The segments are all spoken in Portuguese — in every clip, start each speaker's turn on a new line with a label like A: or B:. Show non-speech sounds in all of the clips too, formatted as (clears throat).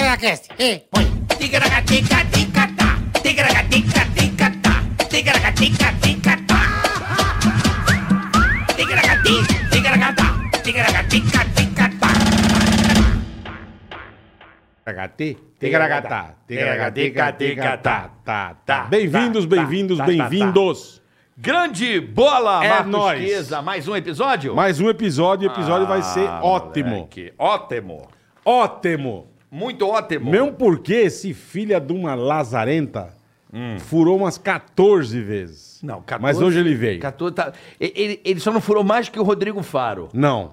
A: Tigaracast, e põe. Tigaracatica, ticatá. Tigaracatica, ticatá. Tigaracatica, ticatá. Tigaracati, tigaracatá. Tigaracatica, ticatá.
B: Tá, Ticaracati?
C: Ticaragatá. Ticaragatá, ticatá,
B: tá,
C: tá.
B: Bem-vindos,
C: Tá, tá,
B: bem-vindos,
C: tá, tá,
B: bem-vindos.
C: Grande bola,
B: É
C: Marcos
B: nóis.
C: Chiesa. Mais um episódio?
B: Mais um episódio, o episódio vai ser
C: Ah,
B: ótimo.
C: moleque, Ótimo.
B: Ótimo.
C: Muito ótimo.
B: Mesmo porque esse filha de uma lazarenta furou umas 14 vezes.
C: Não, 14,
B: Mas hoje ele veio.
C: 14, tá- e- ele, ele só não furou mais que o Rodrigo Faro.
B: Não,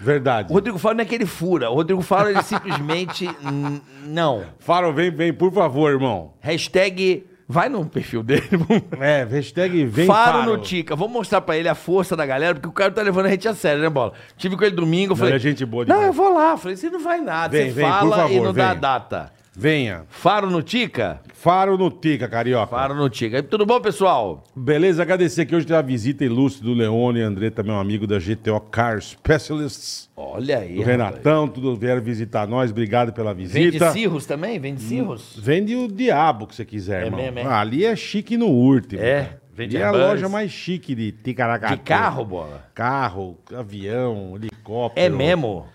B: verdade.
C: O Rodrigo Faro não é que ele fura. O Rodrigo Faro, ele simplesmente... (laughs) hum, não.
B: Faro, vem, vem, por favor, irmão.
C: Hashtag... Vai no perfil dele. (laughs)
B: É, hashtag vem
C: faro,
B: Faro.
C: no Tica. Vamos mostrar pra ele a força da galera, porque o cara tá levando a gente a sério, né, Bola? Tive com ele domingo, eu falei...
B: ele é gente boa
C: Não,
B: demais."
C: eu vou lá. Eu Falei, você não vai nada.
B: Vem,
C: você
B: vem, por
C: fala e
B: favor,
C: não dá a
B: vem.
C: data.
B: Venha.
C: Faro no Tica?
B: Faro no Tica, Carioca.
C: Faro no Tica. Tudo bom, pessoal?
B: Beleza, agradecer que hoje tem a visita ilustre do Leone André, também um amigo da GTO Car Specialists.
C: Olha aí.
B: Do Renatão, tudo vieram visitar nós, obrigado pela
C: Vende
B: visita.
C: cirros também? Vende cirros?
B: Vende o diabo que você quiser,
C: É
B: irmão.
C: mesmo, é?
B: Ah, ali é chique no último.
C: É,
B: cara.
C: vende
B: Ali é a
C: Airbus.
B: loja mais chique de Ticaracatu.
C: De carro, bola?
B: Carro, avião, helicóptero.
C: É mesmo?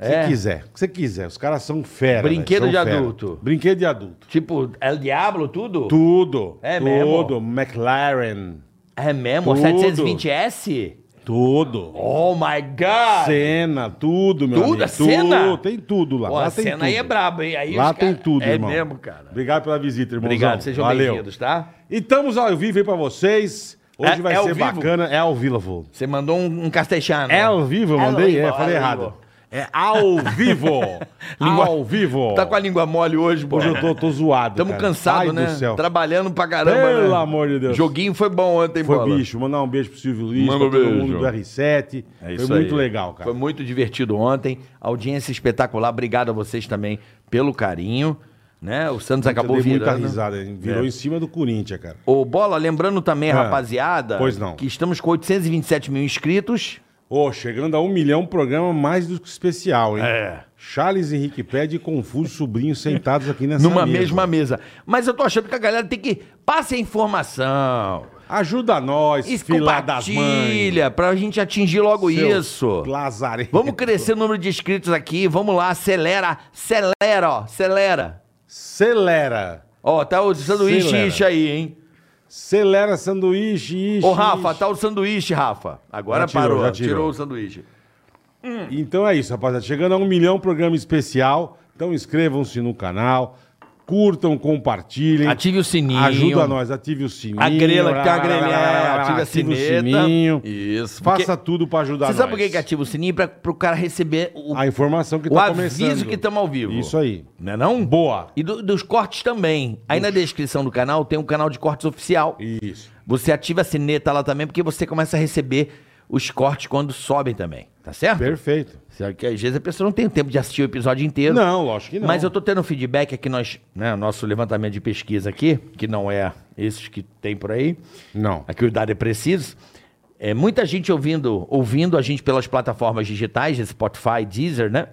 B: O que você
C: É.
B: quiser, o que você quiser. Os caras são fera.
C: Brinquedo
B: velho, são
C: de
B: fera.
C: adulto.
B: Brinquedo de adulto.
C: Tipo, El Diablo, tudo?
B: Tudo.
C: É
B: Tudo. McLaren.
C: É mesmo?
B: Tudo.
C: 720S?
B: Tudo.
C: Oh my God!
B: Cena, tudo, meu
C: Tudo?
B: amigo.
C: É cena?
B: Tudo, tem tudo lá.
C: Pô,
B: lá
C: a
B: tem
C: cena
B: tudo.
C: aí é braba, hein? Aí
B: Lá
C: os cara-
B: tem tudo,
C: é
B: irmão.
C: É mesmo, cara.
B: Obrigado pela visita, irmãozão.
C: Obrigado, sejam
B: Valeu.
C: bem-vindos, tá?
B: E estamos ao vivo aí pra vocês. Hoje
C: É-
B: vai
C: é ao
B: ser
C: vivo?
B: bacana. É ao vivo.
C: Você mandou um, um castechano.
B: É ao vivo, eu
C: É ao
B: mandei?
C: vivo,
B: é, falei
C: é ao
B: errado.
C: vivo.
B: É ao vivo.
C: (laughs) Língua-
B: ao vivo.
C: Tá com a língua mole hoje, pô.
B: Hoje eu tô, tô zoado,
C: Tamo
B: cara.
C: cansado,
B: Ai
C: né?
B: do céu.
C: Trabalhando pra caramba, né?
B: Pelo amor de Deus.
C: Joguinho foi bom ontem,
B: Foi
C: bola.
B: bicho. Mandar um beijo pro Silvio Luiz,
C: Manda
B: pra
C: um
B: todo
C: beijo.
B: mundo do R7.
C: É isso
B: Foi muito
C: aí.
B: legal, cara.
C: Foi muito divertido ontem. Audiência espetacular. Obrigado a vocês também pelo carinho. Né? O Santos
B: Eu
C: acabou
B: dei
C: virando.
B: muita risada. Virou
C: É.
B: em cima do Corinthians, cara.
C: Ô, Bola, lembrando também, rapaziada,
B: Ah, Pois não.
C: que estamos com 827 mil inscritos.
B: Ô, chegando a um milhão, programa mais do que especial, hein?
C: É.
B: Charles Henrique Pede e Confuso Sobrinho sentados aqui nessa
C: numa
B: mesa.
C: mesma mesa. Mas eu tô achando que a galera tem que... Passe a informação.
B: Ajuda nós,
C: Isso,
B: fila das mães.
C: compartilha, pra gente atingir logo
B: Seu
C: isso.
B: Lazarento.
C: Vamos crescer o número de inscritos aqui. Vamos lá, acelera. Acelera, ó. Acelera.
B: Acelera.
C: Ó, tá o sanduíche
B: Acelera.
C: ish aí, hein?
B: Acelera sanduíche, ishi,
C: Ô, Rafa,
B: ishi.
C: tá o sanduíche, Rafa. Agora
B: Já tirou,
C: parou,
B: já
C: tirou.
B: tirou.
C: o sanduíche.
B: Então é isso, rapaziada. Chegando a um milhão, programa especial. Então inscrevam-se no canal, curtam, compartilhem.
C: Ative o sininho.
B: Ajuda nós, ative o sininho.
C: A grela que tem uma grelha, é, ative a
B: Ative o
C: sineta.
B: sininho.
C: Isso, porque-
B: Faça tudo pra ajudar
C: Você
B: nós.
C: sabe por que que ativa o sininho? Pra, pro cara receber o,
B: A informação que
C: o
B: tá
C: aviso
B: começando.
C: que estamos ao vivo.
B: Isso aí.
C: Não é não?
B: Boa.
C: E do- dos cortes também. Aí na descrição do canal tem um canal de cortes oficial.
B: Isso.
C: Você ativa a sineta lá também, porque você começa a receber os cortes quando sobem também. Tá certo?
B: Perfeito.
C: Só que às vezes a pessoa não tem tempo de assistir o episódio inteiro.
B: Não, lógico que não.
C: Mas eu tô tendo um feedback aqui, nós, né, nosso levantamento de pesquisa aqui, que não é esses que tem por aí,
B: Não.
C: aqui o dado é preciso. É, muita gente ouvindo, ouvindo a gente pelas plataformas digitais, Spotify, Deezer, né?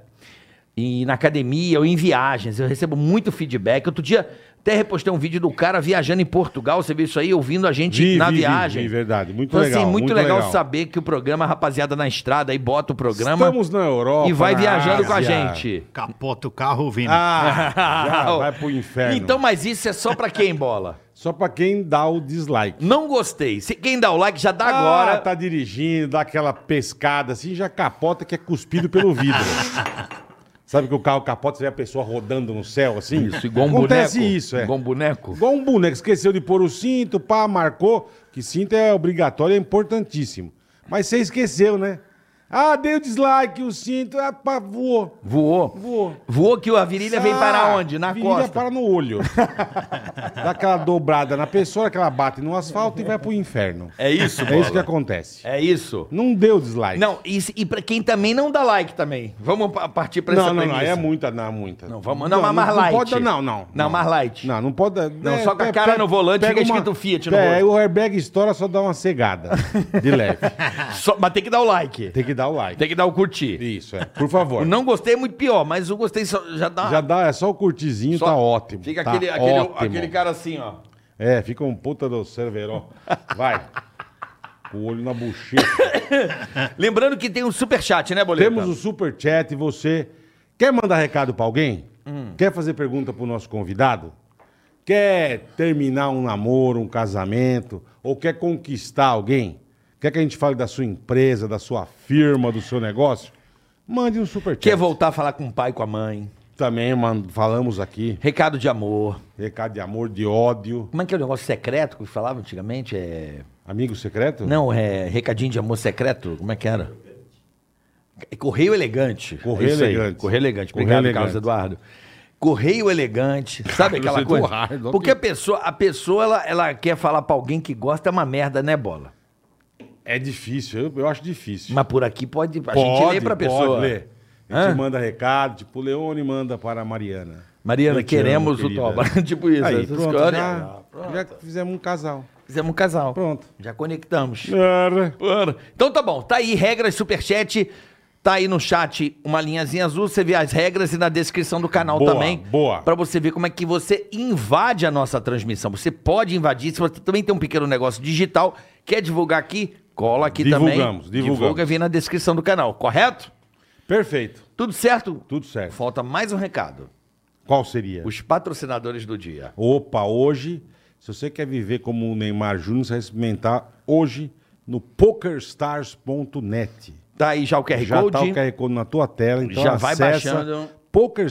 C: E na academia ou em viagens, eu recebo muito feedback. Outro dia até repostei um vídeo do cara viajando em Portugal, você viu isso aí, ouvindo a gente
B: Vi,
C: na
B: vi, vi,
C: viagem.
B: vi, verdade. Muito
C: então,
B: legal,
C: Assim, muito,
B: muito
C: legal,
B: legal.
C: saber que o programa Rapaziada na Estrada aí bota o programa.
B: Estamos na Europa.
C: E vai
B: na
C: viajando com a
B: Ásia.
C: gente.
A: Capota o carro ouvindo.
B: Ah,
C: (laughs)
B: já vai pro inferno.
C: Então, mas isso é só pra quem, bola?
B: Só pra quem dá o dislike.
C: Não gostei. Se quem dá o like já dá agora.
B: Ah, tá dirigindo, dá aquela pescada assim, já capota que é cuspido
C: (laughs)
B: pelo vidro. Sabe que o carro capota, você vê a pessoa rodando no céu assim?
C: Isso, igual um
B: Acontece
C: boneco.
B: isso, é.
C: Igual um boneco.
B: Igual um boneco, esqueceu de pôr o cinto, pá, marcou, que cinto é obrigatório, é importantíssimo. Mas você esqueceu, né? Ah, dei o dislike, o cinto, ah, pá, voou.
C: Voou.
B: Voou.
C: Voou que a virilha vem
B: Ah,
C: parar onde? Na
B: virilha
C: costa.
B: para no olho. Dá aquela dobrada na pessoa, que ela bate no asfalto e vai pro inferno.
C: É isso,
B: É isso
C: Bola.
B: que acontece.
C: É isso.
B: Não deu dislike.
C: Não, e, se- e pra quem também não dá like também. Vamos pa- partir pra essa
B: não, não, não,
C: premissa.
B: aí é muita, não, é muita.
C: Não, vamos- não, mas mais
B: não
C: light.
B: pode dar- não, não.
C: Não, mais light.
B: Não, não pode dar-
C: Não, só com a
B: pe-
C: cara
B: pe-
C: no volante
B: pega
C: fica escrito Fiat no
B: É,
C: rosto. (laughs)
B: o airbag estoura, só dá uma cegada de leve.
C: Só- mas tem que dar o like.
B: Tem que dar o like.
C: Tem que dar o curtir.
B: Isso, é. Por favor.
C: O não gostei é muito pior, mas o gostei só- já dá.
B: Já dá, é só o curtizinho,
C: só-
B: tá ótimo.
C: Fica
B: tá
C: aquele, aquele,
B: ótimo.
C: aquele cara assim, ó.
B: É, fica um puta do cerveró. Vai. Com o olho na bochecha.
C: Lembrando que tem um superchat, né, Boleta?
B: Temos o superchat. Você quer mandar recado pra alguém? Quer fazer pergunta pro nosso convidado? Quer terminar um namoro, um casamento? Ou quer conquistar alguém? Quer que a gente fale da sua empresa, da sua firma, do seu negócio? Mande um superchat.
C: Quer é voltar a falar com o pai, com a mãe.
B: Também mano, falamos aqui.
C: Recado de amor.
B: Recado de amor, de ódio.
C: Como é que é o negócio secreto que falava antigamente? É...
B: Amigo secreto?
C: Não, é recadinho de amor secreto? Como é que era? É Correio elegante.
B: Correio
C: É isso aí.
B: elegante.
C: Correio elegante.
B: Correio
C: Obrigado,
B: elegante. é
C: Carlos Eduardo. Correio
B: (laughs)
C: elegante, sabe aquela
B: Carlos
C: coisa?
B: Eduardo,
C: Porque a
B: ok.
C: pessoa, a pessoa ela, ela quer falar pra alguém que gosta, é uma merda, né, bola?
B: É difícil, eu, eu acho difícil.
C: Mas por aqui pode. A gente lê pra pessoa.
B: ler. A gente
C: Hã?
B: manda recado, tipo, Leone manda para a Mariana.
C: Mariana,
B: Eu te
C: queremos
B: amo,
C: o
B: querida.
C: toba. (laughs) tipo isso.
B: Aí,
C: essas Ah,
B: pronto,
C: coisas.
B: já, já fizemos um casal.
C: Fizemos um casal.
B: Pronto.
C: Já conectamos.
B: Era.
C: Bora. Então tá bom, tá aí regras, superchat. Tá aí no chat uma linhazinha azul, você vê as regras e na descrição do canal
B: Boa,
C: também.
B: boa.
C: Pra você ver como é que você invade a nossa transmissão. Você pode invadir, se você também tem um pequeno negócio digital, quer divulgar aqui, cola aqui
B: Divulgamos,
C: também.
B: divulgamos.
C: Divulga e vem na descrição do canal, correto?
B: Perfeito,
C: Tudo certo?
B: tudo certo.
C: Falta mais um recado.
B: Qual seria?
C: Os patrocinadores do dia.
B: Opa, hoje, se você quer viver como o Neymar Júnior, você vai experimentar hoje no pokerstars.net.
C: Tá aí já o QR
B: Já
C: Code.
B: tá o QR Code na tua tela, então
C: Já vai
B: acessa
C: baixando.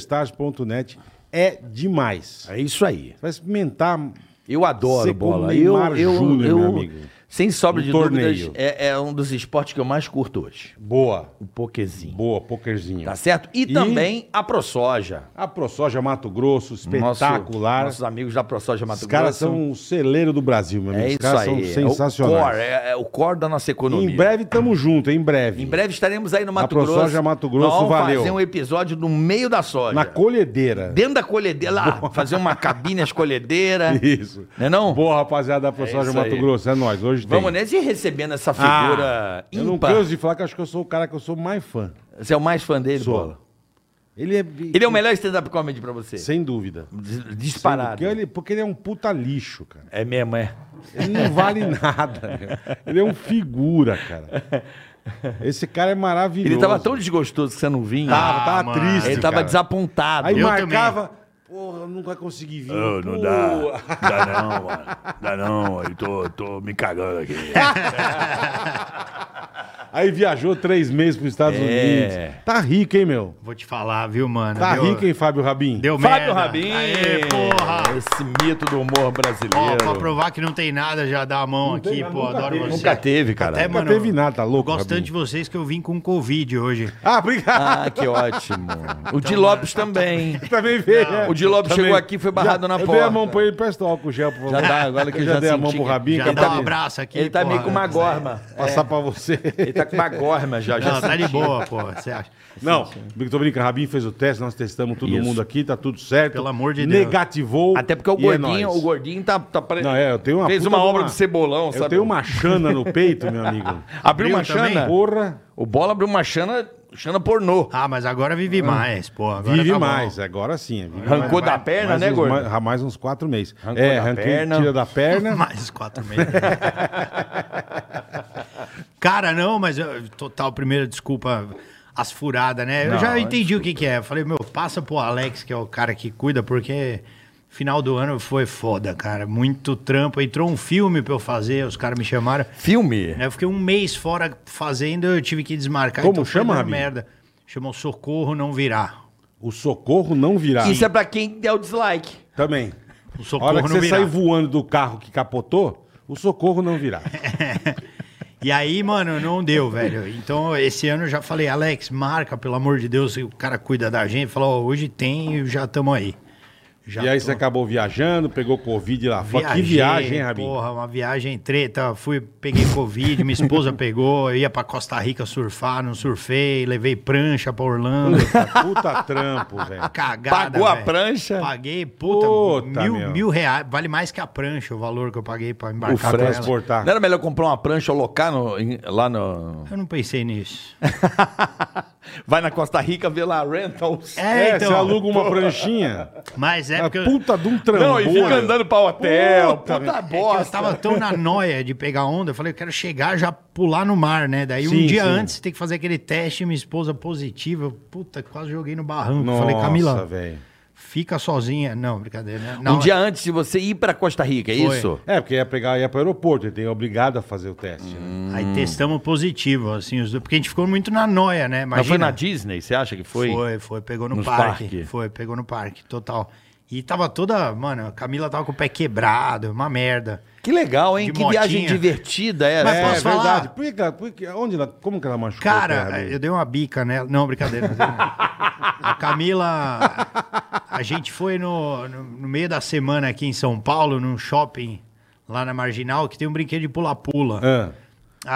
B: pokerstars.net é demais.
C: É isso aí.
B: Você vai experimentar
C: Eu adoro
B: Ser como
C: bola.
B: Neymar
C: eu, eu,
B: Júnior,
C: eu,
B: meu amigo.
C: Sem sobra
B: Um
C: de
B: torneio. Um
C: dúvidas, é, é um dos esportes que eu mais curto hoje.
B: boa,
C: O pokezinho.
B: boa pokerzinho.
C: Tá certo? E, também a ProSoja.
B: A ProSoja Mato Grosso,
C: Nosso-
B: espetacular.
C: nossos amigos da ProSoja Mato
B: Os caras
C: Grosso.
B: são o celeiro do Brasil, meu amigo.
C: É
B: Os
C: isso
B: caras
C: aí.
B: são
C: É o
B: sensacionais.
C: core, é, é o core da nossa economia.
B: em breve tamo junto, em breve.
C: Em breve estaremos aí no Mato
B: ProSoja
C: Grosso.
B: Mato Grosso,
C: Nós vamos
B: valeu.
C: fazer um episódio no meio da soja.
B: Na colhedeira.
C: Dentro da colhedeira, lá, fazer uma cabine as colhedeiras.
B: (laughs) Isso.
C: Não é não?
B: Boa, rapaziada da ProSoja
C: isso
B: Mato
C: aí.
B: Grosso. É nóis, hoje
C: Vamos
B: tem. Ah,
C: nessa e recebendo essa figura
B: Eu não
C: ímpar.
B: canso de falar que eu acho que eu sou o cara que eu sou mais fã.
C: Você é o mais fã dele,
B: Sou.
C: bola?
B: Ele é...
C: Ele é o melhor stand-up comedy pra você.
B: Sem dúvida. Sem
C: Dis-
B: dúvida.
C: Disparado.
B: Porque ele, porque ele é um puta lixo, cara.
C: É mesmo, é.
B: Ele não vale (laughs) nada. meu. Ele é um figura,
C: (laughs)
B: cara. Esse cara é maravilhoso.
C: Ele tava tão desgostoso que você não vinha.
B: Tava, tava
A: Ah, mano.
B: triste,
C: ele tá- tava
B: cara.
C: desapontado.
B: Aí
A: Eu
B: marcava, porra, não vai conseguir vir. Pô.
D: Dá não, mano. Dá não, eu tô, tô me cagando aqui.
B: É Aí viajou três meses pros Estados
C: É.
B: Unidos. Tá rico, hein, meu?
A: Vou te falar, viu, mano?
B: Tá
A: Deu-
B: rico, hein, Fábio Rabin?
A: Deu merda.
C: Fábio Rabin.
A: Aê, porra.
C: Esse mito do humor
A: Ó,
C: brasileiro.
A: pra provar que não tem nada, já dá a mão aqui,
B: tem,
A: pô.
B: nunca
A: adoro
B: teve.
A: você.
C: Nunca teve, cara.
A: Até,
B: Nunca teve nada, tá
A: É, Eu
B: louco,
A: gosto
B: Rabin?
A: tanto de vocês que eu vim com Covid hoje.
B: Ah, obrigado.
C: Ah, que ótimo. O Di Lopes também.
A: Ah.
B: (laughs) Também veio. é.
C: O Di Lopes
B: Também.
C: chegou aqui e foi barrado
B: Já-
C: na
B: eu
C: porta.
B: dei a mão pra ele, presta o álcool gel, por favor.
C: Já dá, agora que eu já
B: dei a
C: senti
B: mão pro
C: que-
B: Rabin.
A: já
B: que é
A: dá
B: pra
A: um
B: mim
A: abraço aqui.
C: ele tá
A: porra.
C: meio com uma gorma.
B: Passar
C: (laughs)
B: pra você.
C: Ele tá com uma gorma já. já
A: Não, tá
C: senti. (laughs)
A: de boa, pô. Você acha?
B: Não, tô brincando, Rabin fez o teste, nós testamos todo
C: Isso.
B: mundo aqui, tá tudo certo.
A: Pelo amor de Deus.
B: Negativou.
C: Até porque o
B: e é
C: gordinho,
B: nóis.
C: o gordinho tá, tá pare-
B: Não, é, eu tenho uma
C: fez
B: puta
C: uma
B: de
C: obra
B: uma-
C: de cebolão, sabe?
B: Eu tenho uma chana no peito, meu amigo.
C: (laughs) Abriu uma
A: Abriu também?
C: chana?
B: Porra,
C: O Bola abriu uma chana, chana pornô.
A: Ah, mas agora vive mais, pô. Agora
B: vive
A: tá bom.
B: mais, agora sim. é, Vive
C: Arrancou
B: mais.
C: da perna,
B: mais
C: né,
B: uns,
C: gordo?
B: Mais, mais uns quatro meses.
C: Arrancou
B: é,
C: da
B: arranquei,
C: perna.
B: tira da perna.
A: (laughs) Mais quatro meses. Cara, não, mas eu- total, primeira desculpa, as furadas, né? eu já entendi o que que é. Eu falei, meu, passa pro Alex, que é o cara que cuida, porque final do ano foi foda, cara. Muito trampo. Entrou um filme pra eu fazer, os caras me chamaram.
C: Filme?
A: Aí Eu fiquei um mês fora fazendo, eu tive que desmarcar. Então
B: Como
A: foi
B: chama,
A: dando
B: Rabinho?
A: merda. Chamou Socorro Não Virá.
B: O socorro não virá.
C: Isso é pra quem der o dislike.
B: Também.
A: O
B: A
A: Socorro
B: hora que
A: Não
B: você
A: Virá.
B: sair voando do carro que capotou, o socorro não virá.
A: E aí, mano, não deu, velho. Então, esse ano eu já falei, Alex, marca, pelo amor de Deus, o cara cuida da gente. Falou, ó, hoje tem e já estamos aí. (laughs) Já
B: e aí
A: tô-
B: você acabou viajando, pegou Covid lá fora.
A: Viajei,
B: que viagem, hein, Rabinho?
A: Porra, uma viagem treta. Fui, peguei Covid, minha esposa (laughs) pegou, eu ia pra Costa Rica surfar, não surfei, levei prancha
B: (laughs)
A: pra Orlando.
B: Puta, puta trampo,
A: (laughs)
B: velho.
A: Cagada,
C: Pagou a
A: velho.
C: prancha?
A: Paguei, puta,
B: Puta, meu.
A: mil, mil reais. Vale mais que a prancha o valor que eu paguei pra
B: O
A: embarcar com ela.
B: transportar.
C: Não era melhor comprar uma prancha ou locar no- em- lá
B: (laughs)
C: no.
A: Eu não pensei nisso.
C: Vai na Costa Rica ver lá rentals.
A: É, então.
B: você aluga uma pranchinha.
A: Mas é
B: a
A: porque eu-
B: puta de um trambolho.
C: Não, e fica andando pra hotel. Puta,
B: Puta, velho.
A: É que eu
C: bosta.
A: tava tão na noia de pegar onda, eu falei, eu quero chegar já pular no mar, né? Daí
B: Sim,
A: um dia
B: sim.
A: antes tem que fazer aquele teste, minha esposa positiva. eu, Puta, quase joguei no barranco.
B: Nossa,
A: falei, Camila,
B: velho.
A: fica sozinha. Não, brincadeira, né?
C: um dia antes de você ir pra Costa Rica, é
A: Foi.
C: isso?
B: É, porque ia pegar, ia pro aeroporto, ele tem obrigado a fazer o teste, né?
A: Aí
C: Hum.
A: testamos positivo, assim, os dois, porque a gente ficou muito na noia, né? Imagina.
C: Mas foi na Disney, você acha que foi?
A: Foi, foi, pegou no
C: Nos
A: parque.
C: parque.
A: Foi, pegou no parque, total. E tava toda, mano, a Camila tava com o pé quebrado, uma merda.
C: Que legal, hein?
A: De
C: que
A: motinha.
C: viagem divertida é, né? era.
A: Mas posso falar?
B: É, Por que, que ela- por que, onde ela, como que ela machucou? o pé,
A: Cara, é,
B: amigo?
A: eu dei uma bica nela. Não, brincadeira. não dei não. a Camila. A gente foi no, no, no meio da semana aqui em São Paulo, num shopping lá na Marginal, que tem um brinquedo de pula-pula.
B: Ah,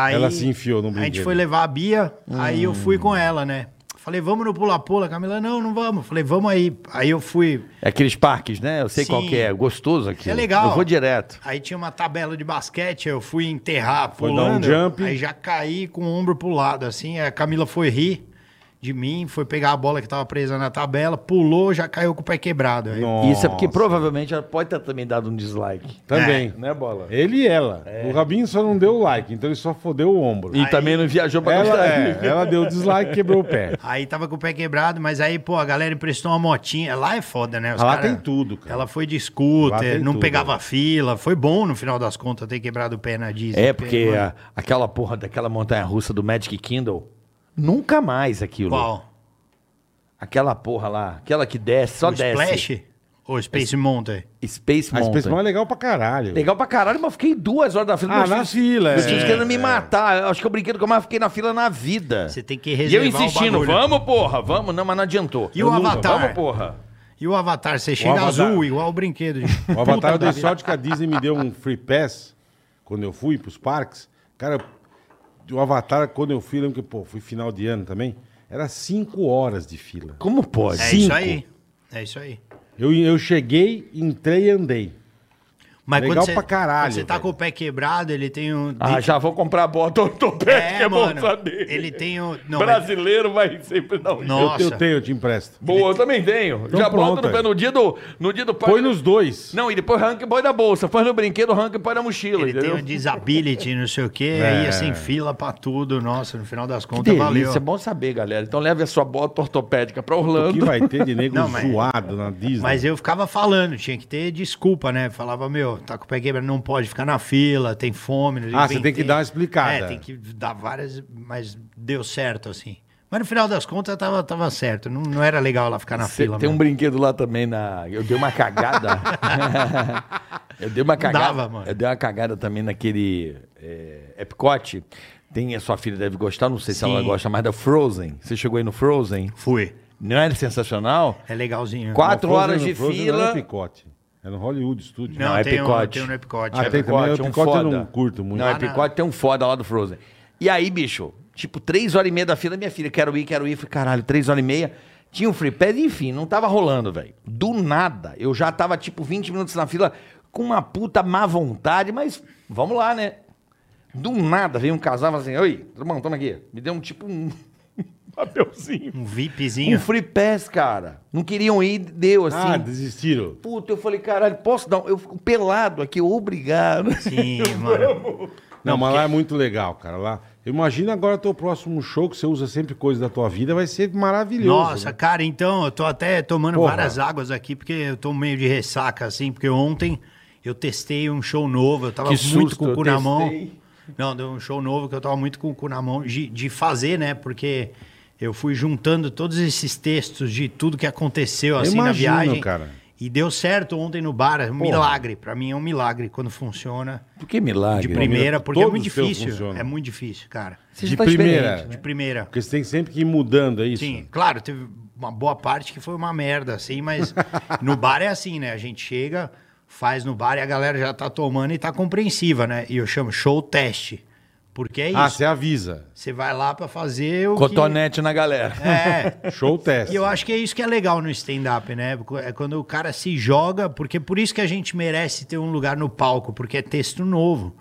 A: Aí,
B: Ela se enfiou no
A: A
B: brinquedo. Hum.
A: gente foi levar a Bia, aí eu fui com ela, né? Falei, vamos no pula-pula. Camila, não, não vamos. Falei, vamos aí. Aí eu fui.
C: É aqueles parques, né? Eu sei
A: Sim.
C: qual que é. Gostoso aqui.
A: É legal.
C: Eu vou direto.
A: Aí tinha uma tabela de basquete, eu fui enterrar
B: Foi dar um
A: pulando.
B: jump.
A: Aí já caí com o ombro pro lado, assim. A Camila foi rir de mim, foi pegar a bola que tava presa na tabela, pulou, já caiu com o pé quebrado. Aí,
B: nossa.
C: Isso é porque provavelmente ela pode ter também dado um dislike.
B: Também.
C: Né, Bola? É.
B: Ele e ela. O Rabinho só não deu like, então ele só fodeu o ombro.
C: E também não viajou pra
B: (laughs) Ela,
C: Costa
B: é,
C: Rica.
B: ela deu dislike e quebrou o pé.
A: aí tava com o pé quebrado, mas aí, pô, a galera emprestou uma motinha. Lá é foda, né? Os
B: Lá
A: cara-
B: tem tudo, cara.
A: Ela foi de
B: Lá tem
A: scooter, não
B: tudo.
A: pegava fila. Foi bom, no final das contas, ter quebrado o pé na Disney.
C: É, porque
A: mano,
C: a- aquela porra daquela montanha russa do Magic Kindle, nunca mais aquilo.
A: Qual?
C: Aquela porra lá, aquela que desce, só
A: o
C: desce.
A: Splash? Ou Space Mountain?
C: Space
B: A
C: Mountain.
B: Space Mountain é legal pra caralho.
C: Legal pra caralho, mas fiquei duas horas na fila.
B: Ah,
C: meus
B: na
C: filhos-
B: fila.
C: Meus filhos
B: é.
C: querendo me matar. Eu acho que é o brinquedo que eu mais fiquei na fila na vida.
A: Você tem que
C: E eu
A: reservar o
C: insistindo,
A: bagulho.
C: vamos, porra, vamos. Não, mas não adiantou.
A: E o
C: Eu nunca-
A: Avatar?
C: Vamos, porra.
A: E o Avatar, você chega
B: Avatar.
A: azul, igual o
B: (laughs)
A: brinquedo. gente.
B: O Avatar eu
A: Puta
B: dei
A: da
B: sorte que a Disney me deu um free pass quando eu fui pros parques. Cara, o Avatar, quando eu fui, lembro que, pô, fui final de ano também. Era cinco horas de fila.
C: Como pode?
A: É
B: Cinco.
A: isso aí. É isso aí.
B: Eu, eu cheguei, entrei e andei.
A: Mas
B: Legal
A: quando você,
B: pra caralho,
A: quando você tá
B: velho.
A: com o pé quebrado, ele tem um.
C: Ah, já (laughs) vou comprar a bota ortopédica,
A: É,
C: é, bom
A: mano,
C: saber.
A: ele tem um- não,
C: Brasileiro vai sempre... Não,
B: Eu-
A: Nossa.
B: Eu, tenho, eu te empresto.
C: Boa, eu também tenho. já
B: pronto,
C: bota no, pé
B: aí.
C: no dia do... No dia do
B: Põe nos dois.
C: Não, e depois arranca e põe da bolsa. Põe no brinquedo, arranca e põe na mochila,
A: Ele tem
C: entendeu?
A: um disability, não sei o
B: (laughs)
A: quê, aí
B: É.
A: ia sem fila pra tudo. Nossa, no final das
C: Que
A: contas,
C: delícia,
A: valeu.
C: é bom saber, galera. Então leve a sua bota ortopédica pra
B: O que
C: Orlando.
B: vai ter de nego
A: Não, mas-
B: zoado na Disney?
A: Mas eu ficava falando, tinha que ter desculpa, né? Falava, meu, tá com o pé quebrado, não pode ficar na fila, tem fome. não sei o
B: Ah, você
A: que, vem
B: tem que
A: ter.
B: dar uma explicada.
A: É, tem que dar várias, mas deu certo, assim. Mas no final das contas, tava, tava certo. Não, não era legal ela ficar na
C: Cê-
A: fila.
C: tem um
A: mano.
C: brinquedo lá também na. Eu dei uma
A: (laughs)
C: cagada. eu dei uma cagada.
A: dava, mano.
C: Eu dei uma cagada também naquele é, Epcot. Tem, a sua filha deve gostar, não sei se
A: Sim.
C: ela gosta mais da Frozen. Você chegou aí no Frozen?
A: Fui.
C: Não era sensacional?
A: É legalzinho.
C: Quatro-
B: Não, Frozen-
C: horas de
B: Frozen Não
C: fila.
B: era um picote. Era no Hollywood Studio.
A: Não,
C: Não, é
A: tem, um,
C: picote.
A: tem um no Epicote.
B: Ah,
A: é
B: tem
A: verdade.
B: também,
C: Epicote,
B: o
C: um
B: Picote eu
C: foda.
B: não curto muito.
C: Não, é
A: Ah, não.
C: Epicote tem um foda lá do Frozen. E aí, bicho, tipo, três horas e meia da fila, minha filha, quero ir, quero ir. Falei, caralho, três horas e meia. Tinha um free pass, enfim, não tava rolando, velho. Do nada, eu já tava, tipo, 20 minutos na fila com uma puta má vontade, mas vamos lá, né? Do nada veio um casal e falou assim: Oi, tudo bom? Toma aqui. Me deu um tipo um papelzinho.
A: Um
C: Um
A: VIPzinho.
C: free pass, cara. Não queriam ir, deu assim.
B: Ah, desistiram.
C: Puta, eu falei, caralho, posso dar? um- Eu fico pelado aqui, obrigado.
A: Sim, mano.
B: Não, mas lá é muito legal, cara. Lá. Imagina agora teu próximo show que você usa sempre coisa da tua vida, vai ser maravilhoso.
A: Nossa,
B: né?
A: cara, então, eu tô até tomando
B: Porra.
A: várias águas aqui, porque eu tô meio de ressaca, assim, porque ontem eu testei um show novo, eu tava
C: Que
A: muito
C: susto,
A: com o cu
C: eu
A: na mão.
C: testei.
A: Não, deu um show novo que eu tava muito com o cu na mão de, de fazer, né? Porque eu fui juntando todos esses textos de tudo que aconteceu, assim, na
B: imagino,
A: viagem.
B: cara.
A: E deu certo ontem no bar, é um milagre. Pra mim é um milagre quando funciona
C: Por que milagre?
A: de primeira, porque é
B: todos
A: muito
B: os seus
A: difícil.
B: funcionam.
A: É muito difícil, cara.
C: Você já
B: De
C: tá
B: primeira.
C: experiente,
A: De
C: né?
A: primeira.
B: Porque você tem sempre que ir mudando, é isso?
A: Sim, claro, teve uma boa parte que foi uma merda,
B: (laughs)
A: assim, mas no bar é assim, né? A gente chega, faz no bar e a galera já tá tomando e tá compreensiva, né? E eu chamo show teste. Porque é isso.
B: Ah, você avisa.
A: Você vai lá pra fazer o. que-
C: Cotonete na galera.
B: (laughs)
A: É.
B: Show
A: (laughs)
B: teste.
A: E eu acho que é isso que é legal no stand-up, né? É quando o cara se joga, porque por isso que a gente merece ter um lugar no palco, porque é texto novo.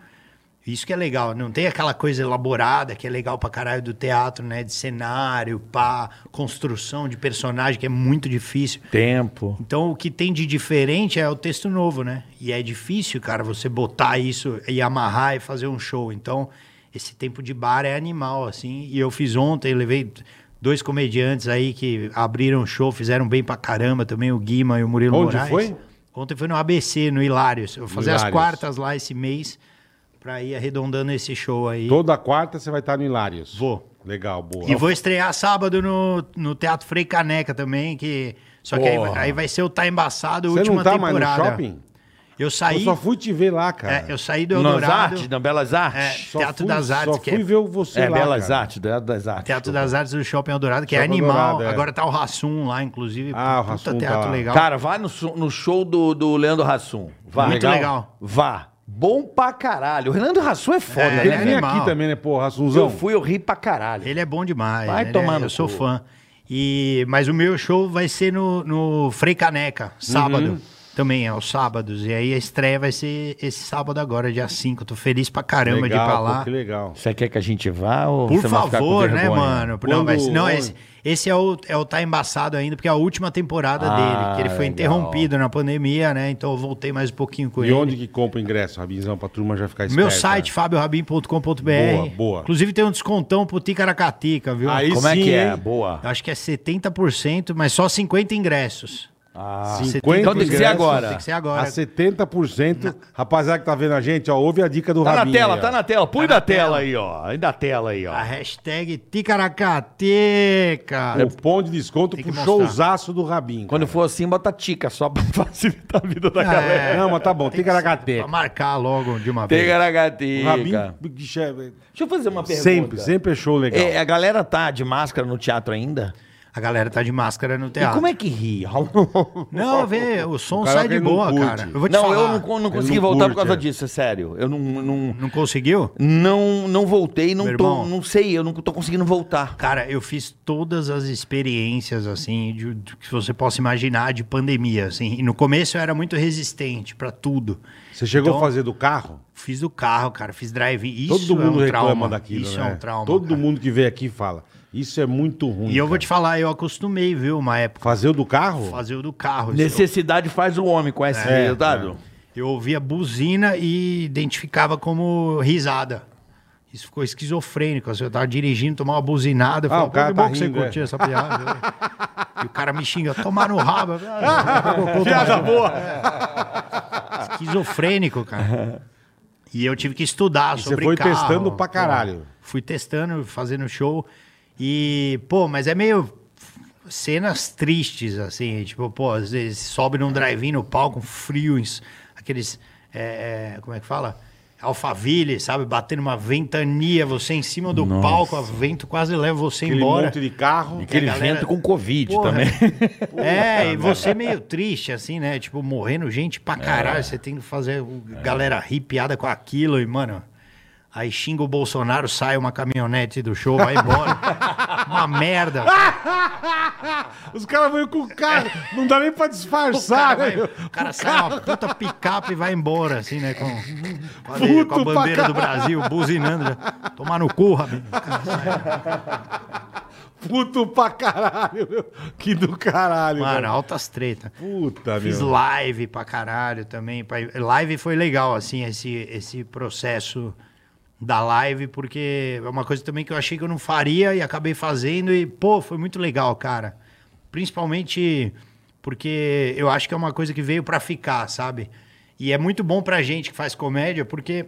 A: Isso que é legal. Não tem aquela coisa elaborada que é legal pra caralho do teatro, né? De cenário, pá, construção de personagem, que é muito difícil.
C: Tempo.
A: Então, o que tem de diferente é o texto novo, né? E é difícil, cara, você botar isso e amarrar e fazer um show. Então, esse tempo de bar é animal, assim. E eu fiz ontem, levei dois comediantes aí que abriram o show, fizeram bem pra caramba também, o Guima e o Murilo
B: Onde
A: Moraes.
B: foi?
A: Ontem foi no ABC, no Hilários. Eu vou fazer as
B: Hilários.
A: quartas lá esse mês pra ir arredondando esse show aí.
B: Toda quarta você vai estar no Hilários.
A: Vou.
B: Legal, boa.
A: E vou estrear sábado no, no Teatro Frei Caneca também, que... Só que aí,
C: Porra.
A: aí vai ser o Tá Embaçado, a
B: Você
A: última
B: não tá
A: temporada.
B: mais no shopping?
A: Eu
B: Eu
A: saí,
B: só fui te ver lá, cara.
A: é, eu saí do
C: Nas
A: Eldorado,
C: artes, na Belas Artes.
B: Só
A: É, Teatro
B: fui-
A: das Artes,
B: Só
A: que
B: fui
A: é-
B: ver você
C: É,
B: lá,
C: Belas
B: cara.
C: Artes, Teatro das Artes.
A: Teatro das Artes do Shopping Eldorado, que é
B: Shopping
A: animal.
B: Eldorado, é.
A: Agora tá o Rassum lá, inclusive.
B: Ah, o
A: Puta
B: Hassum tá
A: teatro
B: lá.
A: legal.
C: Cara, vai no, su- no show do, do Leandro Hassum. Vá.
A: Muito legal.
C: Vá. Bom pra caralho. O Leandro Hassum é foda,
A: É,
B: Ele
C: né?
B: vem
C: velho?
A: animal.
B: aqui também, né, porra,
C: Eu
B: Assunzão?
C: fui, eu ri pra caralho.
A: Ele é bom demais.
C: Vai
A: ele
C: tomar
A: é,
C: no
A: Eu sou
C: cu.
A: fã. E, mas o meu show vai ser no, no Frei Caneca, sábado.
B: Uhum.
A: Também, é aos sábados. E aí a estreia vai ser esse sábado agora, dia 5. Tô feliz pra caramba de ir pra
B: Legal, pô,
A: lá.
B: que legal.
C: Você quer que a gente vá ou
A: Por
C: você vai ficar com
A: favor, né,
C: vergonha?
A: mano?
B: Quando-
A: Não, mas, não
B: onde?
A: esse, esse é, o, é o Tá Embaçado ainda, porque é a última temporada
C: Ah,
A: dele, que ele foi
C: legal.
A: interrompido na pandemia, né? Então eu voltei mais um pouquinho com
B: E
A: ele.
B: onde que é compra o ingresso, Rabinzão, pra turma já ficar esperta?
A: Meu site, fabiorabim.com.br.
B: Boa, boa.
A: Inclusive tem um descontão pro Ticaracatica, viu?
B: Aí
C: Como é
B: sim,
C: que é?
B: hein?
C: Boa.
A: Eu acho que é 70%, mas só 50 ingressos.
C: Ah,
B: 50
C: Então tem que ser
B: ingressos,
C: agora.
A: Tem que ser agora.
B: A 70%. Rapaziada que tá vendo a gente, ó, ouve a dica do
C: Tá na
B: Rabinho.
C: tela,
B: aí, ó.
C: tá na tela. Põe
A: Tá
C: da
A: na
C: tela
A: tela.
C: aí, ó. Aí da tela aí, ó.
A: A hashtag Ticaracateca.
B: O pão de desconto
A: Tem
B: pro
A: que mostrar.
B: showzaço do Rabinho.
C: Quando for assim, bota tica só pra (laughs) facilitar a vida da galera.
A: É.
B: Não, mas tá bom, tem
A: Pra
B: caracateca.
A: marcar logo de uma vez.
B: O
C: Ticaracatica.
B: Rabinho, bicho, é-
C: Deixa eu fazer uma pergunta.
B: sempre, sempre é show legal.
C: É, a galera tá de máscara no teatro ainda?
A: A galera tá de máscara no
C: E
A: teatro.
C: como é que é ri? (laughs)
A: Não, vê, o som
B: cara
A: sai
B: que
A: de
B: não
A: boa,
B: curte.
A: cara. Eu vou te
C: não,
A: falar.
C: eu não, con- não consegui
B: não
C: voltar por
B: curte,
C: causa
B: é.
C: disso, é sério. Eu não, não,
A: Não conseguiu?
C: não, não voltei, não,
A: Meu
C: tô,
A: irmão.
C: não sei, eu não tô conseguindo voltar.
A: Cara, eu fiz todas as experiências, assim, de, de que você possa imaginar de pandemia, assim. E no começo eu era muito resistente pra tudo.
B: Você chegou
A: Então-
B: a fazer do carro?
A: Fiz do carro, cara, fiz drive. Isso
B: Todo mundo
A: é um
B: reclama
A: trauma.
B: daquilo,
A: Isso
B: né?
A: é um trauma.
B: Todo
A: cara.
B: mundo que vem aqui fala, isso é muito ruim.
A: E eu vou
B: cara."
A: te falar, eu acostumei, viu, uma época,
B: Fazer o do carro?
A: fazer o do carro.
C: Necessidade faz o homem, conhece esse
B: É,
C: resultado?
A: Eu ouvia buzina e identificava como risada. Isso ficou esquizofrênico. assim, Eu tava dirigindo, tomava uma buzinada.
B: Ah,
A: Eu falava,
B: o cara
A: "Pô, que bom
B: tá
A: que você
B: rindo,
A: curtiu
B: é."
A: essa piada. né?" e o cara me xinga, tomar no rabo. Eu falei, "Ah,
C: Piada boa!
A: Esquizofrênico, cara. E eu tive que estudar
B: E você
A: sobre
B: foi
A: carro,
B: testando pra
A: pô.
B: caralho.
A: Fui testando, fazendo show. E, pô, mas é meio cenas tristes, assim. Tipo, pô, às vezes sobe num drive-in no palco, frios, aqueles. é, é, como é que fala? Alphaville, sabe? Batendo uma ventania, você em cima do palco, o vento quase leva você
B: Aquele
A: embora.
B: monte de carro.
C: Aquele
A: a galera-
C: vento com Covid
A: Porra.
C: também.
A: É, e você meio triste, assim, né? Tipo, morrendo gente
B: É.
A: pra caralho. Você tem que fazer o- galera rir piada com aquilo e, mano. Aí xinga o Bolsonaro, sai uma caminhonete do show, vai
B: (laughs)
A: embora. uma merda.
B: Os caras vêm com o carro, não dá nem pra
A: O cara,
B: disfarçar.
A: vai-
B: né?
A: o cara sai uma puta picape e vai embora, assim, né? Com, com a-
B: Puto
A: com a
B: pra
A: bandeira
B: caralho.
A: do Brasil, buzinando. já. Tomar no cu, Rabinho.
B: Puto pra caralho, meu. Que do caralho,
A: Mano,
B: velho.
A: altas tretas.
B: Puta,
A: Fiz
B: meu.
A: live pra caralho também. pra- Live foi legal, assim, esse, esse processo da live, porque é uma coisa também que eu achei que eu não faria e acabei fazendo. E, pô, foi muito legal, cara. Principalmente porque eu acho que é uma coisa que veio pra ficar, sabe? E é muito bom pra gente que faz comédia, porque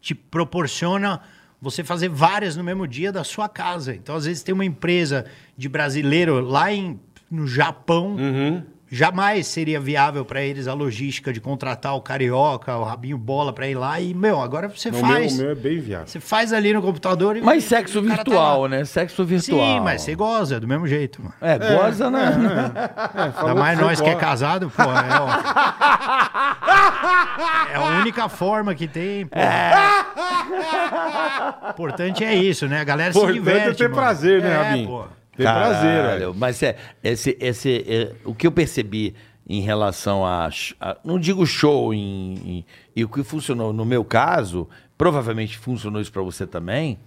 A: te proporciona você fazer várias no mesmo dia da sua
B: Uhum.
A: casa. Então, às vezes, tem uma empresa de brasileiro lá em, no Japão jamais seria viável pra eles a logística de contratar o Carioca, o Rabinho Bola pra ir lá. E, meu, agora você
B: Não, o meu,
A: faz.
B: o meu é bem viável.
A: Você faz ali no computador e.
C: (laughs) Mas sexo
A: o cara tá
C: virtual,
A: lá.
C: né? Sexo virtual.
A: Sim, mas você goza, do mesmo jeito, mano.
C: É, goza, né?
A: Ainda mais nós que é casado, pô. É, ó. É a única forma que tem, pô.
B: É.
A: importante é isso, né? A galera
B: Importante
A: se diverte,
B: é ter
A: mano.
B: prazer, né,
A: É,
B: Rabinho?
A: pô.
B: Ter prazer.
C: Caralho,
B: velho.
C: Mas é, esse, esse, é, o que eu percebi em relação a, sh- a- não digo show, em, em- e o que funcionou no meu caso, provavelmente funcionou isso pra você também,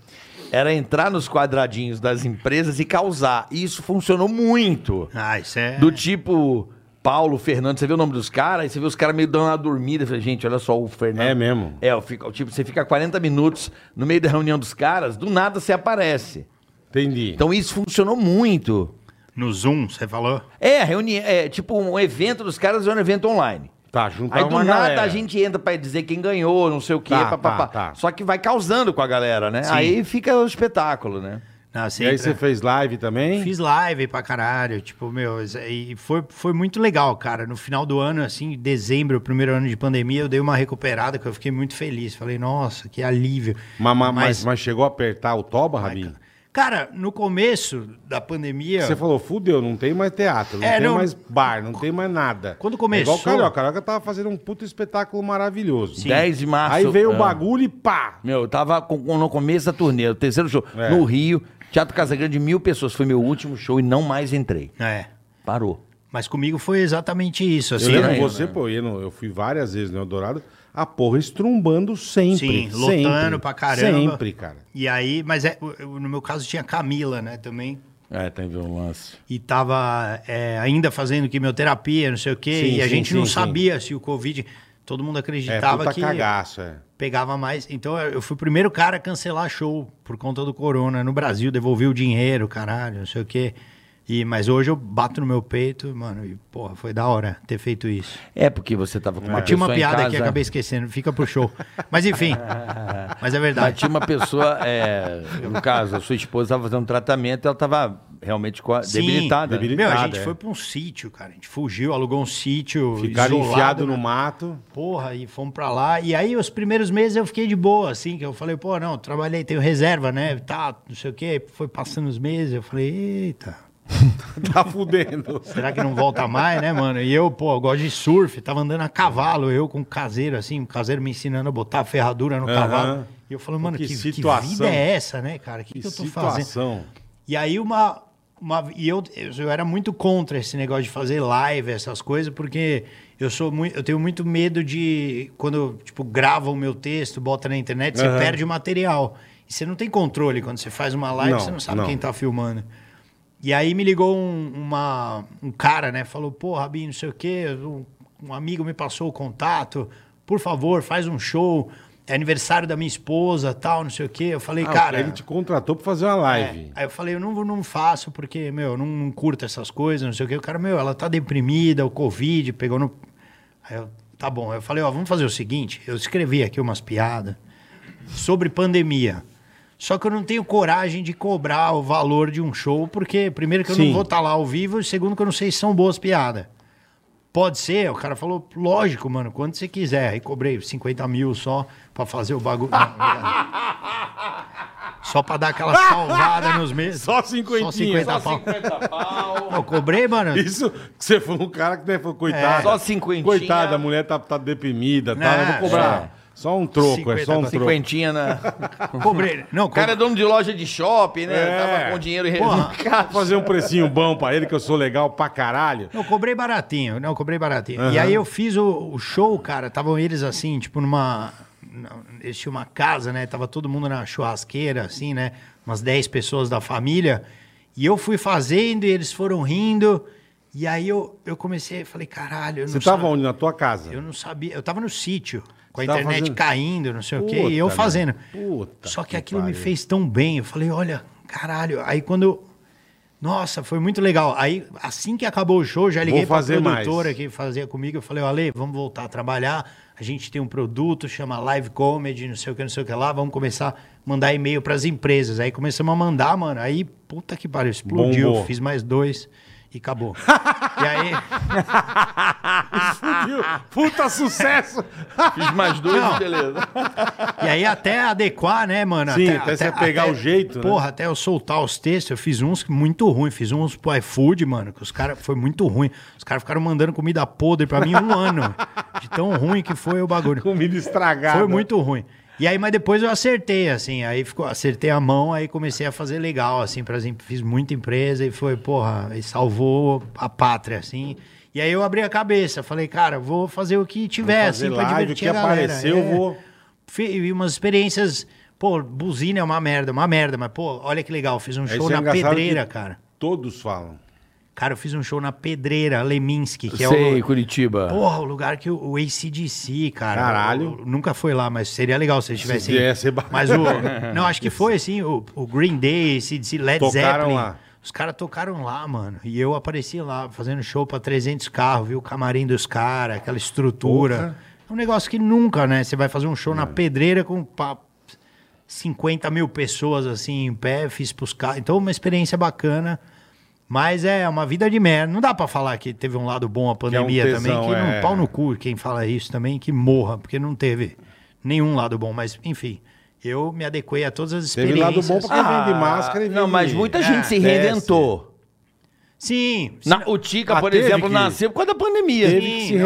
C: era entrar nos quadradinhos das empresas e causar. E isso funcionou muito.
A: Ah, isso é...
C: Do tipo Paulo, Fernando, você vê o nome dos caras, aí você vê os caras meio dando uma dormida. Eu Falei, gente, olha só o Fernando.
B: É mesmo.
C: É, eu fico- tipo, você fica 40 minutos no meio da reunião dos caras, do nada você aparece.
B: Entendi.
C: Então isso funcionou muito.
A: No Zoom, você falou?
C: É, reuni é tipo um evento dos caras é um evento online.
B: tá, juntar
C: Aí do
B: uma
C: nada
B: galera.
C: a gente entra pra dizer quem ganhou, não sei o quê,
B: Tá,
C: papapá.
B: tá, tá.
C: Só que vai causando com a galera, né? Aí fica o espetáculo, né?
A: Não, você
B: E aí
A: entra-
B: você fez live também?
A: Fiz live pra caralho, tipo, meu, isso aí foi, foi muito legal, cara. No final do ano, assim, dezembro, o primeiro ano de pandemia, eu dei uma recuperada que eu fiquei muito feliz. Falei, nossa, que alívio.
B: Ma- ma- Mas, mas chegou a apertar o toba, Rabinho?
A: Cara, no começo da pandemia.
B: Você falou, fudeu, não tem mais teatro, não
A: É,
B: tem
A: não-
B: mais bar, não tem mais nada.
A: Quando
B: É igual
A: começou-
B: o Carioca. O Carioca tava fazendo um puto espetáculo maravilhoso.
C: 10 de março.
B: Aí veio
C: É.
B: o bagulho e pá!
C: Meu, eu tava com- com- no começo da turnê, o terceiro show,
B: É.
C: no Rio, Teatro Casagrande, mil pessoas. Foi meu último show e não mais entrei.
A: É.
C: Parou.
A: Mas comigo foi exatamente isso,
B: Eu
A: assim.
B: lembro
A: né?
B: você, pô, eu, não- eu fui várias vezes no Eldorado, a porra estrumbando sempre.
A: Sim, lotando
B: sempre,
A: pra caramba.
B: Sempre, cara.
A: E aí, mas é, eu- no meu caso tinha Camila, né, também.
C: É, tem um lance.
A: e tava é, ainda fazendo quimioterapia, não sei o quê,
B: Sim,
A: e a
B: sim,
A: gente não
B: sim, sim.
A: sabia se o Covid. Todo mundo
B: É,
A: acreditava
B: puta
A: que
B: cagaço, é.
A: pegava mais. Então eu eu fui o primeiro cara a cancelar show por conta do corona no Brasil, devolvi o dinheiro, caralho, não sei o quê. E, mas hoje eu bato no meu peito, mano, e porra, foi da hora ter feito isso.
C: É porque você tava com uma
A: Eu Tinha uma
C: pessoa em
A: piada que
C: casa.
A: acabei esquecendo, fica pro show. Mas
C: (laughs)
A: enfim, mas é
C: Mas
A: verdade.
C: tinha uma pessoa, é, no caso, a sua esposa estava fazendo um tratamento, ela estava realmente co-
A: Sim.
C: debilitada.
B: debili-
A: Meu, a
B: Debilitada,
A: gente
B: é.
A: foi pra um sítio, cara. A gente fugiu, alugou um sítio.
B: Ficaram
A: isolado,
B: enfiado
A: né?
B: no mato. (laughs)
A: Porra, e fomos pra lá. E aí, os primeiros meses eu fiquei de boa, assim, que eu falei, pô, não, trabalhei, tenho reserva, né? Tá, não sei o quê. Foi passando os meses, eu falei, eita,
B: Tá
A: (laughs)
B: fudendo.
A: será que não volta mais, né, mano? E eu, pô, eu gosto de surf, tava andando a cavalo, eu com um caseiro, assim, um caseiro me ensinando a botar a ferradura no
B: Aham.
A: cavalo. E eu falei, mano,
B: Que
A: que, que
B: situação.
A: vida é essa, né, cara? O que,
B: Que
A: que eu tô fazendo?
B: situação.
A: E aí uma. uma e eu, eu era muito contra esse negócio de fazer live, essas coisas, porque eu sou muito. Eu tenho muito medo de. Quando eu, tipo, grava o meu texto, bota na internet, você
B: Aham.
A: perde o material. E você não tem controle. Quando você faz uma live,
B: Não,
A: você não sabe
B: não.
A: quem tá filmando. E aí me ligou um, uma- um cara, né? Falou, pô, Rabinho, não sei o quê, um, um amigo me passou o contato, por favor, faz um show. É aniversário da minha esposa, tal, não sei o quê. Eu falei,
B: Ah,
A: cara.
B: Ele te contratou pra fazer uma
A: É.
B: live.
A: Aí eu falei, eu não, vou- não faço porque, meu, eu não, não curto essas coisas, não sei o quê. O cara, meu, ela tá deprimida, o Covid pegou no. Aí eu, tá bom. Aí eu falei, ó, vamos fazer o seguinte: eu escrevi aqui umas piadas sobre pandemia. Só que eu não tenho coragem de cobrar o valor de um show, porque, primeiro, que eu
B: Sim.
A: não vou estar lá ao vivo, e segundo, que eu não sei se são boas piadas. Pode ser? O cara falou, lógico, mano, quando você quiser. Aí cobrei 50 mil só pra fazer o bagulho. Não, obrigado.
B: (laughs)
A: só pra dar aquela salvada nos meses.
B: Só cinquentinha.
A: Só 50
B: Só
A: pau. Eu cobrei,
B: (laughs)
A: mano.
B: Isso que você foi um cara que né, foi coitado.
C: É. Só cinquentinha.
B: Coitada, a mulher tá, tá deprimida, tá?
A: É,
B: Eu vou cobrar. Só um troco, é só um troco.
A: Cinquenta,
C: Cinquentinha
A: (laughs)
C: na...
A: Cobrei. Não,
C: O cara é dono de loja de shopping, né?
B: É.
C: Tava com dinheiro em
A: Porra.
C: (laughs)
B: Vou fazer um precinho bom pra ele, que eu sou legal pra caralho.
A: Eu cobrei baratinho, não, eu cobrei baratinho. E aí eu fiz o, o show, cara, estavam eles assim, tipo numa. na- Eles tinham uma casa, né? Tava todo mundo na churrasqueira, assim, né? Umas 10 pessoas da família. E eu fui fazendo e eles foram rindo. E aí eu, eu comecei, falei, caralho, eu não
B: Você tava
A: sabia-
B: onde? Na tua casa?
A: Eu não sabia. Eu tava no sítio, com a
B: Você tava
A: internet
B: fazendo-
A: caindo, não sei o quê,
B: Puta,
A: e eu
B: meu.
A: fazendo.
B: Puta
A: Só que,
B: que
A: aquilo me
B: pariu.
A: fez tão bem. Eu falei, olha, caralho. Aí quando. eu- Nossa, foi muito legal. Aí, assim que acabou o show, já liguei para pra
B: fazer mais.
A: produtora que fazia comigo. Eu falei, ó, Ale, vamos voltar a trabalhar. A gente tem um produto, chama Live Comedy, não sei o que, não sei o que lá. Vamos começar a mandar e-mail pras empresas. Aí começamos a mandar, mano. Aí, puta que pariu, explodiu.
B: Bombou.
A: Fiz mais dois.
B: (laughs)
A: E E acabou. e aí.
B: (laughs) Fudiu. Puta
A: (laughs)
B: sucesso.
C: Fiz mais dois,
A: Não.
C: beleza.
A: E aí até adequar, né, mano?
B: Sim, até você pegar o jeito, né?
A: Porra, até eu soltar os textos, eu fiz uns muito ruim, fiz uns pro iFood, mano, que os caras foi muito ruim. Os caras ficaram mandando comida podre pra mim um ano. De tão ruim que foi o
B: (laughs)
A: bagulho.
B: Comida estragada.
A: Foi muito ruim. E aí, mas depois eu acertei, assim, aí ficou, acertei a mão, aí comecei a fazer legal, assim, por exemplo, fiz muita empresa e foi, porra, e salvou a pátria, assim. E aí eu abri a cabeça, falei, cara, vou fazer o que tiver,
B: fazer
A: assim, pra
B: live, o
A: divertir
B: que
A: a galera. É.
B: aparecer, eu vou-
A: Fi- E umas experiências, pô, buzina é uma merda, uma merda, mas, pô, olha que legal, fiz um
B: Aí
A: show
B: isso é
A: na
B: engraçado
A: pedreira,
B: que
A: cara.
B: Todos falam.
A: Cara, eu fiz um show na pedreira, Leminski, que é o...
C: Sei, Curitiba.
A: Porra, o lugar que o, o ACDC, cara.
B: Caralho.
A: eu- eu nunca foi lá, mas seria legal se eles tivessem.
B: vier, (laughs) ser bacana.
A: Mas o. Não, acho que foi assim, o, o Green Day, ACDC, Led
B: Tocaram
A: Zeppelin.
B: lá.
A: Os caras tocaram lá, mano. E eu apareci lá, fazendo show pra 300 carros, viu? O camarim dos caras, aquela estrutura.
B: Porra. É.
A: É um negócio que nunca, né? Você vai fazer um show na pedreira com pa- 50 mil pessoas assim em pé, fiz pros caras. Então, uma experiência bacana. Mas é uma vida de merda. Não dá pra falar que teve um lado bom a
B: é um
A: pandemia
B: tesão,
A: também, que
B: é.
A: não pau no cu quem fala isso também, que morra, porque não teve nenhum lado bom. Mas, enfim, eu me adequei a todas as
B: Teve
A: experiências.
B: lado bom porque
C: Ah,
B: vende máscara e vende...
C: Não, mas
A: É,
C: muita gente se
B: teste.
C: reinventou.
A: Sim, sim.
C: Na, o Tica,
B: Ah,
C: por
B: teve
C: exemplo,
B: que-
C: nasceu por causa da pandemia.
B: Teve que
A: Sim,
B: se
A: não, É.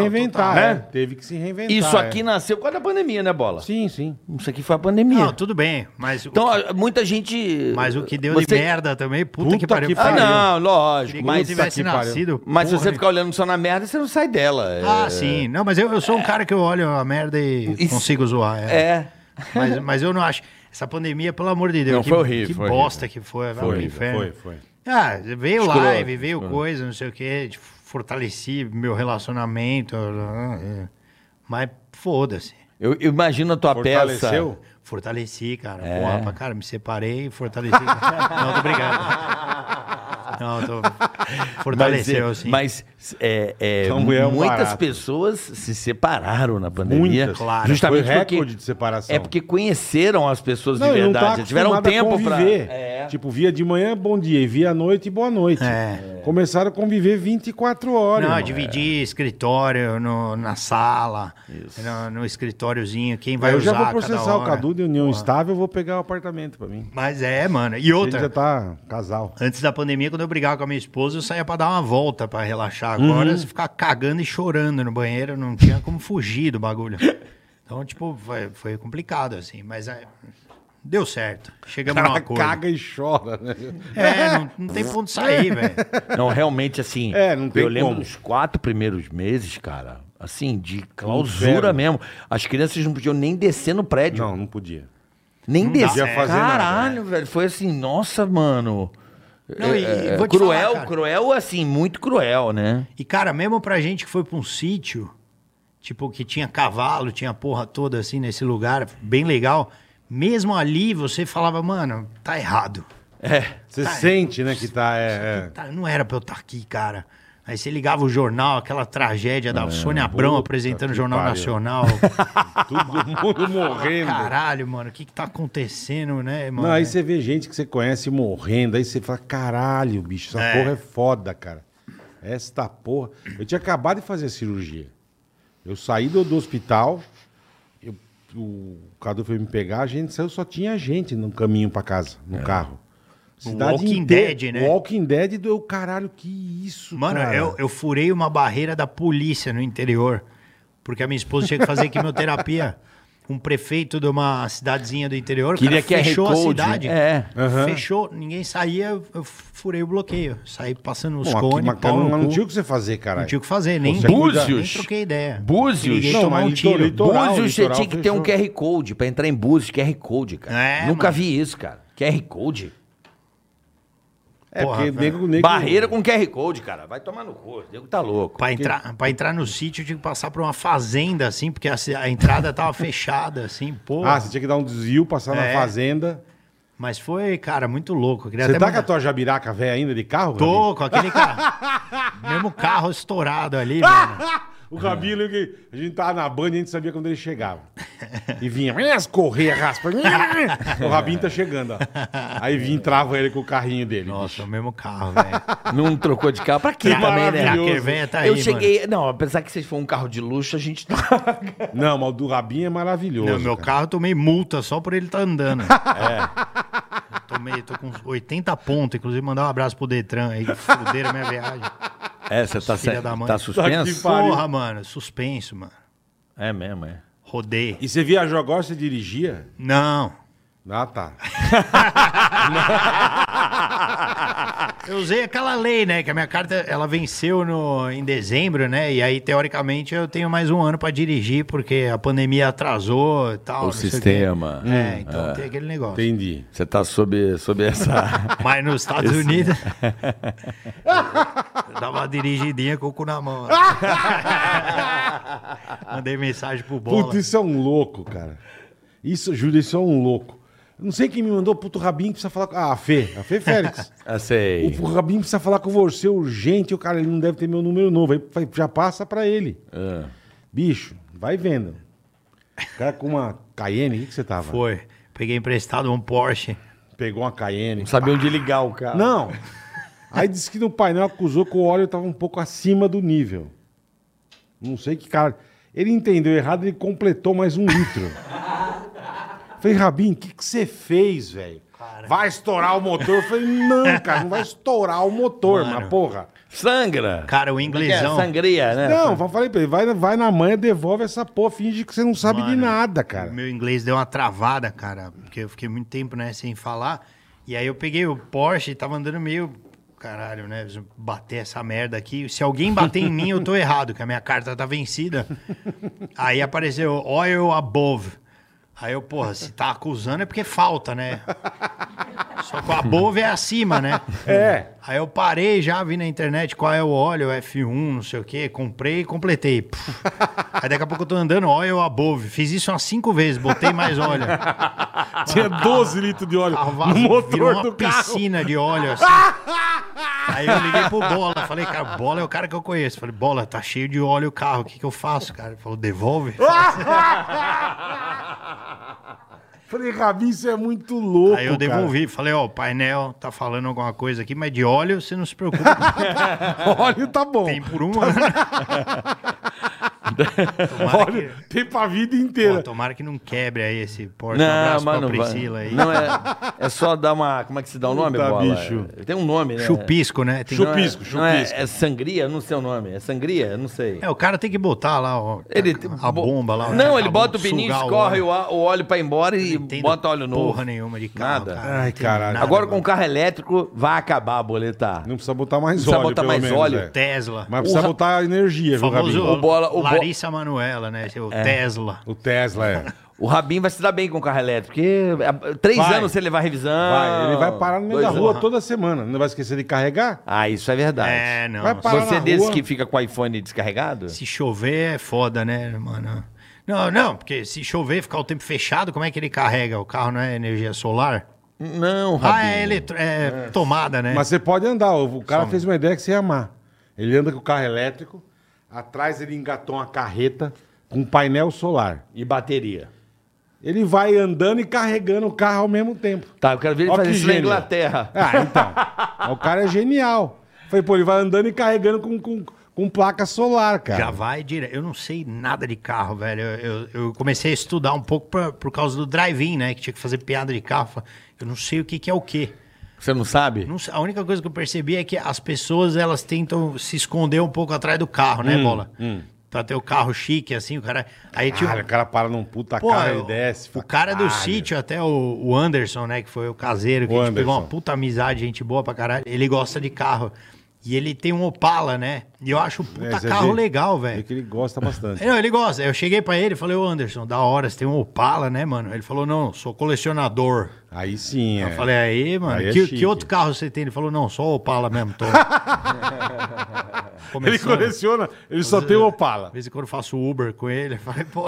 C: total.
B: reinventar, né? Teve que se reinventar.
C: Isso aqui
B: é.
C: nasceu por causa da pandemia, né, Bola?
B: Sim, sim.
C: Isso aqui foi a pandemia.
A: Não, tudo bem, mas,
C: Então,
A: o,
C: a- muita gente...
A: que, mas o que deu de
C: Você-
A: merda também, puta,
B: Puta
A: que pariu.
B: que
C: Ah,
B: pariu.
C: não, lógico.
A: Queria que eu
C: Mas,
A: tivesse
B: que pariu.
A: nascido.
C: mas se
A: porra,
C: você
A: né?
C: ficar olhando só na merda, você não sai dela. É-
A: Ah, sim. Não, mas eu, eu sou um cara que eu olho a merda e
C: Isso-
A: consigo zoar. É.
C: É.
A: Mas, mas eu não acho. Essa pandemia, pelo amor de Deus,
C: Não,
A: que,
C: foi horrível,
A: que
C: foi
A: bosta que foi. Foi,
C: horrível,
A: inferno.
B: Foi, foi.
A: Ah, veio
C: Escroto,
A: live, veio coisa, não sei o quê. tipo, Fortaleci meu relacionamento. ah, é. Mas foda-se.
C: Eu, eu imagino a tua
B: Fortaleceu?
C: peça...
A: Fortaleci, cara. Porra, pra cara, me separei e fortaleci. não, tô brincando. Não, tô... Fortaleceu,
C: mas,
A: sim.
C: Mas é, é,
B: Então, é um
C: muitas
B: barato.
C: pessoas se separaram na pandemia.
B: Muitas.
A: Claro.
C: Justamente
B: Foi recorde
C: porque,
B: de separação.
C: É porque conheceram as pessoas
B: Não,
C: de
B: e não
C: verdade.
B: tá
C: tiveram
B: acostumado a
C: tempo pra...
B: conviver.
C: É.
B: Tipo, via de manhã, bom dia. E via à noite, boa noite.
A: É.
B: Começaram a conviver 24 horas.
A: Não,
B: irmão.
A: dividir escritório no- na sala, no, no escritóriozinho, quem vai
B: eu já
A: usar
B: vou
A: cada
B: processar o
A: hora.
B: Cadu de união estável, eu vou pegar o apartamento pra mim.
A: Mas é, mano. E
B: Ele
A: outra,
B: já tá
A: (laughs)
B: casal.
A: Antes da pandemia, quando eu brigava com a minha esposa, eu saía pra dar uma volta pra relaxar. Agora,
B: Uhum.
A: se ficar cagando e chorando no banheiro, não tinha como fugir
B: (laughs)
A: do bagulho. Então, tipo, foi, foi complicado, assim. Mas é, deu certo. Chegamos num
B: Cara, (laughs)
A: acordo.
B: caga e chora,
A: (laughs)
B: né?
A: É, não, não tem ponto de sair, velho.
C: Não, realmente, assim.
B: É, não tem
C: eu lembro
B: como.
C: dos quatro primeiros meses, cara. Assim, de clausura
B: Inferno.
C: mesmo. As crianças não podiam nem descer no prédio.
B: Não, não podia.
C: nem
A: não dá
C: descer.
A: certo.
B: fazer nada,
C: Caralho, velho. Foi assim, nossa, mano.
A: Não, e-
C: É,
A: e vou te
C: cruel,
A: falar, cara.
C: cruel, assim, muito cruel, né?
A: E, cara, mesmo pra gente que foi pra um sítio, tipo, que tinha cavalo, tinha porra toda assim nesse lugar, bem legal. Mesmo ali, você falava, mano, tá errado.
C: É.
B: Você
A: Tá,
B: sente, né, que tá... É,
A: (laughs)
B: é.
A: Tá, não era pra eu estar aqui, cara. Aí você ligava o jornal, aquela tragédia da Sônia Abrão apresentando o
B: que
A: Jornal
B: pariu.
A: Nacional.
B: Todo mundo morrendo.
A: Caralho, mano, o que que tá acontecendo, né, mano?
B: Não, aí você vê gente que você conhece morrendo, aí você fala, caralho, bicho, essa
A: É.
B: porra é foda, cara. Esta porra. Eu tinha acabado de fazer a cirurgia. Eu saí do, do hospital, eu- o Cadu foi me pegar, a gente saiu, só tinha gente no caminho pra casa, no carro.
A: É. Walking Dead, né?
B: Walking Dead do caralho, que isso,
A: Mano,
B: cara.
A: eu, eu furei uma barreira da polícia no interior, porque a minha esposa tinha que fazer
B: (laughs)
A: quimioterapia. Um prefeito de uma cidadezinha do interior,
C: Queria
A: cara,
C: que a
A: fechou a
C: Recode-
A: cidade.
C: É.
B: Aham.
A: Fechou, ninguém saía, eu- eu furei o bloqueio. Saí passando os
B: Bom, aqui,
A: cones,
B: mas
A: pau
B: não,
A: no
B: não
A: cu.
B: tinha o que você fazer, caralho.
A: Não tinha o que fazer, nem,
B: Você
C: Búzios?
A: nem troquei ideia.
C: Búzios?
A: Liguei
C: Não,
A: tomar
B: mas então,
A: um
B: litor-
A: tiro.
B: Litoral,
C: Búzios, você
B: litoral
C: tinha que ter um
B: fechou.
C: QR Code pra entrar em Búzios, QR Code, cara.
A: É,
C: Nunca
A: mano.
C: vi isso, cara. QR Code?
B: É,
A: Porra,
B: porque
A: velho.
B: nego, nego...
C: Barreira com QR Code, cara. Vai tomar no cu. O nego tá louco.
A: Pra entrar, pra entrar no sítio, eu tinha que passar por uma fazenda, assim, porque a, ci- a entrada tava (laughs) fechada, assim, pô.
B: Ah, você tinha que dar um desvio, passar na
A: É.
B: fazenda.
A: Mas foi, cara, muito louco. Eu queria
B: Você
A: até
B: tá com
A: mandar-
B: a tua jabiraca velha ainda de carro? (laughs)
A: Tô com aquele carro. mesmo carro estourado ali, mano.
B: O Rabilo, que a gente tava na banda e a gente sabia quando ele chegava. E vinha, as correias raspa. (laughs) O Rabinho tá chegando, ó. Aí vinha, entrava ele com o carrinho dele.
A: Nossa, o mesmo carro, velho.
C: Não trocou de carro. Pra quê
B: Que
C: também, né?
B: maravilhoso.
A: Cracker velho tá aí,
C: eu
A: mano.
C: cheguei. Não, apesar que vocês foram um carro de luxo, a gente tá.
A: (laughs)
B: Não, mas o do Rabinho é maravilhoso.
A: No meu
B: cara.
A: carro eu tomei multa só por ele estar
B: (laughs)
A: andando. É.
B: É.
A: Tomei, tô com uns 80 pontos, inclusive mandar um abraço pro Detran aí, que fuderam minha viagem.
C: É, você tá,
A: Filha
C: se-
A: da mãe.
C: tá
B: Tá
C: suspenso?
B: Pariu.
A: Porra, mano, suspenso, mano.
C: É mesmo, é.
A: Rodei.
B: E você viajou agora, você dirigia?
A: Não.
B: Ah, tá.
A: Eu usei aquela lei, né? Que a minha carta ela venceu no, em dezembro, né? E aí, teoricamente, eu tenho mais um ano pra dirigir, porque a pandemia atrasou e tal.
C: O
A: não sei quê.
C: sistema.
A: É, então tem aquele negócio.
B: Entendi.
C: Você tá sob, sob
A: (laughs)
C: essa.
A: Mas nos Estados Unidos. eu dava uma dirigidinha com o cu na mão. né? Mandei mensagem pro Bola.
B: Puta, isso é um louco, cara. Isso, Júlio, isso é um louco. Não sei quem me mandou, puto Rabinho precisa falar com. Ah, a Fê. A Fê Félix.
C: Ah, sei.
B: o Rabinho precisa falar com você é urgente. O cara, ele não deve ter meu número novo. Aí fa- já passa pra ele.
A: É.
C: Ah.
B: Bicho, vai vendo. O cara com uma Cayenne, o que, que você tava?
A: Foi. Peguei emprestado um Porsche.
B: Pegou uma Cayenne.
C: Não sabia onde ligar o carro.
B: Não. Aí disse que no painel acusou que o óleo estava um pouco acima do nível. Não sei que cara. Ele entendeu errado, ele completou mais um litro. Falei, Rabin, o que que você fez, velho? Vai estourar o motor? Eu falei, não, cara, não vai estourar o motor,
A: Mano.
B: mas porra.
C: Sangra!
A: Cara, o
C: É,
A: inglesão.
C: sangria, né?
B: Não, eu falei pra ele, vai, vai na manhã, devolve essa porra, finge que você não sabe de
A: Mano,
B: nada, cara.
A: Meu inglês deu uma travada, cara, porque eu fiquei muito tempo, né, sem falar. E aí eu peguei o Porsche e tava andando meio. Caralho, né? se eu Bater essa merda aqui. Se alguém bater em mim, eu tô errado, que a minha carta tá vencida. Aí apareceu oil above. Aí eu, porra, se tá acusando é porque falta, né? Só que o above é acima, né?
B: É.
A: Aí eu parei já, vi na internet qual é o óleo, F1, não sei o quê, comprei e
B: (laughs)
A: completei. Puf. Aí daqui a pouco eu tô andando, óleo above. Fiz isso umas cinco vezes, botei mais
B: (laughs)
A: óleo.
B: Tinha 12 litros de óleo
A: A
B: no
A: vaso virou
B: motor
A: uma
B: do carro.
A: piscina de
B: (laughs)
A: óleo, assim. Aí eu liguei pro Bola, falei, cara, Bola é o cara que eu conheço. Falei, Bola, tá cheio de óleo o carro, o que que eu faço, cara? Ele falou, devolve.
B: Falei, Rabin, isso é muito louco,
A: Aí eu
B: cara. (laughs)
A: devolvi, falei, ó, o painel tá falando alguma coisa aqui, mas de óleo você não se preocupa,
B: (laughs) Óleo tá bom.
A: tem por um ano.
C: (laughs)
A: Tomara que-
B: Olha, (laughs) tem pra vida
A: Pô,
B: inteira.
A: tomara que não quebre aí esse Porsche. um
C: Não,
A: abraço
C: mas
A: pra
C: não vai.
A: Priscila aí.
C: Não, é, é só dar uma. Como é que se dá o nome,
B: Puta,
C: bola?
B: bicho.
C: Tem um nome, né?
A: Chupisco, né? Tem-
B: Chup-
C: Não é-
B: Chupisco,
C: não é-
B: chupisco.
C: é, sangria? Eu Não sei o nome. É sangria? Eu Não sei.
A: É, o cara tem que botar lá ó,
C: Ele- um
A: a bomba lá.
C: Não,
A: né?
C: ele
A: A
C: bota o
A: bomba,
C: pininho,
A: sugar
C: escorre
A: óleo.
C: o, a- o óleo pra ir embora
A: Não
C: e
A: entendo
C: bota óleo novo.
A: Porra nenhuma de carro,
C: Nada.
A: cara. Não
B: Ai,
A: tem
B: caralho.
A: nada,
C: Agora com
A: mano.
C: carro elétrico vai acabar a
A: um-
C: boleta.
B: Não precisa botar mais
C: Precisa
B: óleo,
C: botar
B: pelo
C: mais
B: menos,
C: óleo.
B: é.
A: Tesla.
B: Mas precisa
C: O ra-
B: botar energia, viu,
A: famoso
B: Rabinho?
C: O Bola- o Bo- É.
A: Larissa Manuela, né? O Tesla.
B: O Tesla é.
C: O Rabin vai se dar bem com carro elétrico, porque ah, três
B: Vai.
C: anos você levar revisão.
B: Vai, ele vai parar no meio
C: Ah, dois
B: da
C: anos.
B: rua toda semana. Não vai esquecer de carregar?
C: Ah, isso é verdade.
A: É, não.
B: Vai parar
C: Você é
B: na
C: desse
B: rua.
C: que fica com o iPhone descarregado?
A: Se chover é foda, né, mano? Não, não, porque se chover e ficar o tempo fechado, como é que ele carrega? O carro não é energia solar?
C: Não, Rabin.
A: Ah, é, eletro... é, tomada, né?
B: Mas você pode andar. O cara fez uma ideia que você ia amar. Ele anda com o carro elétrico, atrás ele engatou uma carreta com um painel solar.
C: E bateria.
B: Ele vai andando e carregando o carro ao mesmo tempo.
C: Tá, eu quero ver ele
B: Ó
C: fazer
B: que
C: isso na
B: gênio.
C: Inglaterra.
B: Ah,
A: (laughs)
B: então. o cara é genial. Falei, pô, ele vai andando e carregando com, com, com placa solar, cara.
A: Já vai direto. Eu não sei nada de carro, velho. Eu, eu- eu comecei a estudar um pouco pra- por causa do drive-in, né? Que tinha que fazer piada de carro. Eu não sei o que, que é o quê.
C: Você não sabe?
A: Não sei- a única coisa que eu percebi é que as pessoas, elas tentam se esconder um pouco atrás do carro,
B: Hum,
A: né, Bola? Pra ter o carro chique, assim, o cara... Aí tinha...
B: Caralho, o Ah, cara para num puta
A: Pô,
B: carro e
A: o-
B: desce.
A: o
B: fala,
A: cara é do
B: "Caralho".
A: sítio, até o, o Anderson, né? Que foi o caseiro, que
B: O
A: a gente pegou
B: Anderson.
A: uma puta amizade, gente boa pra caralho. Ele gosta de carro. E ele tem um Opala, né? E eu acho um puta
B: É, você
A: carro
B: vê-
A: legal,
B: vê
A: velho.
B: que ele gosta bastante.
A: É, Não, ele gosta. Eu cheguei pra ele e falei, ô Anderson, da hora, você tem um Opala, né, mano? Ele falou, não, sou colecionador.
B: Aí sim,
A: Eu
B: é.
A: falei, aí, mano,
B: Aí é
A: que,
B: chique.
A: que outro carro você tem? Ele falou, não, só o Opala mesmo,
B: (laughs)
A: tô.
B: Ele
A: Começando.
B: coleciona, ele só tem o Opala.
A: De vez em quando eu faço Uber com ele, eu falei,
B: (laughs)
A: pô,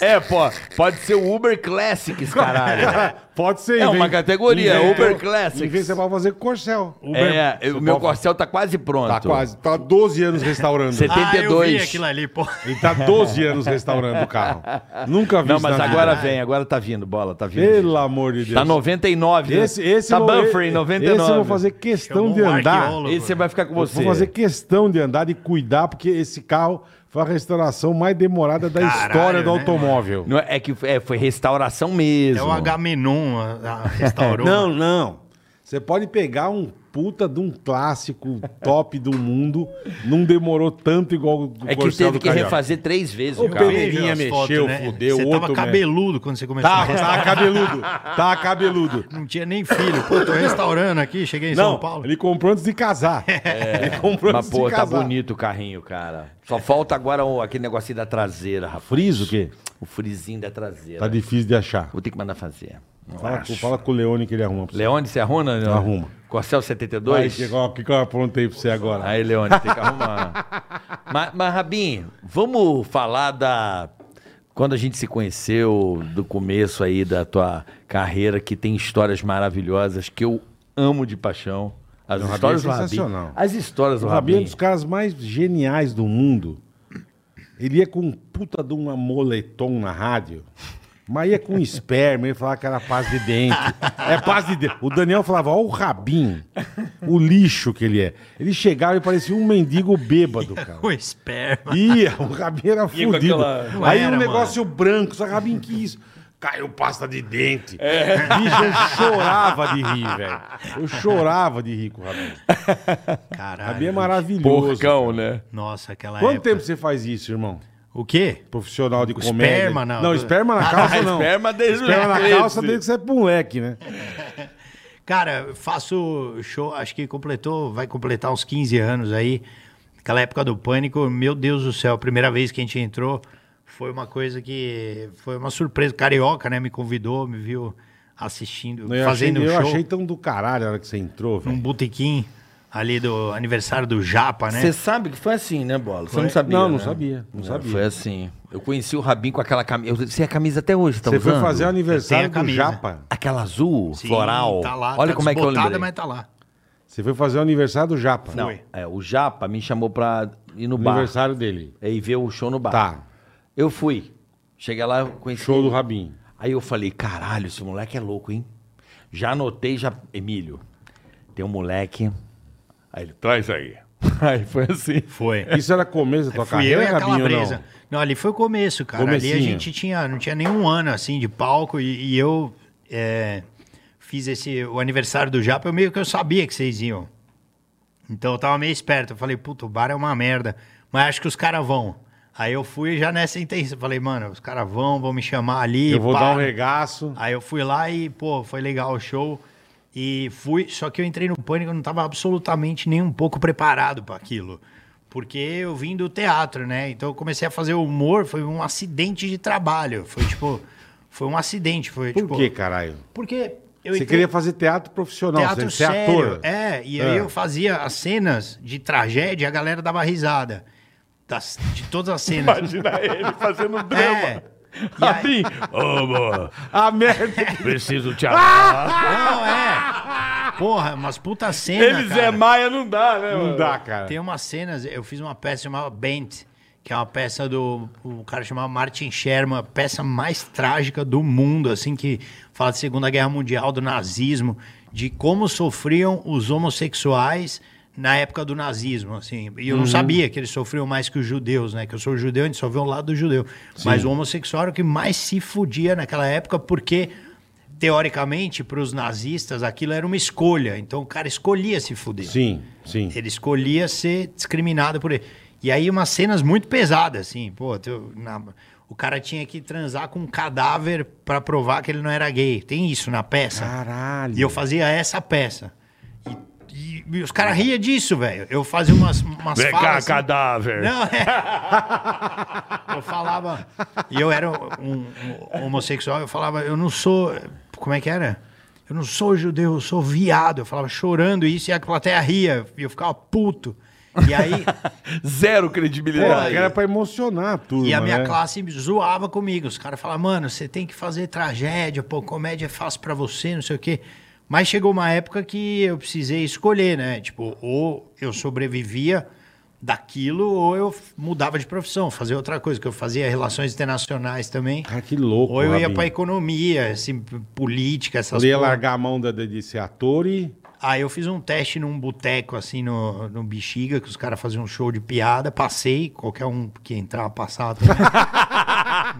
C: É, pô, pode ser o Uber Classics, caralho.
B: (laughs) Pode ser.
C: É
B: inventa-
C: uma categoria,
B: inventa-
C: Uber Classics.
B: inventa- Você pode fazer com Corcel.
C: é,
B: Você
C: o meu
B: pode-
C: Corcel tá quase pronto.
B: Tá quase, tá 12 anos restaurando.
C: Você-
A: ah, eu vi
C: 72.
A: aquilo ali, pô.
B: Ele tá 12 anos restaurando o carro. Nunca vi
C: Não,
B: isso
C: mas
B: na
C: agora
B: vida.
C: vem, agora tá vindo, bola, tá vindo.
B: Pelo amor de Deus.
C: Tá 99, né?
B: Esse, esse
C: tá
B: eu-
C: Banfrey, 99.
B: Esse eu vou fazer questão
A: Chamou
B: de
A: um
B: andar.
A: arqueólogo.
C: Esse vai ficar com
B: Vou
C: você.
B: fazer questão de andar e cuidar, porque esse carro foi a restauração mais demorada da
A: Caralho,
B: história do
A: né,
B: automóvel.
C: Não é, é que é, foi restauração mesmo.
A: É o H-Menon, a- a-
B: (laughs)
A: restaurou.
B: Não, não. Você pode pegar um puta de um clássico top do mundo, não demorou tanto igual o do
C: É que
B: Corcel
C: teve
B: do
C: que
B: Carioca.
C: refazer três vezes
B: O
C: o carro.
A: Eu vejo
B: Pereirinha
A: as
B: mexeu,
A: fotos, né?
B: fudeu,
A: Você
B: outro
A: tava
B: mesmo.
A: cabeludo quando você começou a
B: Tava,
A: restaurar.
B: tava Tá, cabeludo, tava cabeludo.
A: Não tinha nem filho.
B: (laughs)
A: Pô, tô restaurando aqui, cheguei em São
B: Não,
A: Paulo.
B: ele comprou antes de casar. Ele comprou
C: Mas,
B: antes
C: pô,
B: de
C: tá
B: casar.
C: bonito o carrinho, cara. Só falta agora o- aquele negocinho da traseira, rapaz.
B: Friso o quê?
C: O frizinho da traseira.
B: Tá difícil de achar.
C: Vou ter que mandar fazer.
B: Fala, com- fala com o Leone que ele arruma. pra você.
C: Leone, você arruma? Leone?
B: Arruma.
C: Corcel
B: Vai,
C: 72?
B: que- ó, O que, que eu aprontei pra você agora?
C: Aí, Leone, tem que arrumar. (laughs) mas, mas, Rabinho, vamos falar da. Quando a gente se conheceu, do começo aí da tua carreira, que tem histórias maravilhosas que eu amo de paixão. As
B: Não, o Rabinho
C: histórias
B: é
C: do Rabinho.
B: sensacional.
C: As histórias do
B: O Rabinho é um
C: Rabinho.
B: dos caras mais geniais do mundo. Ele ia com um puta de um moletom na rádio. Mas ia com esperma, ele falava que era paz de dente. É paz de dente. O Daniel falava, ó o Rabinho, o lixo que ele é. Ele chegava e parecia um mendigo bêbado, cara.
A: Com esperma.
B: Ia, o Rabinho era
C: Ia com
B: fudido.
C: aquela-
A: Não
B: Aí
A: era,
B: um negócio branco, só Rabinho que isso. Caiu pasta de dente.
C: É.
B: Bicho, eu chorava de rir, velho. Eu chorava de rir com o Rabinho. O
A: Caralho.
B: Rabinho é maravilhoso.
C: Porcão, né?
A: Nossa, aquela
B: Quanto
A: época.
B: tempo você faz isso, irmão?
A: O quê?
B: Profissional de
A: Com
B: comédia.
A: esperma, não.
B: Não, esperma
A: (laughs)
B: na calça não.
C: Esperma desde o
B: Esperma na
C: início.
B: calça desde que você é moleque, né?
A: Cara, faço show, acho que completou, vai completar uns 15 anos aí. Aquela época do pânico, meu Deus do céu, a primeira vez que a gente entrou foi uma coisa que foi uma surpresa. Carioca, né, me convidou, me viu assistindo,
B: Eu
A: fazendo
B: achei,
A: um
B: eu
A: show
B: achei tão do caralho a hora que você entrou,
A: num
B: velho.
A: botequim ali do aniversário do Japa, né?
C: Você sabe que foi assim, né, Bola? Você não
A: Foi?
C: sabia,
B: Não, não
C: né?
B: sabia, não sabia.
C: Foi assim. Eu conheci o Rabinho com aquela camisa. Você é a camisa até hoje, tá
B: Você
C: usando?
B: foi fazer o aniversário
A: Eu tenho a
B: do
A: camisa.
B: Japa.
C: Aquela azul,
A: Sim,
C: floral.
A: Tá lá,
C: Olha
A: tá
C: como é que eu
A: desbotada,
C: lembrei.
A: mas tá lá.
B: Você foi fazer o aniversário do Japa.
C: Não,
A: Foi.
C: é, o Japa me chamou pra ir no
B: O
C: bar.
B: aniversário dele.
C: E ver o show no bar.
B: Tá.
C: Eu fui. Cheguei lá, eu conheci.
B: Show do Rabinho.
C: Aí eu falei, caralho, esse moleque é louco, hein? Já anotei, já. Emílio, tem um moleque. Aí ele, traz aí. (laughs) Aí foi assim.
A: Foi.
B: Isso era começo da tua
A: É, (laughs) Fui eu
B: carreira,
A: e a
B: Rabinho, ou
A: Calabresa.
B: não?
A: Não? ali foi o começo, cara. Ali
B: Comecinho.
A: a gente tinha, não tinha nenhum ano assim de palco e, e eu é, fiz esse o aniversário do Japa, eu meio que eu sabia que vocês iam. Então eu tava meio esperto. Eu falei, puto, o bar é uma merda, mas acho que os caras vão. Aí eu fui já nessa intenção. Falei, mano, os caras vão, vão me chamar ali.
B: Eu vou
A: pá. Ah,
B: dar um regaço.
A: Aí eu fui lá e, pô, foi legal o show. E fui, só que eu entrei no pânico, eu não tava absolutamente nem um pouco preparado para aquilo. Porque eu vim do teatro, né? Então eu comecei a fazer humor, foi um acidente de trabalho. Foi tipo, foi um acidente, foi
B: Por
A: tipo,
B: que, caralho?
A: porque eu
B: Você
A: entrei-
B: queria fazer teatro profissional,
A: teatro
B: você é
A: sério.
B: ator.
A: É, e
B: É.
A: aí eu fazia as cenas de tragédia, a galera dava risada. Das, de todas as cenas.
D: Imagina ele fazendo drama.
A: é. E
D: Assim,
A: aí-
D: ô, boa,
B: A merda.
D: preciso te amar.
A: Não, é. Porra, umas puta cena,
C: Eles
A: cara.
C: é Maia, não dá, né,
B: Não
C: mano?
B: dá, cara.
A: Tem umas cenas, eu fiz uma peça chamada Bent, que é uma peça do. O cara chamava Martin Sherman, a peça mais trágica do mundo, assim, que fala de Segunda Guerra Mundial, do nazismo, de como sofriam os homossexuais na época do nazismo, assim. E eu não sabia que eles sofriam mais que os judeus, né? Que eu sou judeu, a gente só vê o lado do judeu. Mas o homossexual era o que mais se fudia naquela época, porque teoricamente, para os nazistas, aquilo era uma escolha. Então o cara escolhia se fuder.
B: Sim, sim.
A: Ele escolhia ser discriminado por ele. E aí umas cenas muito pesadas, assim, pô, teu- na- o cara tinha que transar com um cadáver pra provar que ele não era gay. Tem isso na peça.
B: Caralho.
A: E eu fazia essa peça. E, e- e os caras riam disso, velho. Eu fazia umas, umas
D: Vem cá,
A: falas... assim-
D: cadáver.
A: não, é. um Eu falava. E eu era um, um homossexual, eu falava, eu não sou. como é que era? Eu não sou judeu, eu sou viado. Eu falava chorando isso e a plateia ria. E eu ficava puto. E aí,
C: Zero
B: Pô,
C: credibilidade.
B: era pra emocionar a turma,
A: e a minha
B: né?
A: classe zoava comigo. Os caras falavam, mano, você tem que fazer tragédia, pô, comédia é fácil pra você, não sei o quê. Mas chegou uma época que eu precisei escolher, né? Tipo, ou eu sobrevivia daquilo, ou eu f- mudava de profissão, fazia outra coisa, que eu fazia relações internacionais também.
B: Cara, que Tá louco,
A: Ou eu ia
B: Rabinho.
A: pra economia, assim, p- política, essas
B: Ele ia
A: porra.
B: largar a mão da, de ser ator e...
A: Aí eu fiz um teste num boteco, assim, no, no Bexiga, que os caras faziam um show de piada. Passei, qualquer um que
B: (laughs)
A: entrava passava também.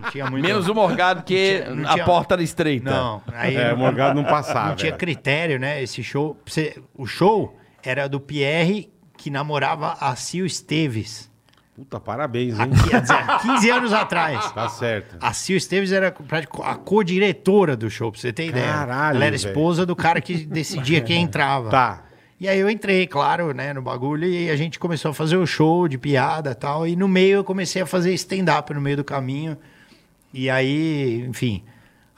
A: Não tinha muito...
C: Menos um o Morgado, que
A: Não tinha- não
C: a
A: tinha-
C: porta era estreita.
A: Não, aí
B: É, o Morgado não passava.
A: não tinha
B: velho.
A: critério, né? Esse show... você- o show era do Pierre, que namorava a Sil Esteves.
B: Puta, parabéns, hein?
A: Quer dizer, há 15 anos atrás.
B: (laughs) Tá certo.
A: é A Sil Esteves era prati- a co-diretora do show, pra você ter ideia.
B: Caralho,
A: Ela era
B: velho.
A: esposa do cara que decidia quem entrava.
B: Tá.
A: E aí eu entrei, claro, né, no bagulho, e a gente começou a fazer o show de piada e tal. E no meio eu comecei a fazer stand-up no meio do caminho. E aí, enfim,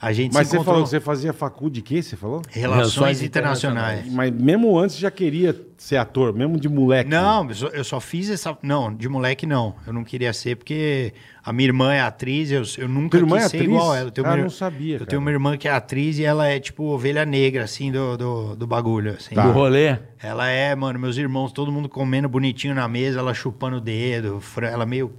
A: a gente
B: Mas
A: se
B: você
A: encontrou.
B: falou que você fazia faculdade de quê, você falou?
A: Relações,
C: Relações
A: internacionais.
B: Mas mesmo antes já queria ser ator, mesmo de moleque.
A: Não, eu só, eu só fiz essa. Não, de moleque não. Eu não queria ser, porque a minha irmã é atriz, eu, eu nunca
B: Tua irmã
A: quis
B: é
A: ser
B: atriz?
A: igual ela. Eu tenho
B: Ah,
A: uma ir-
B: não sabia,
A: Eu
B: cara.
A: tenho uma irmã que é atriz e ela é tipo ovelha negra, assim, do, do, do bagulho. Assim.
B: Tá.
C: Do rolê.
A: Ela é, mano, meus irmãos, todo mundo comendo bonitinho na mesa, ela chupando o dedo. fra- Ela meio.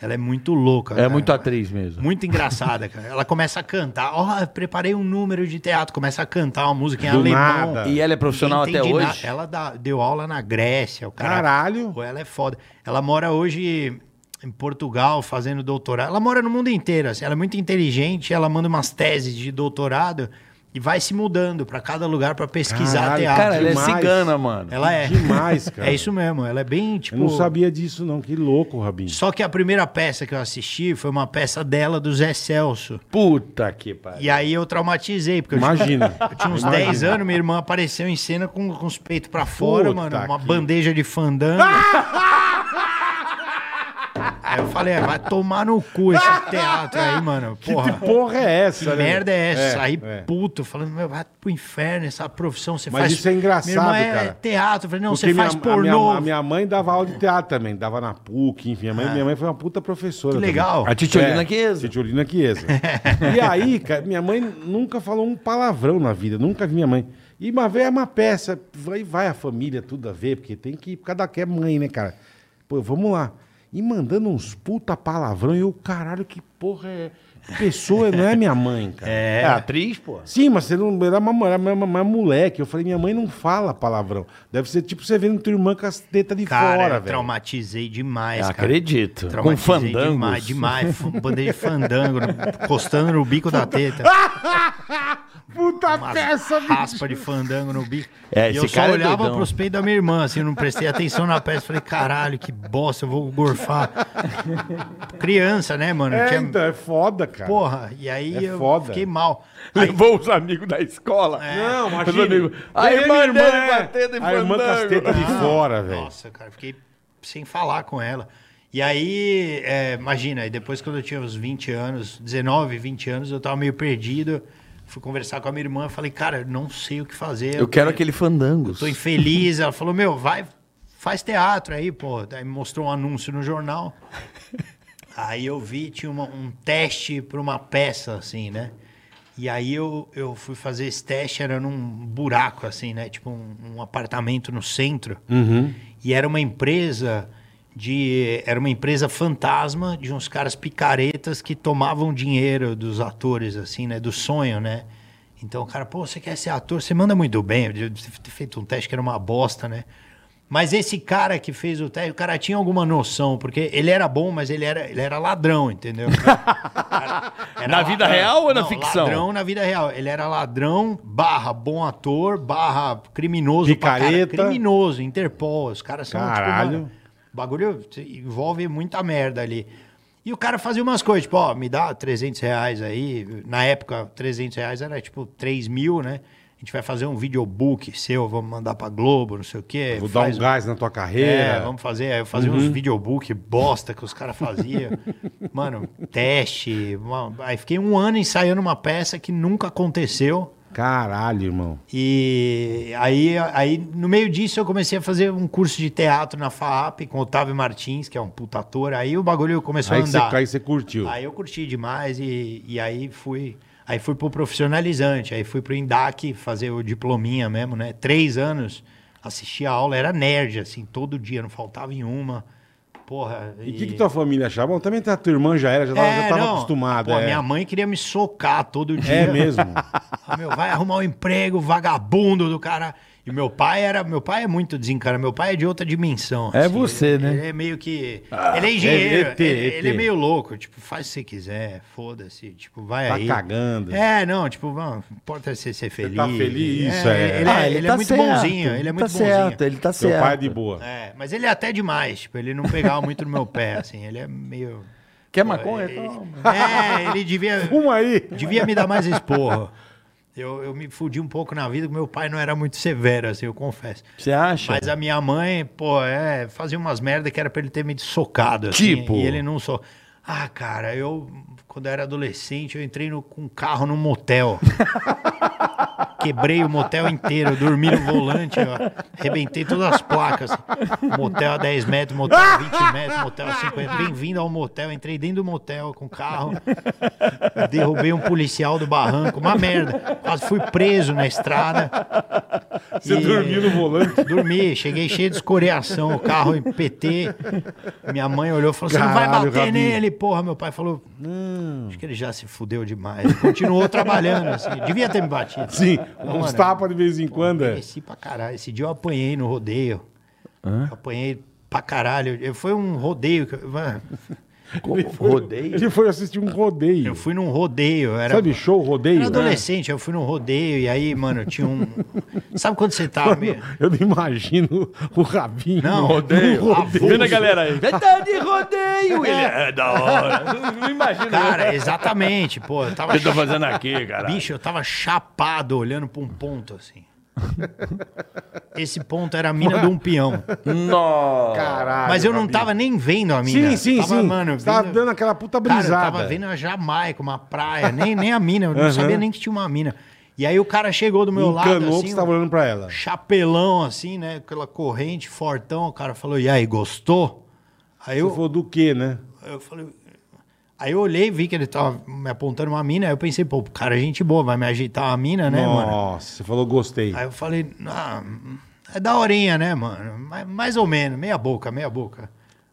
A: Ela é muito louca.
C: É
A: cara.
C: muito atriz mesmo.
A: Muito engraçada, cara. Ela começa a cantar. Ó, preparei um número de teatro. Começa a cantar uma música em
B: Do
A: alemão.
B: nada.
C: E ela é
A: Não
C: profissional até
A: entendi nada.
C: hoje?
A: Ela dá- deu aula na Grécia. O cara,
B: Caralho.
A: Pô, ela é foda. Ela mora hoje em Portugal fazendo doutorado. Ela mora no mundo inteiro. assim. Ela é muito inteligente. Ela manda umas teses de doutorado e vai se mudando pra cada lugar pra pesquisar
B: Caralho,
A: teatro.
C: Cara, ela é
B: Demais.
C: cigana, mano.
A: Ela é.
B: Demais, cara.
A: (laughs) É isso mesmo. Ela é bem, tipo.
B: Eu não sabia disso, não. Que louco, Rabinho.
A: Só que a primeira peça que eu assisti foi uma peça dela do Zé Celso.
C: Puta que pariu.
A: E aí eu traumatizei, porque eu tinha-
B: Imagina.
A: (laughs) eu tinha uns 10 anos, minha irmã apareceu em cena com, com os peitos pra fora,
B: Puta
A: mano. Uma
B: que-
A: bandeja de fandango. aí eu falei, ah, vai tomar no cu esse teatro aí, mano. Porra.
B: Que porra é essa, né?
A: Que merda é essa? aí
B: é.
A: puto, falando, meu, vai pro inferno essa profissão, você
B: Mas
A: faz...
B: isso é engraçado,
A: Minha irmã é
B: cara.
A: teatro, eu falei, não,
B: Porque
A: você faz
B: minha, a minha-
A: pornô.
B: A minha, mãe dava aula de teatro também, dava na PUC, enfim. Minha mãe, minha mãe foi uma puta professora.
A: É. Que
B: também.
A: legal.
C: A Titiolina que
B: É, Titiolina
A: (laughs)
B: Chiesa. e aí, cara, minha mãe nunca falou um palavrão na vida, nunca vi minha mãe. E uma vez é uma peça, vai, vai a família tudo a ver, porque tem que ir, por causa da que é mãe, né, cara? Pô, vamos lá. E mandando uns puta palavrão, e eu, caralho, que porra é... Pessoa não é minha mãe,
A: (laughs)
B: cara.
C: É atriz, pô.
B: Sim, mas você não era uma, era uma- uma moleque. Eu falei, minha mãe não fala palavrão. Deve ser tipo você vendo tua irmã com as tetas de
A: Cara, é
B: fora,
A: eu
B: velho.
A: traumatizei demais, cara.
C: Acredito. Com
A: Traumatizei
C: fandango.
A: Demais, demais. F- Bandeja de fandango, (laughs) no- encostando no bico da teta.
B: (laughs) Puta
A: Uma
B: peça, bicho.
A: raspa de fandango no bico.
C: É,
A: e
C: esse
A: eu só
C: cara é
A: olhava
C: doidão.
A: pros peitos da minha irmã, assim, eu não prestei atenção na peça. Falei, caralho, que bosta, eu
B: (laughs)
A: vou gorfar. Criança, né, mano?
B: É,
A: Tinha-
B: então, é foda, cara.
A: Porra, e aí
B: É
A: eu
B: foda.
A: fiquei mal. Aí, É.
C: Levou os amigos da escola.
B: Não,
C: Os
B: imagina.
C: amigos. A
B: Aí
C: irmã
B: minha
C: dele
B: é-
C: batendo em
B: A irmã com as
C: fandango.
B: tetas de
A: Ah,
B: fora, velho.
A: Nossa, cara, fiquei sem falar com ela. E aí, é, imagina, aí depois quando eu tinha uns 20 anos, 19, 20 anos, eu tava meio perdido. Fui conversar com a minha irmã, falei, cara, eu não sei o que fazer.
C: Eu quero aquele fandango.
A: Tô infeliz. Ela falou, meu, vai, faz teatro aí, pô. Aí me mostrou um anúncio no jornal. Aí eu vi, tinha uma- um teste para uma peça, assim, né? E aí eu, eu fui fazer esse teste, era num buraco, assim, né? Tipo um, um apartamento no centro. E era uma empresa de... Era uma empresa fantasma de uns caras picaretas que tomavam dinheiro dos atores, assim, né? Do sonho, né? Então o cara, pô, você quer ser ator? Você manda muito bem. Eu devia ter feito um teste que era uma bosta, né? Mas esse cara que fez o teste, o cara tinha alguma noção, porque ele era bom, mas ele era, ele era ladrão, entendeu? (laughs) Era
C: Na vida real ou na ficção?
A: Ladrão na vida real. Ele era ladrão, barra bom ator, barra criminoso. pra caralho.
B: Picareta.
A: Criminoso, Interpol. Os caras são, tipo,
B: Caralho.
A: mano, o bagulho envolve muita merda ali. E o cara fazia umas coisas, tipo, ó, me dá 300 reais aí. Na época, 300 reais era tipo 3 mil, né? A gente vai fazer um videobook seu, vamos mandar pra Globo, não sei o quê.
B: Vou dar um Uhum.
A: Faz-
B: gás na tua carreira.
A: é, vamos fazer. Aí Eu fazia uns videobook bosta que os caras faziam.
B: (laughs)
A: Mano, teste. uma- Aí fiquei um ano ensaiando uma peça que nunca aconteceu.
B: Caralho, irmão.
A: E aí, aí, no meio disso, eu comecei a fazer um curso de teatro na FAAP com o Otávio Martins, que é um puta ator. Aí o bagulho começou
B: Aí
A: a
B: você,
A: andar.
B: aí você curtiu.
A: Aí eu curti demais e, e aí fui. Aí fui pro profissionalizante, aí fui pro INDAC fazer o diplominha mesmo, né? Três anos, assisti a aula, era nerd, assim, todo dia, não faltava em uma. Porra.
B: E o que, que tua família achava? Bom, também a tua irmã já era, já tava, já tava
A: É, não,
B: acostumada.
A: Pô,
B: é.
A: minha mãe queria me socar todo dia.
B: é
A: (laughs)
B: mesmo.
A: Ah, meu, vai arrumar um emprego, vagabundo do cara. E meu pai era. Meu pai é muito desencarado, meu pai é de outra dimensão.
C: É você,
A: ele-
C: né? Ah,
A: Ele é meio que. ele é engenheiro.
B: é ET,
A: ele,
B: ET.
A: ele é meio louco. Tipo, faz o que você quiser, foda-se. Tipo, vai
B: Tá
A: aí.
B: cagando.
A: É, não, tipo, vamos, importa você ser feliz.
B: tá feliz, isso, é.
A: Ele,
C: Ah,
A: ele é
C: tá
A: muito
C: certo,
A: bonzinho, ele é muito
C: tá
A: bonzinho.
C: Certo, ele tá
B: Teu
C: certo.
B: pai é de boa.
A: É, mas ele é até demais, tipo, ele não pegava muito no meu pé, assim, ele é meio.
C: Quer maconha?
A: Ele-
C: Toma.
A: (laughs) É, ele devia.
B: Uma aí.
A: Devia me dar mais esporro. Eu, eu me fudi um pouco na vida, que meu pai não era muito severo, assim, eu confesso.
C: Você acha?
A: Mas a minha mãe, pô, é, fazia umas merda que era pra ele ter me socado, assim.
C: Tipo?
A: E ele não só. Ah, cara, eu, quando eu era adolescente, eu entrei no- com um carro
C: (laughs)
A: num motel. Quebrei o motel inteiro, eu dormi no volante, eu arrebentei todas as placas. Motel a 10 metros, motel a 20 metros, motel a 50. Bem-vindo ao motel. Entrei dentro do motel com o carro, derrubei um policial do barranco, uma merda. Quase fui preso na estrada.
B: Você
A: E-
B: dormiu no volante.
A: Dormi, cheguei cheio de escoriação, o carro em PT. Minha mãe olhou e falou: Você não vai
B: Caralho,
A: bater
B: Rabinho."
A: nele, porra. Meu pai falou: Não. Acho que ele já se fudeu demais. Ele continuou trabalhando, assim. Devia ter me batido.
B: Sim,
A: Não,
B: uns
A: mano.
B: tapas de vez em
A: Pô,
B: quando. é.
A: Mereci pra caralho. Esse dia eu apanhei no rodeio. Eu apanhei pra caralho. Eu- Foi um rodeio. que eu- mano,
C: Rodeio.
B: Ele foi assistir um rodeio.
A: Eu fui num rodeio. eu Era,
B: Sabe show,
A: eu
B: rodeio?
A: era adolescente, eu fui num rodeio e aí, mano, tinha um. Sabe quando você tá. meio-
B: Eu não imagino o rabinho.
A: Não,
B: rodeio.
A: avulso.
B: rodeio.
C: galera aí? Tá de rodeio, ele é.
D: É da hora.
C: Não, não imagina.
A: Cara, exatamente, pô. Eu
D: O
A: tava
D: que
C: tá
D: eu tô fazendo aqui, cara?
A: Bicho, eu tava chapado olhando pra um ponto, assim. Esse ponto era a mina de um peão.
C: Nossa.
B: Caralho.
A: Mas eu não tava nem vendo a mina.
B: Sim, sim,
A: tava,
B: sim.
A: Mano,
B: Você tava
A: vendo-
B: dando aquela puta
A: Cara,
B: brisada.
A: eu tava vendo a Jamaica, uma praia, nem, nem a mina. Eu não sabia nem que tinha uma mina. E aí o cara chegou do meu lado,
B: Encanou que
A: assim,
B: você tava olhando pra ela.
A: chapelão, assim, né? Aquela corrente, fortão. O cara falou, e aí, gostou? Aí
B: Eu
A: eu,
B: falou do quê, né?
A: eu falei. Aí eu olhei, vi que ele tava me apontando uma mina. Aí eu pensei, pô, cara, é gente boa, vai me ajeitar uma mina, né, mano?
B: Nossa, você falou gostei.
A: Aí eu falei, ah, é daorinha, né, mano? Mais, mais ou menos, meia boca, meia boca.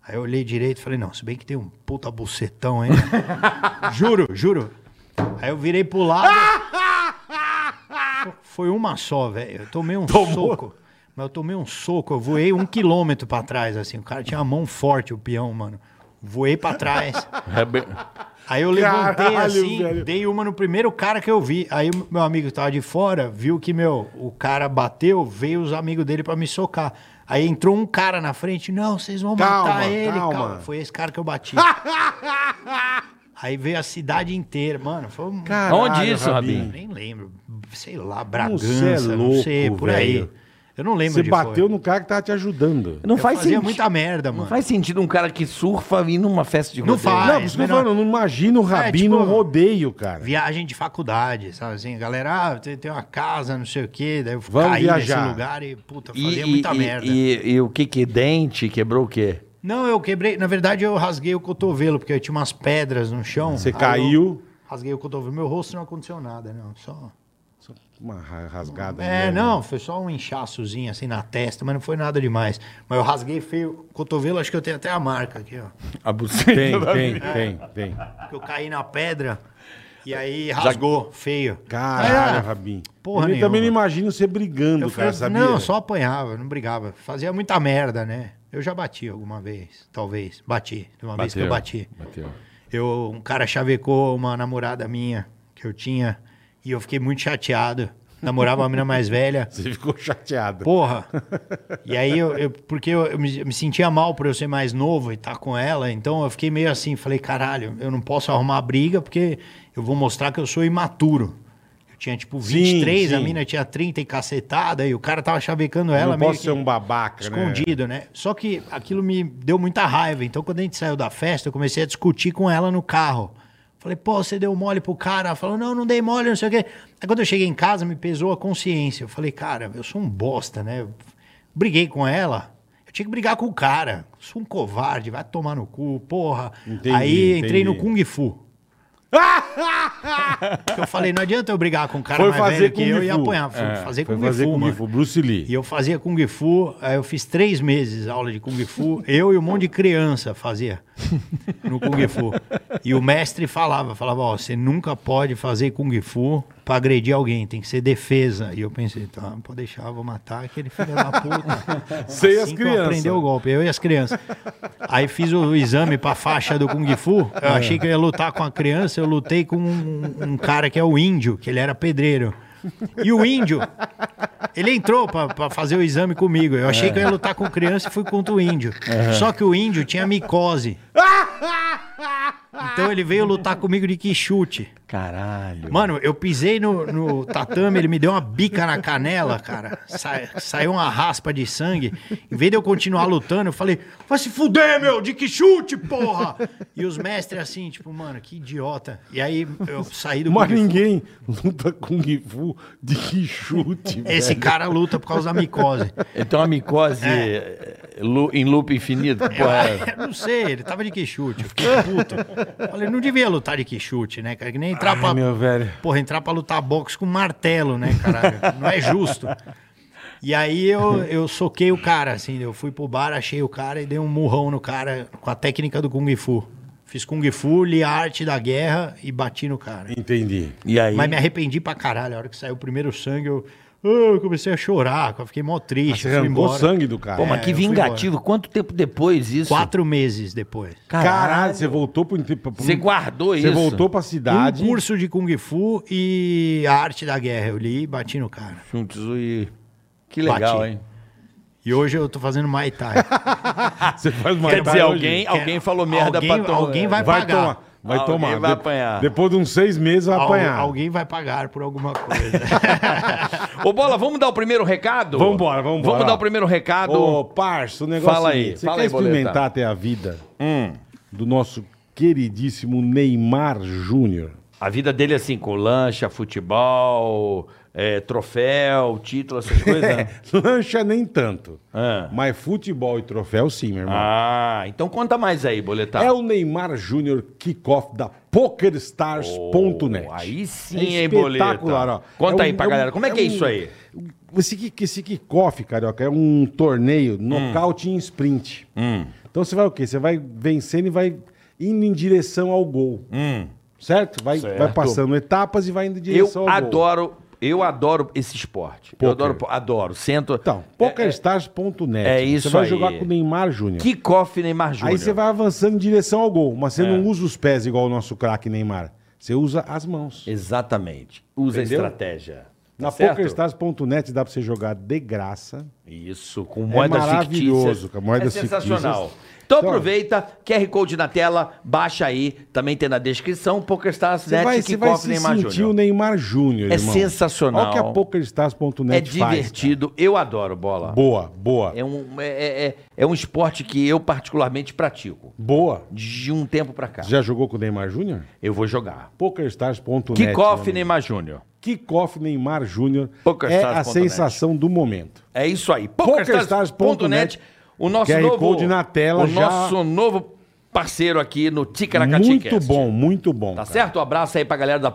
A: Aí eu olhei direito e falei, não, se bem que tem um puta bucetão, hein? juro, juro. Aí eu virei pro lado. Foi uma só, velho. Eu tomei um soco. Mas eu tomei um soco, eu voei um quilômetro pra trás, assim. O cara tinha uma mão forte, o peão, mano. Voei pra trás.
D: É
A: Aí eu levantei
B: Caralho,
A: assim,
B: velho.
A: dei uma no primeiro cara que eu vi. Aí meu amigo que tava de fora, viu que, meu, o cara bateu, veio os amigos dele pra me socar. Aí entrou um cara na frente, não, vocês vão
B: Calma,
A: matar ele,
B: calma.
A: calma. Foi esse cara que
B: (laughs)
A: eu bati. Aí veio a cidade inteira, mano. Foi um...
C: Onde isso, Rabinho?
A: nem lembro. Sei lá, Bragança,
B: Você é
A: não sei,
B: louco,
A: por aí.
B: velho.
A: Eu não lembro
B: Você
A: onde
B: bateu
A: foi.
B: no cara que tava te ajudando.
C: Não
A: Eu
C: faz
A: fazia
C: sentido.
A: muita merda, mano.
C: Não faz sentido um cara que surfa vir numa festa de
A: Não
C: rodeio.
A: faz.
B: Não, por isso que eu tô
A: menor.
B: falando, eu não imagino o rabinho
A: tipo-
B: num rodeio, cara.
A: viagem de faculdade, sabe assim? Galera, ah, tem, tem uma casa, não sei o quê, daí eu
B: Vamos
A: caí
B: viajar.
A: nesse lugar e, puta,
C: E,
A: fazia
C: e,
A: muita
C: e-
A: merda.
C: e- e o que que? Dente? Quebrou o quê?
A: Não, eu quebrei, na verdade eu rasguei o cotovelo, porque eu tinha umas pedras no chão.
B: Você
A: aí eu
B: caiu.
A: Rasguei o cotovelo, meu rosto não aconteceu nada, não, só...
B: Só Uma ra- rasgada.
A: É,
B: né?
A: não, foi só um inchaçozinho assim na testa, mas não foi nada demais. Mas eu rasguei feio o cotovelo, acho que eu tenho até a marca aqui, ó.
C: A buceta.
B: Tem, tem, tem, tem.
A: Que eu caí na pedra e aí rasgou, feio. Aí, ah,
B: Caralho, Rabinho.
A: porra
B: eu nem- também não
A: nenhuma.
B: imagino você brigando, cara,
A: Eu falei, assim,
B: sabia?
A: não, só apanhava, não brigava. Fazia muita merda, né? Eu já bati alguma vez, talvez. Bati. Uma vez que eu bati.
B: Bateu.
A: Eu, um cara chavecou uma namorada minha que eu tinha e eu fiquei muito chateado. Namorava uma mina mais velha.
B: Você ficou chateado.
A: Porra! E aí, eu, eu- porque eu, eu me, eu me sentia mal por eu ser mais novo e estar com ela, então eu fiquei meio assim, falei, caralho, eu não posso arrumar briga porque eu vou mostrar que eu sou imaturo. Eu tinha tipo
B: Sim,
A: 23, a
B: sim.
A: mina tinha 30 e cacetada, e o cara tava chavecando ela
B: não
A: meio
B: posso
A: que
B: ser um babaca, né?
A: escondido, né? Só que aquilo me deu muita raiva, então quando a gente saiu da festa, eu comecei a discutir com ela no carro. Falei, pô, você deu mole pro cara. Falou, não, não dei mole, não sei o quê. Aí quando eu cheguei em casa, me pesou a consciência. Eu falei, cara, eu sou um bosta, né? Eu briguei com ela. Eu tinha que brigar com o cara. Sou um covarde, vai tomar no cu, porra.
B: Entendi,
A: Aí entrei
B: entendi.
A: no Kung
B: (laughs)
A: Fu. Porque eu falei, não adianta eu brigar com um cara
B: Foi
A: mais
B: fazer
A: velho que
B: Kung
A: eu e
B: Fu.
A: apanhar. Fui
B: É,
A: fazer
B: foi
A: Kung
B: fazer
A: Fu,
B: Kung
A: mano.
B: Fu, Bruce Lee.
A: E eu fazia Kung Fu, aí eu fiz três meses aula de Kung Fu, eu e um monte de criança fazia no Kung Fu. E o mestre falava, falava, ó, você nunca pode fazer Kung Fu pra agredir alguém, tem que ser defesa. E eu pensei, tá, pode deixar, eu vou matar aquele filho da
B: (laughs)
A: puta. Assim
B: Sei as
A: que eu
B: crianças.
A: aprendi o golpe, eu e as crianças. Aí fiz o exame pra faixa do Kung Fu,
B: É.
A: eu achei que eu ia lutar com a criança, eu lutei com um, um cara que é o índio, que ele era pedreiro. E o índio, ele entrou pra, pra fazer o exame comigo. Eu achei que eu
B: É.
A: ia lutar com criança e fui contra o índio. Só que o índio tinha micose. Então ele veio lutar comigo de que chute.
C: Caralho.
A: Mano, eu pisei no, no tatame, ele me deu uma bica na canela, cara. Sa- saiu uma raspa de sangue. Em vez de eu continuar lutando, eu falei, vai se fuder, meu, de que chute, porra! E os mestres assim, tipo, mano, que idiota. E aí eu saí do
B: Mas
A: Kung Fu.
B: ninguém luta Kung Fu de que chute,
A: (laughs) Esse
B: velho.
A: cara luta por causa da micose.
C: Ele tem uma Então micose
A: É.
C: eh, lu- em loop infinito. que porra é?
A: Eu não sei, ele tava de queixute. Eu fiquei puto. Falei, não devia lutar de queixute, né, cara? Que nem entrar pra.
B: meu velho.
A: Porra, entrar pra lutar boxe com martelo, né, caralho? Não é justo. E aí eu, eu soquei o cara, assim, eu fui pro bar, achei o cara e dei um murrão no cara com a técnica do Kung Fu. Fiz Kung Fu, li a arte da guerra e bati no cara.
B: Entendi.
C: E aí?
A: Mas me arrependi pra caralho. A hora que saiu o primeiro sangue, eu, "Ah, eu comecei a chorar, eu fiquei mó
B: Ah,
A: triste.
B: Você
A: fui
B: arrancou
A: embora.
B: sangue do cara.
C: Pô, mas
A: É,
C: que
A: eu fui
C: vingativo. Quanto tempo depois isso?
A: Quatro meses depois.
B: Caralho, você voltou pro... pro-
C: Você guardou
B: Você
C: isso?
B: voltou pra cidade.
A: Um curso de Kung Fu e a arte da guerra. Eu li e bati no cara.
C: Juntos e... Que legal,
A: Bati.
C: hein?
A: E hoje eu tô fazendo Muay Thai.
B: Você faz uma
C: Quer dizer,
B: tarde
C: alguém,
B: hoje.
C: alguém falou merda
A: alguém,
C: pra tomar.
A: Alguém vai,
B: vai
A: pagar.
B: tomar. Vai
C: Alguém
B: tomar.
C: vai
B: De-
C: apanhar.
B: Depois de uns seis meses vai
A: Al-
B: apanhar.
A: Alguém vai pagar por alguma coisa. (laughs)
C: Ô, Bola, vamos dar o primeiro recado?
B: Vambora, vambora.
C: Vamos dar o primeiro recado.
B: Ô, parça, o negócio
C: Fala
B: é o
C: aí,
B: seguinte, Você
C: fala
B: quer
C: aí, Boleta.
B: experimentar até a vida do nosso queridíssimo Neymar Júnior?
C: A vida dele é assim, com lancha, futebol, é, troféu, título, essas coisas. né?
B: (laughs) Lancha nem tanto.
C: Ah.
B: Mas futebol e troféu sim, meu irmão.
C: ah, tá. então conta mais aí, Boletar.
B: É o Neymar Júnior Kickoff da PokerStars.net.
C: Oh, aí sim,
B: É
C: hein, Boleta?
B: espetacular, ó.
C: Conta
B: É
C: aí
B: um-
C: pra
B: é um-
C: galera, como é que é
B: um-
C: isso aí?
B: Esse, kick- esse kickoff, carioca, é um torneio nocaute em sprint.
C: Hum.
B: Então você vai o quê? Você vai vencendo e vai indo em direção ao gol. Certo? Vai, vai passando etapas e vai indo em
C: Hum. Eu
B: direção ao gol.
C: adoro, eu adoro esse esporte. Eu
B: Poker.
C: adoro, adoro. Sento.
B: Então, pokerstars.net.
C: é isso
B: Você vai
C: aí.
B: jogar com o Neymar Júnior.
C: Kickoff Neymar Júnior. É.
B: Aí você vai avançando em direção ao gol, mas você não usa os pés igual o nosso craque Neymar. Você usa as mãos.
C: Exatamente. Usa
B: Entendeu?
C: a estratégia. Tá
B: Na
C: certo?
B: PokerStars.net dá pra você jogar de graça.
C: Isso, com moedas
B: É maravilhoso,
C: fictícias.
B: cara, moedas
C: é sensacional.
B: fictícias.
C: Então
B: Então,
C: aproveita, QR Code na tela, baixa aí, também tem na descrição, PokerStars,
B: Você vai,
C: Net,
B: você vai
C: Kickoff
B: se
C: Neymar
B: sentir o
C: Júnior.
B: Neymar Júnior,
C: É
B: irmão.
C: sensacional.
B: Olha o que a PokerStars.net
C: É
B: faz. cara.
C: divertido, eu adoro bola.
B: Boa, boa.
C: É um, é, é- é- é um esporte que eu particularmente pratico.
B: Boa.
C: De um tempo pra cá.
B: Você já jogou com o Neymar Júnior?
C: Eu vou jogar.
B: PokerStars.net.
C: Kickoff
B: meu amigo.
C: Neymar Júnior.
B: Kickoff Neymar Júnior. É
C: PokerStars.net.
B: a sensação do momento.
C: É isso aí.
B: PokerStars.net,
C: PokerStars.net. O nosso
B: QR
C: novo.
B: Code na tela
C: o
B: já.
C: nosso novo parceiro aqui no Ticaracati
B: Muito bom, muito bom.
C: Tá
B: cara.
C: certo? Um abraço aí pra galera da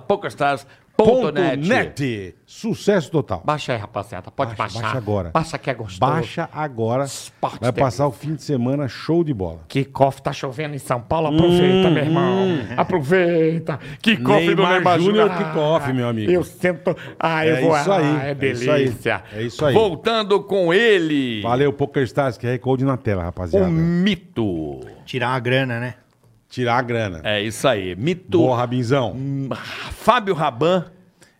B: Ponto
C: PokerStars.net.
B: net. Sucesso total.
C: Baixa aí, rapaziada. Pode
B: Baixa,
C: baixar.
B: baixa agora.
C: Baixa que é gostoso.
B: Baixa agora.
C: Esporte
B: Vai
C: delícia.
B: passar o fim de semana show de bola.
E: Kickoff tá chovendo em São Paulo, aproveita, meu irmão. Aproveita. Kickoff do
B: Hum. Neymar
E: Neymar
B: Júnior,
E: Júnior.
B: kickoff, meu amigo.
E: Eu sento. Ah, eu
B: É
E: vou.
B: isso aí,
E: Ah,
B: é
E: é
B: isso aí,
E: delícia.
B: é isso aí.
C: Voltando com ele.
B: Valeu, PokerStars, QR Code na tela,
C: O
B: rapaziada.
C: Um mito.
A: Tirar uma grana, né?
B: Tirar a grana.
C: É isso aí. Mito.
B: Boa, Rabinzão.
C: Fábio Raban,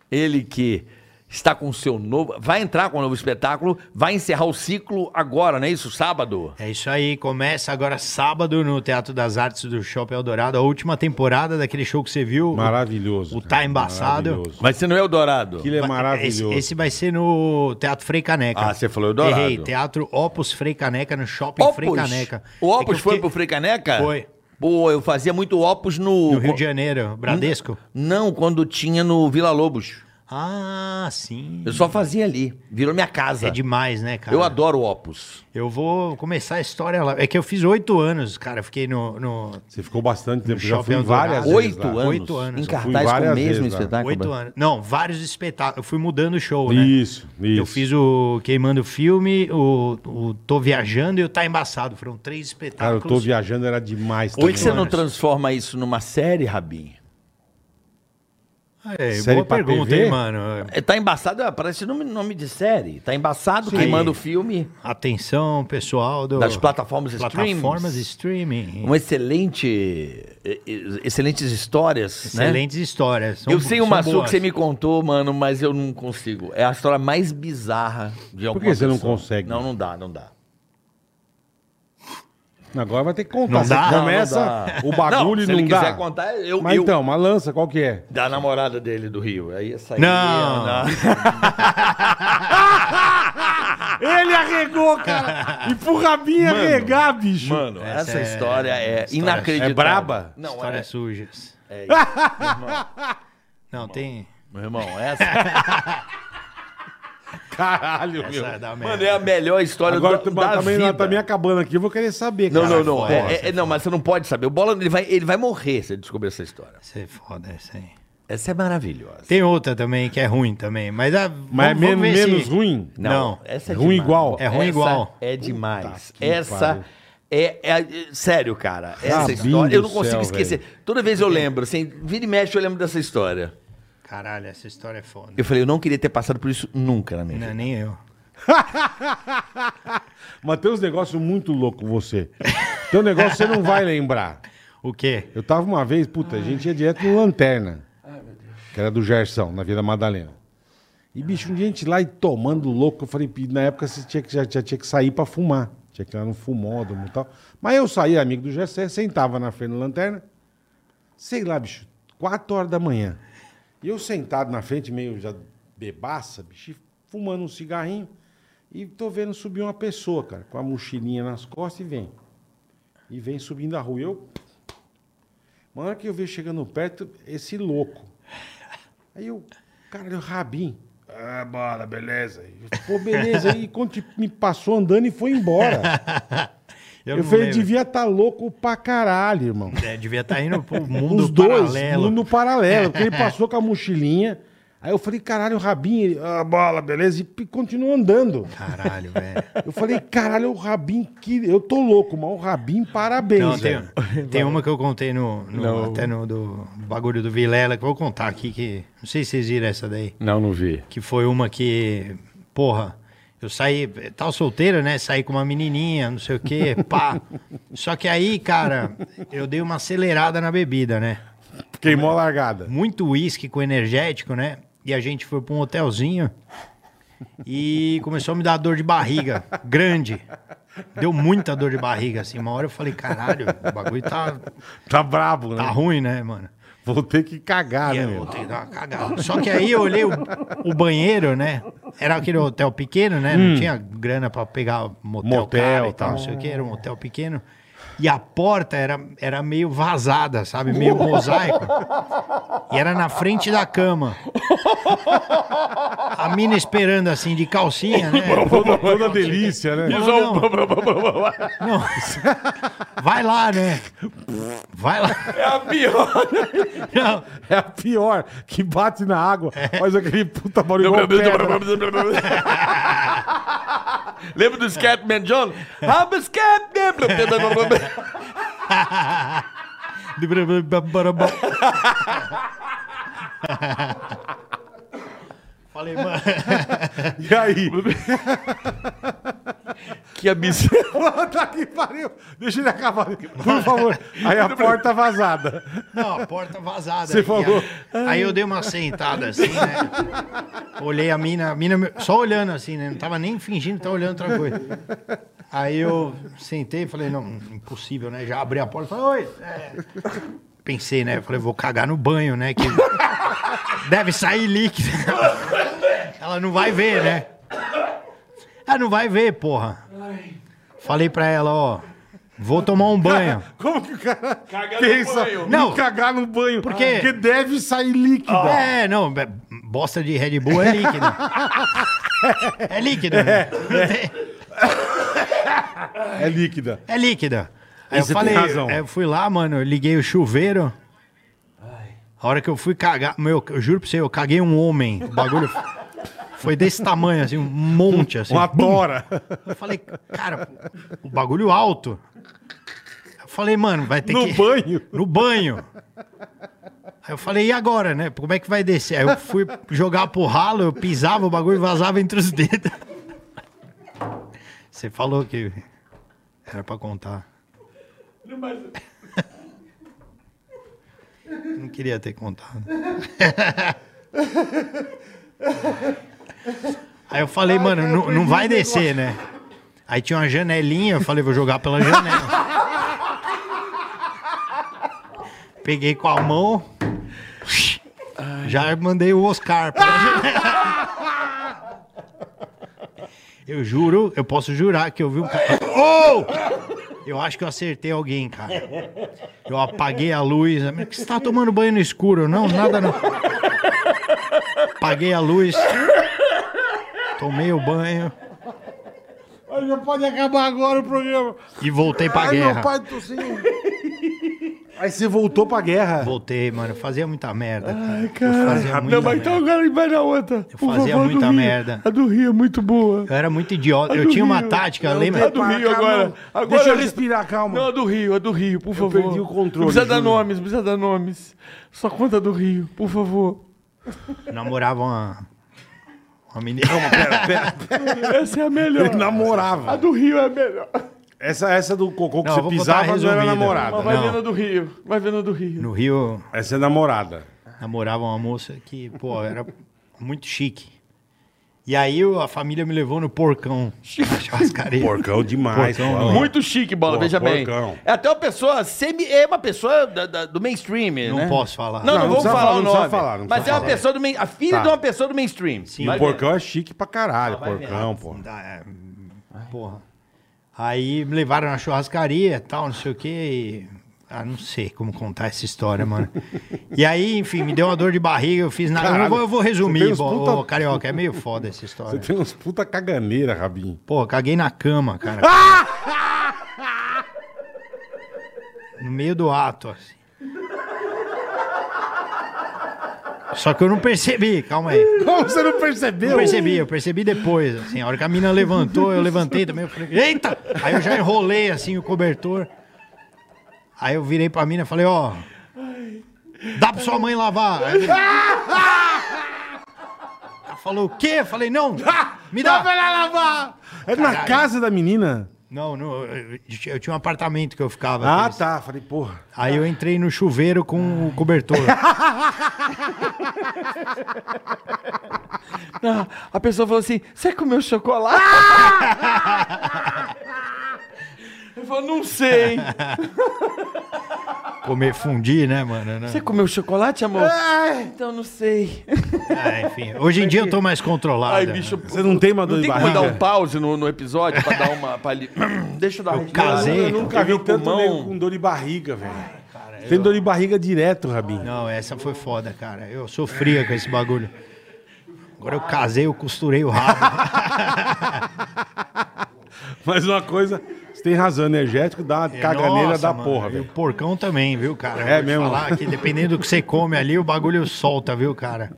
C: ele que está com o seu novo. Vai entrar com o novo espetáculo, vai encerrar o ciclo agora, não é isso? Sábado?
A: É isso aí, começa agora sábado no Teatro das Artes do Shopping Eldorado, a última temporada daquele show que você viu.
B: Maravilhoso.
A: O
B: cara,
A: tá embaçado.
B: maravilhoso.
C: Vai ser no Eldorado.
B: Aquilo é maravilhoso.
A: Esse, esse vai ser no Teatro Frei Caneca.
C: Ah, você falou Eldorado.
A: Errei, Teatro Opus Frei Caneca, no Shopping Frei
C: Opus.
A: Caneca.
C: O
A: É que
C: Opus
A: eu
C: foi
A: fiquei-
C: pro Frei Caneca?
A: Foi.
C: Pô, eu fazia muito opus no.
A: No Rio de Janeiro, Bradesco?
C: Não, quando tinha no Vila Lobos.
A: Ah, sim.
C: Eu só fazia ali. Virou minha casa.
A: É demais, né, cara?
C: Eu adoro opus.
A: Eu vou começar a história lá. É que eu fiz oito anos, cara. Fiquei no. no-
B: Você ficou bastante tempo.
A: No
B: Já fui
A: Shopping
B: em várias
A: Eldorado.
B: vezes
C: Oito
B: lá.
C: anos.
A: Oito anos.
C: Em
A: Eu
B: fui
C: cartaz com o
B: várias
C: mesmo
B: vezes lá.
C: espetáculo.
A: Oito anos. Não, vários espetáculos. Eu fui mudando o show, né?
B: Isso, isso.
A: Eu fiz o Queimando Filme, o, o Tô Viajando e o Tá Embaçado. Foram três
B: Cara,
A: espetáculos.
B: eu tô viajando, era demais.
C: Por que,
B: também. né?
C: que você não
A: anos.
C: transforma isso numa série, Rabin?
A: É,
B: Série
A: boa
B: pra
A: pergunta,
B: TV?
A: hein, mano?
C: É, Tá embaçado, ah, parece nome, nome de série. Tá embaçado queimando o filme
A: Atenção, pessoal do-
C: das plataformas streaming.
A: plataformas streaming.
C: Um excelente. e- e- Excelentes histórias. né? Excelente.
A: Excelentes histórias. São
C: eu
A: bo-
C: sei
A: são
C: uma sua que
A: boas.
C: você me contou, mano, mas eu não consigo. É a história mais bizarra de alguma
B: que você não
C: pessoa.
B: consegue?
C: Não, não dá, não dá.
B: Agora vai ter que contar.
A: Não
B: Você
A: dá?
B: começa
C: Não, não dá.
B: o
C: Não,
B: bagulho
C: se
B: e não
C: ele
B: dá.
C: quiser contar, eu-
B: Mas
C: eu-
B: então, uma lança, qual que é?
C: Da namorada dele do Rio. Aí é ia sair.
A: Não.
B: Ele arregou, cara. E pro Rabinho arregar, bicho.
C: Mano, essa,
A: Essa é-
C: história é,
A: história-
C: inacreditável.
B: é braba?
C: Não,
A: Histórias
C: é.
A: sujas. (laughs)
C: é
A: Não, tem.
C: Meu irmão, é essa,
B: Caralho,
A: Essa
B: meu.
A: é da merda.
C: mano, é a melhor história
B: Agora
C: do,
B: tu-
C: da
B: também,
C: vida.
B: também é acabando aqui, eu vou querer saber.
C: Não,
B: cara.
C: não, não.
B: Foda.
C: É, é- é- não, mas você não pode saber. O Bola ele vai, ele vai morrer se ele descobrir essa história.
A: Essa é foda, essa aí.
C: Essa é maravilhosa.
A: Tem outra também que é ruim também. Mas, ah,
B: Mas é
A: vamos- vamos
B: menos,
A: ver se-
B: menos ruim?
A: Não,
C: essa
B: ruim igual.
A: É ruim
C: Essa
A: igual.
C: É demais.
B: que pariu.
C: Essa é, é- é- Sério, cara. Essa
B: Rabinho
C: história. Eu não
B: do
C: consigo
B: céu,
C: esquecer. Toda vez eu lembro, assim, vira e mexe, eu lembro dessa história.
A: Caralho, essa história é foda.
C: Eu falei, eu não queria ter passado por isso nunca na minha vida.
A: Não, é nem eu.
B: Mas tem uns negócios muito loucos com você. Tem um negócio que você não vai lembrar.
A: O quê?
B: Eu tava uma vez, puta, a gente ia direto no Lanterna. Que era do Gerson, na Via da Madalena. E, bicho, um dia a gente lá e tomando louco. Eu falei, "Pi, na época você tinha que, já, já tinha que sair pra fumar. Tinha que ir lá no fumódromo e tal. Mas eu saía, amigo do Gerson, sentava na frente do Lanterna. Sei lá, bicho, quatro horas da manhã. E eu sentado na frente, meio já bebaça, bicho, e fumando um cigarrinho. E tô vendo subir uma pessoa, cara, com a mochilinha nas costas e vem. E vem subindo a rua. E eu uma hora que eu vi chegando perto, esse louco. Aí eu, cara, o Rabin. Ah, bora, beleza. Eu, Pô, beleza. E quando tipo, me passou andando e foi
A: (laughs)
B: embora. Eu,
A: não
B: falei,
A: lembro.
B: devia estar louco pra caralho, irmão.
A: É, devia estar indo pro
B: (laughs)
A: mundo
B: Os dois,
A: paralelo.
B: mundo paralelo.
A: (laughs)
B: Porque ele passou com a mochilinha. Aí eu falei, caralho, o Rabin, ele, ah, bola, beleza. E p- continuou andando.
A: Caralho,
B: (laughs)
A: velho.
B: Eu falei, caralho, o Rabin, que... eu tô louco, mas o Rabin, parabéns.
A: Não, tem,
B: velho.
A: (laughs) tem uma que eu contei no, no- até no do bagulho do Vilela, que eu vou contar aqui, que não sei se vocês viram essa daí,
E: Não, não vi.
A: que foi uma que, porra, eu saí, tava solteiro, né, saí com uma menininha, não sei o quê,
B: (laughs)
A: pá. Só que aí, cara, eu dei uma acelerada na bebida, né?
B: Queimou a largada.
A: muito uísque com energético, né? E a gente foi pra um hotelzinho e começou a me dar dor de barriga, grande. Deu muita dor de barriga, assim. Uma hora eu falei, caralho, o bagulho tá,
B: Tá brabo, né?
A: tá ruim, né, mano?
B: Vou ter que cagar,
A: E
B: né,
A: É, eu
B: meu?
A: vou ter que dar uma cagada. Só que aí eu olhei o, o banheiro, né? Era aquele hotel pequeno, né? Não tinha grana pra pegar motel,
B: Motel,
A: cara e tal,
B: tá.
A: não sei o que. Era um hotel pequeno. E a porta era, era meio vazada, sabe? Meio mosaico. E era na frente da cama. A mina esperando assim, de calcinha, né? (laughs)
B: Toda, toda delícia, né?
A: Não, não. Não. Vai lá, né? Vai lá.
C: É a pior.
A: Não.
B: É a pior, que bate na água,
A: É.
B: faz aquele (laughs) puta barulho igual pedra.
C: (laughs) Lembra do Scatman John? Ah, I'm a Scatman!
A: Falei, mano.
B: E aí?
C: que absurdo.
B: (laughs) Puta que pariu. Deixa ele acabar,
E: (laughs)
B: por favor. Aí a porta vazada.
A: Não, a porta vazada.
B: Você
A: Aí,
B: falou.
A: Aí, aí eu dei uma sentada assim, né? Olhei a mina, a mina me- só olhando assim, né? Não tava nem fingindo que tava olhando outra coisa. Aí eu sentei e falei, não, impossível, né? Já abri a porta e falei, oi. é. Pensei, né? Falei, vou cagar no banho, né? Que deve sair líquido. Ela não vai ver, né? "É, Ela não vai ver, porra. Falei pra ela, ó, Vou tomar um banho.
B: Como que o cara
E: Cagar no
B: pensa
E: banho.
B: em
A: Não.
B: cagar no banho?
A: Por quê?
B: Porque deve sair líquido.
A: É, não, é- bosta de Red Bull é líquido. é líquido.
B: É líquida.
A: É líquida. Aí eu
B: Você tem
A: falei,
B: razão.
A: eu fui lá, mano, eu liguei o chuveiro. A hora que eu fui cagar, meu, eu juro pra você, eu caguei um homem. O bagulho foi desse tamanho, assim, um monte, assim.
B: Uma
A: (laughs)
B: tora. (laughs)
A: Eu falei, cara, o bagulho alto. Eu falei, mano, vai ter
B: No
A: que...
B: banho?
A: No banho. Aí eu falei, e agora, né? Como é que vai descer? Aí eu fui jogar pro ralo, eu pisava o bagulho e vazava entre os dedos. Você falou que era pra contar. Não queria ter contado. Aí eu falei, mano, não, não vai descer, né? Aí tinha uma janelinha, eu falei, vou jogar pela janela. Peguei com a mão, já mandei o Oscar pela
B: (laughs)
A: janela. Eu juro, eu posso jurar que eu vi um cara. Oh! Eu acho que eu acertei alguém, cara. Eu apaguei a luz. Por que você tá tomando banho no escuro? Eu, Não, nada não. Apaguei a luz. Tomei o banho
B: Olha, já pode acabar agora o programa.
A: e voltei pra
B: Ai,
A: guerra.
B: meu pai, tô sem... um. Aí você voltou pra (laughs) guerra.
A: Voltei, mano. Eu fazia muita merda. cara.
E: Cara,
A: eu fazia muita
E: não, mas
A: merda.
E: então agora vai na outra.
A: Eu
E: Por
A: fazia
E: favor, do
A: muita
E: Rio.
A: merda.
E: A do Rio é muito boa.
A: Eu era muito idiota. Eu
E: do
A: tinha uma
E: Rio.
A: tática,
B: um
E: Eu
A: lembra?
E: tenho a É do Rio
B: Calma.
E: agora. agora.
B: Deixa eu respirar, calma.
E: Não, a do Rio, a do Rio, por favor.
B: perdi o controle,
E: Não precisa dar
B: juro.
E: nomes, não precisa dar nomes. Só conta a do Rio, por favor.
A: Eu namorava uma. Uma menina.
E: Essa é a melhor.
B: Ele
E: A
B: namorava.
E: do Rio é a melhor.
B: Essa, essa do cocô que
A: Não, eu
B: você
A: vou
B: pisava
A: botar
B: já era
A: resumida.
E: Mas
B: namorada.
E: vai
A: Não.
E: vendo a do Rio. Vai vendo a do Rio.
A: No Rio,
B: Essa é namorada.
A: namorava uma moça que, pô, era muito chique. E aí eu- a família me levou no porcão. Churrascaria.
B: Porcão demais.
A: Porcão,
B: cara.
C: Muito chique, bola,
B: Pô,
C: veja
B: porcão.
C: bem. É até uma pessoa semi. É uma pessoa da- da- do mainstream.
A: Não
C: né?
A: posso falar.
C: Não, não,
B: Não, não
C: vou
B: precisa
C: falar,
B: falar,
C: o
B: não precisa
C: nome.
B: falar, não
C: mas
B: precisa
C: é uma
B: falar.
C: pessoa do main, a filha
B: Tá.
C: de uma pessoa do mainstream.
A: Sim,
B: E
C: Vai
B: o
C: ver.
B: porcão é chique pra caralho,
C: vai ver.
B: porcão, pô.
A: Dá, é, porra. Aí me levaram na churrascaria e tal, não sei o quê. e- Ah, não sei como contar essa história, mano. e aí, enfim, me deu uma dor de barriga, eu fiz nada. Eu, não vou- eu vou
B: você
A: resumir,
B: tem uns
A: bo...
B: puta-
A: ô, Carioca, é meio foda essa
B: Você
A: história.
B: tem uns puta caganeira, Rabinho.
A: Pô, caguei na cama, cara. No meio do ato, assim. Só que eu não percebi, calma aí.
B: Como você não
A: Eu
B: percebeu?
A: percebi, eu percebi depois, assim, a hora que a mina levantou, eu levantei também, eu falei, eita! Aí eu já enrolei, assim, o cobertor. Aí eu virei pra mina e falei, ó, dá pra sua mãe lavar. Aí ela- Ela falou, o quê? Eu falei, não, me
B: Dá pra
A: dá.
B: ela lavar! É na
A: Caralho.
B: casa da menina?
A: Não, não, eu, eu tinha um apartamento que eu ficava.
B: Ah,
A: aqueles-
B: tá. Ah. Falei, porra.
A: Aí eu entrei no chuveiro com o cobertor.
B: (laughs)
E: Não, a pessoa falou assim: você comeu chocolate? Eu falo, não sei.
A: Comer fundi, né, mano? Né?
E: Você comeu chocolate, amor? Então não sei.
A: Ah, enfim, hoje em dia eu tô mais controlado.
E: Ai,
A: né?
E: bicho,
B: Você não tem uma dor
E: não
B: de
E: tem como
B: barriga?
E: dar um pause no, no episódio pra dar uma. Pra
C: (clears throat)
E: ali... Deixa eu dar uma respirada.
A: casei.
B: Eu nunca vi
E: Teve o
B: tanto
E: pulmão.
B: nego com dor de barriga, velho. Tem dor de barriga direto, Rabinho.
A: Não, essa foi foda, cara. Eu sofria com esse bagulho. Agora eu casei, eu costurei
B: (laughs)
A: o rabo.
B: (laughs) Mas uma coisa, você tem razão, energético dá uma caganeira
A: Nossa,
B: da
A: mano,
B: porra,
A: E o
B: velho.
A: porcão também, viu, cara? Eu
B: É
A: te
B: mesmo?
A: falar que dependendo do que você come ali, o bagulho solta, viu,
B: (laughs)
A: cara?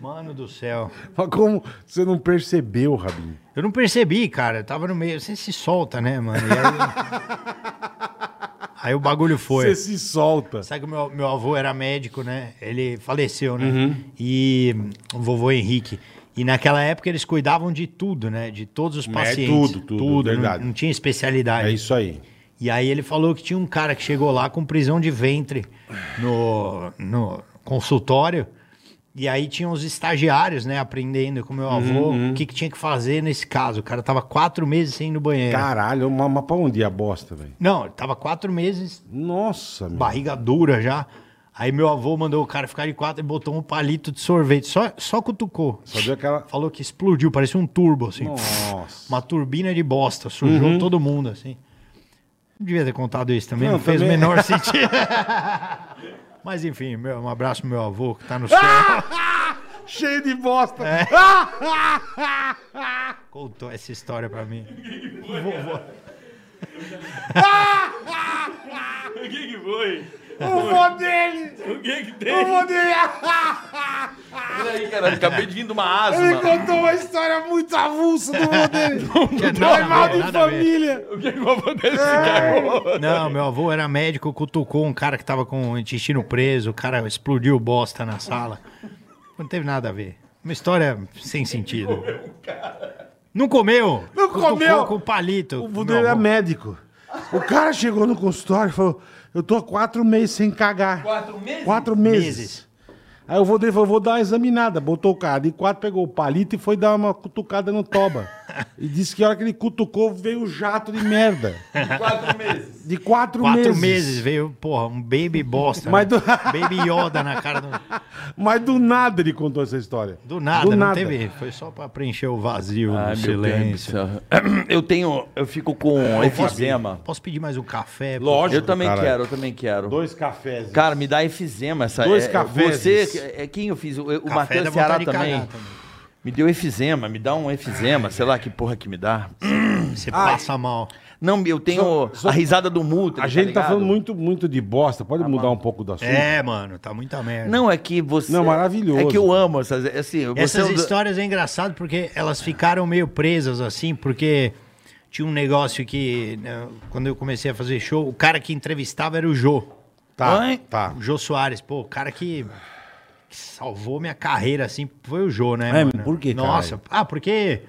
A: Mano do céu.
B: Mas como você não percebeu, Rabinho?
A: Eu não percebi, cara. Eu tava no meio. Você se solta, né, mano? E aí...
B: (laughs)
A: aí o bagulho foi.
B: Você se solta.
A: Sabe que o meu, meu avô era médico, né? Ele faleceu, né?
B: Uhum.
A: E o vovô Henrique. E naquela época eles cuidavam de tudo, né? De todos os pacientes.
B: É, tudo, tudo, verdade.
A: Não, não tinha
B: É
A: especialidade.
B: isso aí.
A: E aí ele falou que tinha um cara que chegou lá com prisão de ventre no, no consultório. E aí tinha os estagiários, né? Aprendendo com meu
B: Uhum,
A: avô o que, que tinha que fazer nesse caso. O cara tava quatro meses sem ir no
B: É.
A: banheiro.
B: Caralho, mas, mas pra onde é a bosta, velho?
A: Não, ele tava quatro meses
B: Nossa, meu.
A: barriga dura já. Aí meu avô mandou o cara ficar de quatro e botou um palito de sorvete. Só, só cutucou.
B: Só deu aquela...
A: Falou que explodiu, parecia um turbo, assim.
B: Nossa.
A: Uma turbina de bosta. Sujou todo mundo, assim. Não devia ter contado isso também,
B: Uhum. Não,
A: não, fez
B: também-
A: o
B: (laughs)
A: menor sentido. Mas enfim, meu, um abraço pro meu avô que
B: Ah!
A: tá no céu.
B: Cheio de bosta.
A: É. Contou essa história pra mim. Vovô.
D: O que que foi?
B: O vô dele!
D: O que que
B: O
D: tem?
B: vô dele! Ah,
C: Peraí, caralho, acabei de vir de uma
B: Ele
C: (laughs) asma.
B: contou uma história muito avulsa do vô dele.
A: nada
B: Foi é mal
A: a ver,
B: de
A: nada a ver.
B: família.
D: O que que eu vou desse cara?
A: Não, meu avô era médico, cutucou um cara que tava com o intestino preso, o cara explodiu bosta na sala. Não teve nada a ver. Uma história sem sentido. Não comeu!
B: Não
A: Cutucou
B: comeu.
A: Com palito.
B: O é vô
A: Meu
B: dele era
A: avô.
B: médico. O cara chegou no consultório e falou: Eu tô há quatro meses sem cagar.
C: Quatro meses?
B: Quatro meses.
A: Meses.
B: Aí o vô dele falou: Vou dar uma examinada. Botou o cara de quatro, pegou o palito e foi dar uma cutucada no
A: (laughs)
B: toba. e disse que a hora que ele cutucou veio o jato de merda.
C: Quatro meses.
B: De quatro,
A: Quatro meses.
B: meses.
A: veio, porra, um baby bosta.
B: Mas
A: né?
B: do-
A: Baby Yoda na cara do,
B: Mas do nada ele contou essa história.
A: do nada, não teve. Foi só pra preencher o vazio, o silêncio.
C: Eu tenho. Eu fico com efizema.
A: Posso pedir mais um café?
C: Eu também
B: caralho.
C: quero, eu também quero.
B: Dois cafés.
C: Cara, me dá efizema essa.
B: Dois
C: é,
B: cafés.
C: Você, é quem eu fiz? O, o
A: Café dá
C: Matheus
A: vontade
C: Ceará
A: de cagar
C: também. Me deu efizema, me dá um efizema, sei lá que porra que me dá.
A: Você passa mal.
C: Não, eu tenho a risada do Mutra.
B: a gente tá,
C: ligado?
B: falando muito, muito de bosta. Pode mudar um pouco do assunto?
A: Tá É, mano, tá muita merda.
C: Não, é que você.
B: Não, maravilhoso.
C: É que eu amo essas. Assim, você é
A: Essas
C: um do-
A: histórias é engraçado porque elas ficaram meio presas assim, porque tinha um negócio que, né, quando eu comecei a fazer show, o cara que entrevistava era o Jô.
B: Tá,
C: Oi?
B: tá.
A: O Jô Soares, pô, o cara que, que salvou minha carreira assim, foi o Jô, né?
B: É, por que,
A: Nossa, ah, porque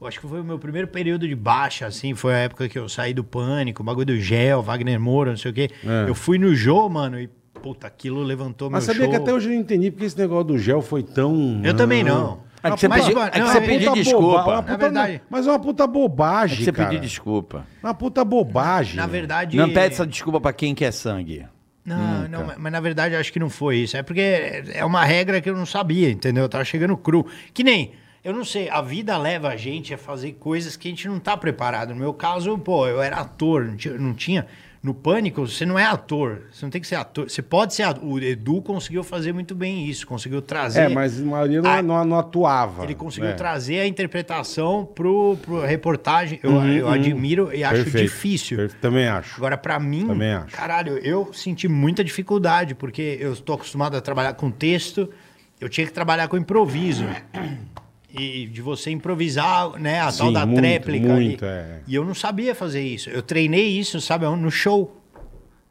A: eu acho que foi o meu primeiro período de baixa, assim, foi a época que eu saí do pânico, o bagulho do gel, Wagner Moura, não sei o quê.
C: É.
A: Eu fui no Jô, mano, e puta, aquilo levantou
B: Mas
A: meu
B: sabia
A: show.
B: que até hoje eu não entendi porque esse negócio do gel foi tão.
A: Eu também não.
C: É que você
A: Mas,
C: pediu-
A: mano,
C: é que
A: não,
C: você
A: é-
C: pediu
B: Puta
C: desculpa.
B: boba- uma
C: Na
B: puta-
A: verdade- É
B: Mas é uma puta bobagem.
C: Você
B: cara.
C: pedir desculpa.
B: Uma puta bobagem.
A: Na verdade.
C: Não pede essa desculpa pra quem quer sangue.
A: Não, não, mas- mas na verdade eu acho que não foi isso. É porque é uma regra que eu não sabia, entendeu? Eu tava chegando cru. Que nem, eu não sei, a vida leva a gente a fazer coisas que a gente não tá preparado. No meu caso, pô, eu era ator, não tinha. não tinha- no pânico, você não é ator. Você não tem que ser ator. Você pode ser ator. O Edu conseguiu fazer muito bem isso, conseguiu trazer.
B: É, mas a maioria não,
A: Ah,
B: não- não atuava.
A: Ele conseguiu
B: né?
A: trazer a interpretação pro, pro reportagem. Eu, eu admiro e acho
B: Uhum, Perfeito.
A: difícil.
B: Perfe- Também acho.
A: Agora, pra mim,
B: Também acho.
A: caralho, eu senti muita dificuldade, porque eu estou acostumado a trabalhar com texto, eu tinha que trabalhar com improviso. E de você improvisar, né, a tal
B: Sim,
A: da
B: muito,
A: tréplica.
B: muito,
A: e,
B: é.
A: e eu não sabia fazer isso. Eu treinei isso, sabe, aonde? no show.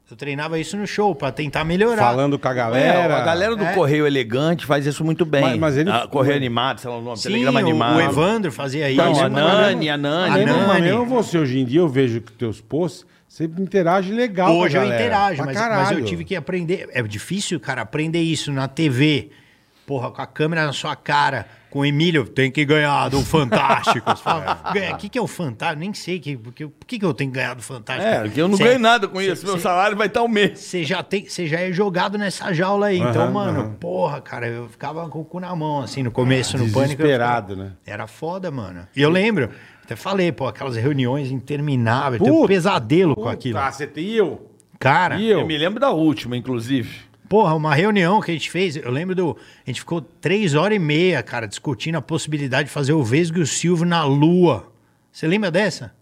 A: Eu treinava isso no show, pra tentar melhorar.
B: Falando com a galera.
C: É, a galera do
A: É.
C: Correio Elegante faz isso muito bem.
B: Mas- mas ele-
C: Ah, Correio Animado, sei lá o nome,
A: Sim,
C: Telegrama Animado.
A: o, o Evandro fazia isso.
C: Então, a
A: mas-
C: Nani, a
A: a
C: Nani.
B: é Mesmo,
A: Nani.
B: mas mesmo você, hoje em dia, eu vejo que teus posts, você interage legal com a
A: Hoje eu
B: galera.
A: interajo,
B: Pra
A: mas,
B: caralho.
A: mas eu tive que aprender. É difícil, cara, aprender isso na TV. Porra, com a câmera na sua cara, com o Emílio, tem que ganhar do
B: (laughs)
A: Fantástico. Você fala, "Ganha- O que, que é o Fantástico? Nem sei. que- porque- Por que, que eu tenho que ganhar do Fantástico?
C: É, que eu não
A: Cê-
C: ganho nada com isso.
A: cê-
C: Meu
A: cê-
C: salário vai estar um mês.
A: Você já, tem- cê já é jogado nessa jaula aí. então,
B: Aham,
A: mano,
B: aham.
A: porra, cara, eu ficava com o cu na mão, assim, no começo, no pânico. eu
B: Desesperado,
A: ficava-
B: né?
A: Era foda, mano. E eu lembro, até falei, pô, aquelas reuniões intermináveis, eu tenho um
B: Puta,
A: pesadelo com aquilo.
B: Puta, Ah, você tem eu?
A: Cara,
B: E eu?
C: Eu me lembro da última, inclusive.
A: Porra, uma reunião que a gente fez, eu lembro do. A gente ficou três horas e meia, cara, discutindo a possibilidade de fazer o Vesgo e o Silvio na Lua. Você lembra dessa?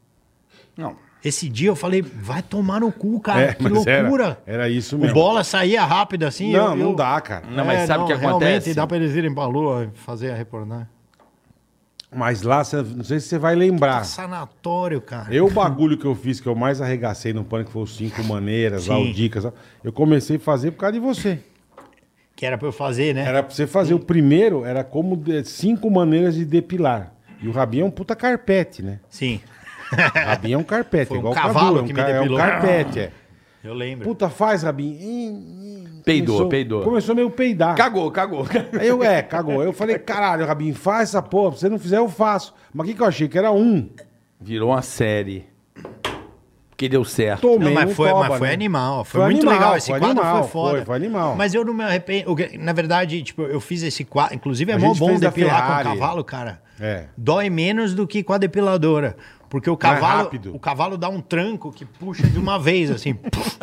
C: Não.
A: Esse dia eu falei, vai tomar no cu, cara,
B: É,
A: Ah, que
B: mas era-
A: loucura.
B: era isso
A: O
B: mesmo.
A: bola saía rápido assim.
B: Não,
A: eu-
B: não
A: eu- É,
B: dá, cara.
C: Não, mas sabe o que
A: realmente,
C: acontece?
A: dá pra eles irem pra Lua e fazer a reportagem.
B: Mas lá, você- não sei se você vai lembrar.
A: Sanatório, cara.
B: Eu, o bagulho que eu fiz, que eu mais arregacei no pânico, foi os cinco maneiras, lá,
A: Sim.
B: o dicas. lá. Eu comecei a fazer por causa de você.
A: Que era pra eu fazer, né?
B: Era pra você fazer. O primeiro era como de- cinco maneiras de depilar. E o Rabinho é um puta carpete, né?
A: Sim, (laughs)
B: Rabinho é um carpete,
A: Foi um
B: igual o
A: cavalo
B: Cadu, é um
A: que me
B: ca-
A: depilou.
B: É um carpete, é.
A: eu lembro.
B: Puta, faz, Rabinho. Ih, ih.
C: Peidou,
B: Começou-
C: peidou.
B: Começou meio
A: Ah.
B: peidar.
C: Cagou,
A: (laughs)
C: cagou.
B: Aí eu, é, cagou. Aí eu falei, caralho, Rabinho, faz essa porra. Se você não fizer, eu faço. Mas o que, que eu achei? Que era um.
C: Virou uma série. Que deu certo.
B: Tomei
A: Não, mas,
B: um
A: foi,
B: toba,
A: mas foi
B: né?
A: animal, foi,
B: Foi
A: muito
B: animal,
A: legal. Esse
B: foi
A: quadro
B: animal,
A: foi foda.
B: foi, foi animal.
A: Mas eu não me arrependo. o que- Na verdade, tipo, eu fiz esse quadro. Inclusive, é
B: A
A: mó
B: gente
A: bom
B: fez da
A: depilar com
B: Ferrari.
A: cavalo, cara.
B: É.
A: Dói menos do que com a depiladora. Porque o cavalo,
B: rápido.
A: o cavalo dá um tranco que puxa de uma vez, assim. (laughs) puf.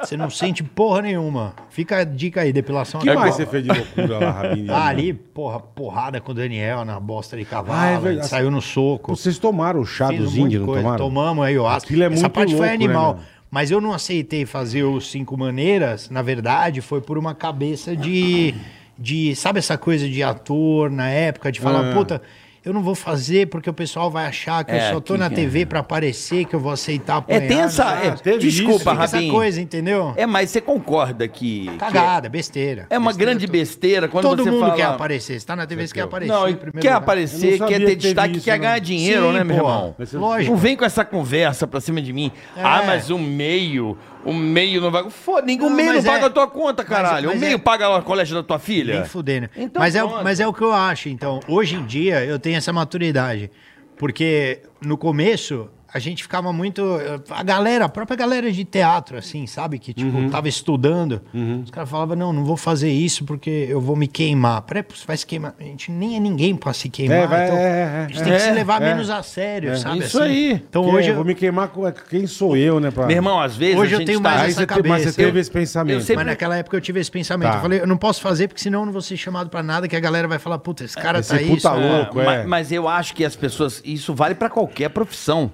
A: você não sente porra nenhuma. Fica a dica aí, depilação.
B: que
A: anal.
B: mais você fez de loucura lá, Rabini?
A: (laughs) Ah, ali, porra, porrada com o Daniel na bosta de cavalo.
B: Ah, é verdade.
A: saiu no soco.
B: Vocês tomaram o chá
A: Fiz um
B: dos
A: monte de
B: índios, não
A: coisa.
B: tomaram?
A: Tomamos aí, eu acho.
B: Aquilo é
A: Essa
B: muito
A: parte foi
B: louco, né,
A: animal.
B: meu?
A: mas eu não aceitei fazer os cinco maneiras, na verdade, foi por uma cabeça de. de sabe essa coisa de ator na época, de falar,
B: Ah.
A: puta. Eu não vou fazer porque o pessoal vai achar que
C: É,
A: eu só tô
C: que-
A: na TV pra aparecer, que eu vou aceitar
C: É,
A: apanhar.
C: tem essa.
A: não sei.
C: é,
B: teve isso,
C: desculpa,
A: Tem essa
C: Rabin.
A: coisa, entendeu?
C: É, mas você concorda que. que
A: Cagada, besteira.
C: é uma
A: Besteira
C: grande
A: to-
C: besteira quando
A: Todo
C: você
A: mundo
C: fala.
A: quer aparecer. Você tá na TV, você quer aparecer.
C: Não,
A: em
C: e
A: primeiro
C: quer
A: lugar.
B: Eu
C: aparecer,
B: não
C: quer
B: sabia
C: ter
B: que teve
C: destaque,
B: isso,
C: quer
B: não.
C: ganhar dinheiro,
A: Sim,
C: né, meu
A: porra.
C: irmão?
B: Mas você-
A: Lógico.
C: Não vem com essa conversa pra cima de mim.
A: É.
C: Ah, mas o meio, o meio não vai. Foda, ninguém- o
A: Não,
C: meio não
A: mas
C: paga
A: é-
C: a tua conta,
A: mas-
C: caralho.
A: mas
C: o meio
A: é-
C: paga o colégio da tua filha.
A: Nem fudendo.
C: Então
A: mas, é, o-
C: pronto.
A: mas é o que eu acho. Então, hoje em dia, eu tenho essa maturidade. Porque no começo, a gente ficava muito. A galera, a própria galera de teatro, assim, sabe? Que, tipo,
B: Uhum.
A: tava estudando. Os caras falavam: não, não vou fazer isso porque eu vou me queimar. Peraí, pô, você vai se queimar. A gente nem é ninguém pra se queimar.
B: É, vai-
A: então,
B: é, é,
A: a gente tem que se
C: é,
A: levar
B: é.
A: menos a sério, sabe?
C: Isso aí.
A: Então,
B: Porque
A: hoje.
B: eu vou me queimar com quem sou eu, né? Pra...
C: Meu irmão, às vezes
A: Hoje
C: a
A: eu
C: gente
A: tenho
C: tá...
A: mais
B: Aí
A: essa
B: você, te- mas você
A: cabeça.
B: teve
A: Eu-
B: esse pensamento.
C: eu sempre-
A: Mas é naquela época eu tive esse pensamento.
B: Tá.
A: Eu falei, eu não posso fazer porque senão eu não vou ser chamado pra nada, que a galera vai falar, puta, esse cara
B: É, Esse
A: tá
B: puta
A: isso. né?
B: louco.
C: Ma-
B: é.
C: mas, eu acho que as pessoas. Isso vale pra qualquer profissão.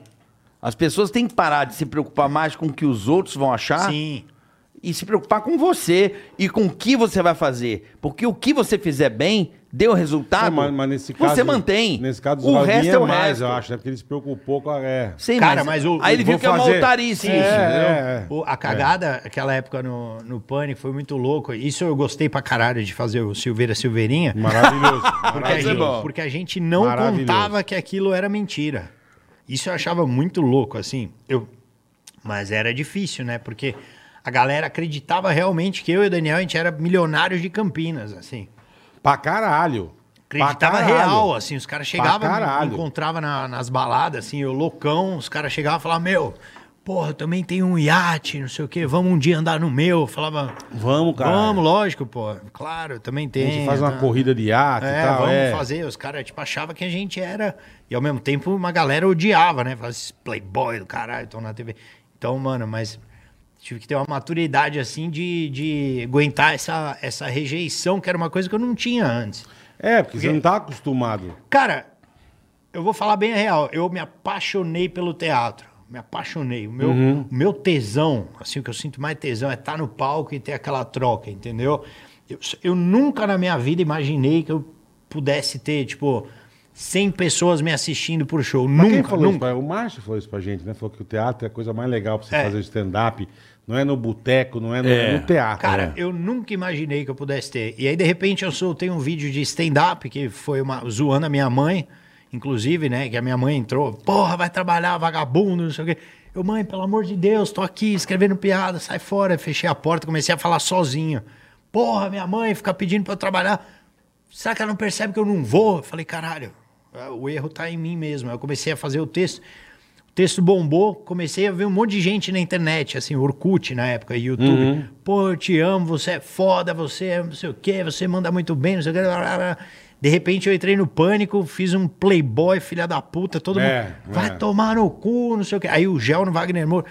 C: As pessoas têm que parar de se preocupar mais com o que os outros vão achar
A: Sim.
C: e se preocupar com você e com o que você vai fazer. Porque o que você fizer bem, deu resultado,
B: É, mas, mas nesse caso,
C: você mantém.
B: Nesse caso,
C: o
B: Rabin
C: resto é o
B: mais,
C: resto.
B: eu acho, né? Porque ele se preocupou com a. É.
C: Sim,
A: Cara, mas o-
C: aí ele viu
B: vou
C: que é uma
B: fazer.
C: altarice.
B: É,
C: isso.
B: é, é.
A: O- a cagada, aquela época no, no Pânico, foi muito louco. Isso eu gostei pra caralho de fazer o Silveira Silveirinha.
C: (laughs)
B: Maravilhoso.
A: Porque a,
C: Isso é
A: gente,
B: maravilhoso.
C: bom.
A: porque a gente não
B: Maravilhoso.
A: contava que aquilo era mentira. Isso eu achava muito louco, assim. Eu, mas era difícil, né? Porque a galera acreditava realmente que eu e o Daniel, a gente era milionários de Campinas, assim.
B: pra caralho.
A: Acreditava
B: Pra caralho.
A: real, assim, os caras
B: caralho.
A: chegavam, me encontrava na- nas baladas, assim, eu loucão, os caras chegavam e falavam, meu, porra, eu também tenho um iate, não sei o quê, vamos um dia andar no meu. Eu falava,
B: Vamos, cara.
A: vamos, lógico, pô, claro, eu também
B: A
A: tenho.
B: gente É, faz uma
A: tá.
B: corrida de arte e
A: É,
B: tal.
A: vamos
B: é.
A: fazer, os caras, tipo, achavam que a gente era, e ao mesmo tempo uma galera odiava, né, falava, esses playboy do caralho, estão na TV. Então, mano, mas tive que ter uma maturidade, assim, de, de aguentar essa, essa rejeição, que era uma coisa que eu não tinha antes.
B: É, porque você não tá acostumado.
A: Cara, eu vou falar bem a real. Eu me apaixonei pelo teatro. Me apaixonei. O meu,
B: Uhum.
A: o meu tesão, assim, o que eu sinto mais tesão é estar no palco e ter aquela troca, entendeu? Eu, eu nunca na minha vida imaginei que eu pudesse ter, tipo, 100 pessoas me assistindo por show.
B: Mas
A: nunca,
B: quem falou
A: nunca.
B: isso? pra- O Márcio falou isso pra gente, né? Falou que o teatro é a coisa mais legal pra você
A: É.
B: fazer stand-up. Não é no boteco, não é no, é no teatro.
A: Cara,
B: né?
A: eu nunca imaginei que eu pudesse ter. E aí, de repente, eu soltei um vídeo de stand-up que foi uma, zoando a minha mãe, inclusive, né? Que a minha mãe entrou, porra, vai trabalhar, vagabundo, não sei o quê. Eu, mãe, pelo amor de Deus, tô aqui escrevendo piada, sai fora. Fechei a porta, comecei a falar sozinho. Porra, minha mãe fica pedindo pra eu trabalhar. Será que ela não percebe que eu não vou? Eu falei, caralho, o erro tá em mim mesmo. Aí Eu comecei a fazer o texto. O texto bombou, comecei a ver um monte de gente na internet, assim, Orkut na época, YouTube.
B: Uhum.
A: Pô, eu te amo, você é foda, você é não sei o quê, você manda muito bem, não sei o quê. blá, blá, blá. De repente eu entrei no pânico, fiz um playboy, filha da puta, todo
B: É,
A: mundo. Vai
B: é.
A: tomar no cu, não sei o quê. Aí o Gel no Wagner Moura.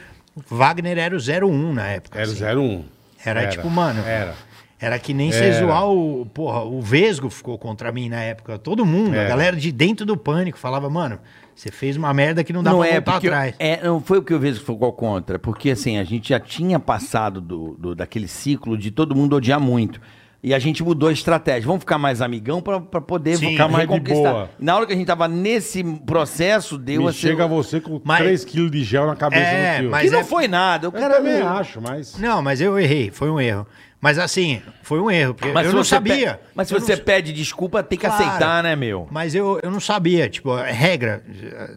A: Wagner era o 01 na época.
B: Era
A: assim.
B: o 01.
A: Era, tipo, mano.
B: Era.
A: Era que nem
B: Era.
A: você zoar o. Porra, o Vesgo ficou contra mim na época. Todo mundo,
B: Era.
A: a galera de dentro do pânico falava, mano, você fez uma merda que não dá
C: não
A: pra
C: é,
A: voltar
C: porque
A: atrás.
C: é, não foi o que eu vejo que ficou contra, porque assim, a gente já tinha passado do, do- daquele ciclo de todo mundo odiar muito. E a gente mudou a estratégia. Vamos ficar mais amigão pra pra poder
A: Sim.
C: ficar mais
B: Ficar mais de boa.
C: Na hora que a gente tava nesse processo, deu
B: Me
C: assim,
B: chega você com
A: Mas-
B: 3kg de gel na cabeça
A: É,
B: do tio.
A: mas-
C: Que não
A: é-
C: foi nada. O
B: Eu
C: cara
B: também
C: não-
B: acho,
C: é-
B: mas...
A: Não, mas eu errei, foi um erro. Mas assim, foi um erro, porque eu
C: se
A: não
C: você
A: sabia.
C: pe- Mas se
A: Eu
C: você
A: não-
C: pede desculpa, tem que
A: Claro.
C: aceitar, né, meu?
A: Mas eu, eu não sabia, tipo, é regra.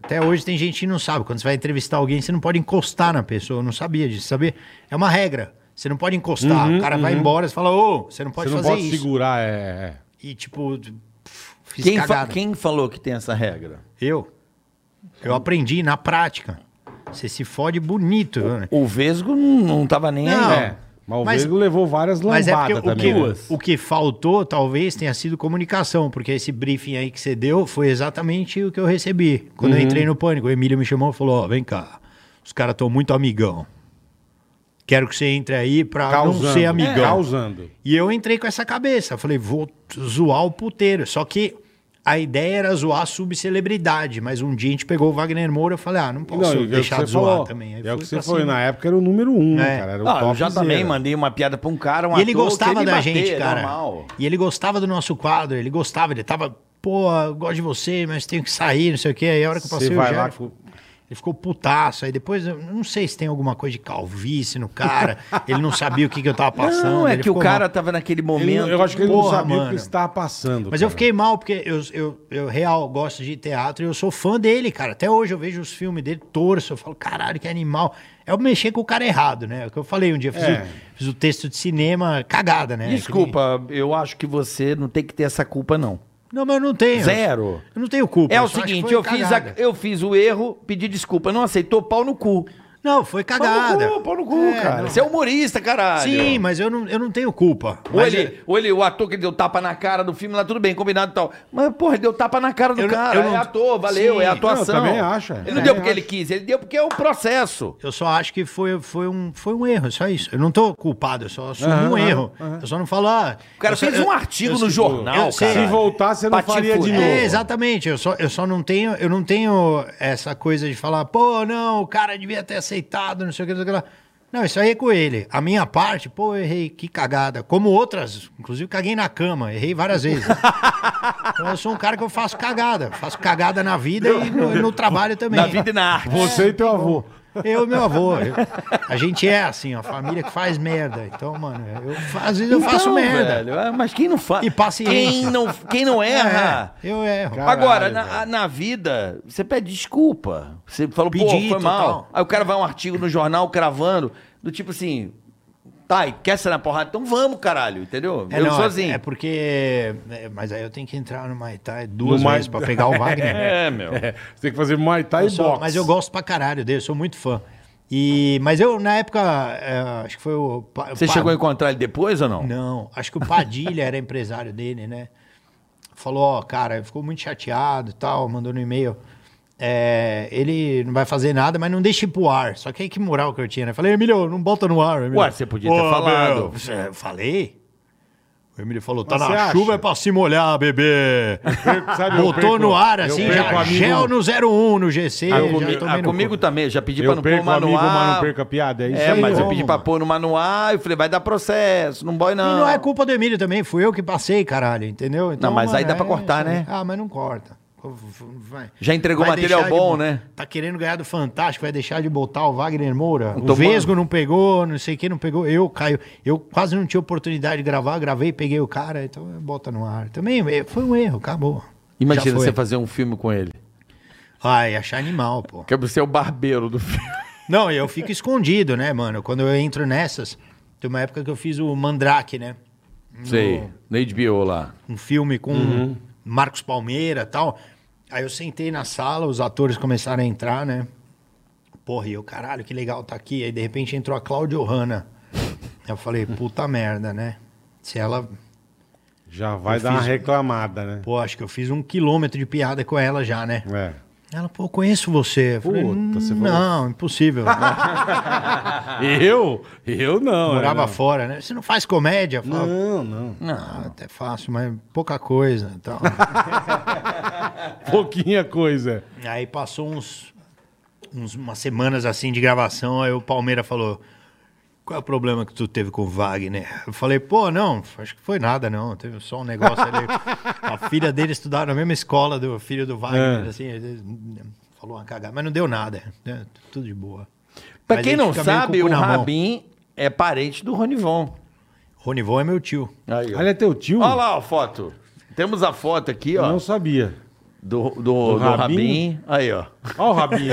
A: Até hoje tem gente que não sabe. Quando você vai entrevistar alguém, você não pode encostar na pessoa. Eu não sabia disso, sabia? É uma regra. Você não pode encostar. o cara vai embora, você fala, ô, você não pode
B: Uhum, você não
A: fazer
B: pode
A: isso.
B: segurar, é...
A: E tipo, pff, fiz
C: Quem, fa-
A: cagada.
C: quem falou que tem essa regra?
A: Eu? Eu aprendi na prática. Você se fode bonito. né?
C: O Vesgo não, não tava nem aí, É.
A: Não,
C: não.
B: é, Mas o
A: Mas-
B: Veigo levou várias
A: Mas
B: lambadas
A: é porque o
B: também.
A: que,
B: né?
A: o que faltou, talvez, tenha sido comunicação, porque esse briefing aí que você deu foi exatamente o que eu recebi. Quando
B: Uhum.
A: eu entrei no pânico, o Emílio me chamou e falou: Ó, vem cá, os caras estão muito amigão. Quero que você entre aí pra
B: Causando.
A: não ser amigão.
B: É. Causando.
A: E eu entrei com essa cabeça. Falei, vou zoar o puteiro. Só que a ideia era zoar a subcelebridade. Mas um dia a gente pegou o Wagner Moura. Eu falei, ah, não
B: Não,
A: posso
B: e é o que
A: deixar
B: você
A: de zoar
B: falou.
A: também.
B: É
A: Aí
B: o
A: fui
B: que você
A: pra
B: foi
A: cima.
B: na época, era o número um,
A: É.
B: cara. Era o
C: Ah, eu já
B: topzera.
C: também mandei uma piada pra um cara, um
A: E ele
C: ator,
A: gostava
C: queria
A: da
C: me bater,
A: gente,
C: é
A: cara.
C: normal.
A: E ele gostava do nosso quadro, ele gostava, ele tava, pô, eu gosto de você, mas tenho que sair, não sei o quê. Aí a hora que eu
B: Você
A: passei o
B: vai
A: gel,
B: lá
A: ele
B: com-
A: ficou- ele ficou putaço. Aí depois, eu não sei se tem alguma coisa de calvície no
B: (laughs)
A: cara, ele não sabia o que, que eu tava passando.
C: Não, é
A: né? ele
C: que o
A: ficou
C: cara
A: mal.
C: tava naquele
B: Ele
C: momento.
B: não- eu acho que ele não
A: Porra,
B: sabia o que
A: mano.
B: estava passando.
A: Mas eu
B: cara.
A: fiquei mal, porque eu, eu, eu real gosto de teatro e eu sou fã dele, cara. Até hoje eu vejo os filmes dele, torço, eu falo, caralho, que animal. É eu mexer com o cara errado, né? É o que eu falei um dia, fiz,
B: É.
A: o, fiz o texto de cinema, cagada, né?
C: Desculpa, eu acho que você não tem que ter essa culpa, não.
A: Não, mas eu não tenho.
C: Zero.
A: Eu não tenho culpa.
C: É
A: eu
C: o
A: só acho que
C: seguinte,
A: foi
C: eu fiz, a-
A: cagada.
C: eu fiz o erro, pedi desculpa, não aceitou, pau no cu.
A: Não, foi cagada.
C: Pau no cu, pau no cu,
A: É,
C: cara.
A: não.
C: Você é humorista, caralho.
A: Sim, mas eu não, eu não tenho culpa.
C: Ou
A: Mas
C: ele, ou ele, o ator que deu tapa na cara do filme lá, tudo bem, combinado e tal. Mas, porra, ele deu tapa na cara do
A: Eu não-
C: cara.
A: eu não-
C: é ator, valeu,
A: Sim.
C: é atuação.
B: Eu também acho, é.
C: Ele não
B: Também
C: deu porque
B: acho.
C: ele quis, ele deu porque é o processo.
A: Eu só acho que foi, foi, um, foi um erro, só isso. Eu não tô culpado, eu só assumo
B: Aham,
A: um
B: aham,
A: erro. Eu só não falo. ah,
C: O cara
A: eu só-
C: fez
A: eu-
C: um artigo
A: eu-
C: no
A: eu-
C: jornal,
A: eu sei.
C: cara.
B: Se voltar, você não
C: Pra te
B: faria de
C: fuder.
B: novo.
A: É, exatamente. Eu só, eu só não tenho, eu não tenho essa coisa de falar, pô, não, o cara devia ter aceitado, não sei o que, não sei o que lá. Não, isso aí é com ele. A minha parte, pô, eu errei, que cagada. Como outras, inclusive caguei na cama, errei
C: (laughs)
A: várias vezes. então eu sou um cara que eu faço cagada. Faço cagada na vida e no, no trabalho também.
C: Na vida e na arte.
B: Você e teu avô.
A: Eu e meu avô. eu- a gente é assim, ó, família que faz merda. Então, mano, eu, fa- às vezes eu faço
C: Então,
A: merda.
C: velho, ah, mas quem não faz?
A: E paciência.
C: Quem não, quem não erra?
A: É, eu erro.
B: Caralho,
C: Agora, na, na vida, você pede desculpa. Você falou, pô,
A: Pedi,
C: foi mal.
A: total.
C: Aí o cara vai um artigo no jornal cravando, do tipo assim, tá, e quer ser na porrada? Então vamos, caralho, entendeu?
A: É,
C: eu assim.
A: não, é-
C: sozinho.
A: É porque. é, mas aí eu tenho que entrar no Maitá duas
B: No Mai-
A: vezes pra
C: (laughs)
A: pegar o Wagner.
C: meu.
B: É, você tem que fazer Muay Thai
A: Eu
B: e
A: sou-
B: boxe.
A: mas eu gosto pra caralho dele, eu sou muito fã. E, mas eu, na época, é, acho que foi o. Pa-
C: Você
A: Pa-
C: chegou a encontrar ele depois ou não?
A: Não, acho que o Padilha era empresário dele, né? Falou, ó, cara, ficou muito chateado e tal, mandou no e-mail. É, ele não vai fazer nada, mas não deixe ir pro ar. Só que aí que moral que eu tinha, né? Falei, Emílio, não bota no ar, Emílio.
C: Ué, você podia ter
A: Ô,
C: falado.
A: meu, você- falei? O Emílio falou, tá
B: Mas você
A: na
B: acha?
A: chuva é pra se
C: (laughs)
A: molhar, bebê.
B: Perco- sabe, eu (laughs)
A: Botou
B: perco-
A: no ar,
B: eu
A: assim,
B: perco
A: já,
B: amigo-
A: gel no 01, no
C: Ah,
A: GC. já
C: comi-
A: tomei
C: ah,
A: no
C: comigo
A: cu.
C: também, eu já pedi pra
B: Eu
C: não pôr
B: perco o amigo,
C: manual.
B: mas não perco a piada. É, isso
C: É,
B: aí,
C: mas eu
B: ó.
C: pedi pra pôr no manual, eu falei, vai dar processo, não boy não.
A: E não é culpa do Emílio também, fui eu que passei, caralho, entendeu?
C: Ah. Não, mas aí dá pra
A: é
C: cortar,
A: isso aí.
C: né?
A: Ah, mas não corta. Vai-
C: Já entregou
A: vai
C: material
A: deixar de
C: bom,
A: bo-
C: né?
A: Tá querendo ganhar do Fantástico, vai deixar de botar o Wagner Moura. O
C: Tomando.
A: Vesgo não pegou, não sei quem não pegou. Eu, Caio, eu quase não tinha oportunidade de gravar, gravei, peguei o cara, então bota no ar. Também eh, foi um erro, acabou. Já
C: Imagina
A: foi.
C: você fazer um filme com ele.
A: Ai, achar animal, pô.
C: Que você é o barbeiro do (laughs) filme.
A: Não, eu fico escondido, né, mano? Quando eu entro nessas, tem uma época que eu fiz o Mandrake, né?
C: Sei, na HBO lá.
A: um filme com
B: Uhum.
A: Marcos Palmeira e tal. Aí eu sentei na sala, os atores começaram a entrar, né? Porra, e eu, caralho, que legal tá aqui. Aí de repente entrou a Cláudia Hanna. Eu falei,
B: Uhum.
A: puta merda, né? Se ela.
B: Já vai
A: Eu
B: dar uma
A: fiz-
B: reclamada, né?
A: Pô, acho que eu fiz um quilômetro de piada com ela já, né?
B: É.
A: Ela, pô, eu conheço você. Eu falei, "Hum,
B: Puta, você falou-
A: não,
B: (laughs)
A: impossível.
B: Eu?
A: Eu
B: Eu não.
A: morava
B: eu não.
A: fora, né? Você não faz comédia? Eu falava,
B: Não, não.
A: "Ah, até faço, mas pouca coisa.
B: (laughs)
A: e Tal.
B: Pouquinha coisa.
A: Aí passou uns, uns- umas semanas assim de gravação, aí o Palmeira falou: Qual é o problema que tu teve com o Wagner? Eu falei, pô, não, acho que foi nada, não. Teve só um
B: (laughs)
A: negócio ali. a filha dele estudava na mesma escola do filho do Wagner,
B: É.
A: assim, às vezes, falou uma cagada, mas não deu nada. né? Tudo de boa.
C: Pra
A: Mas
C: quem
A: ele
C: não
A: fica meio com
C: sabe,
A: cu
C: o
A: na mão.
C: Rabin é parente do Ronivon.
A: Ronivon é meu tio.
C: Aí, ó.
B: Olha, é teu tio?
C: Olha lá a foto. Temos a foto aqui,
B: Eu
C: ó.
B: Não sabia.
C: Do, do, do
B: Rabin?
C: Rabin. Aí, ó.
B: Olha o rabinho aí.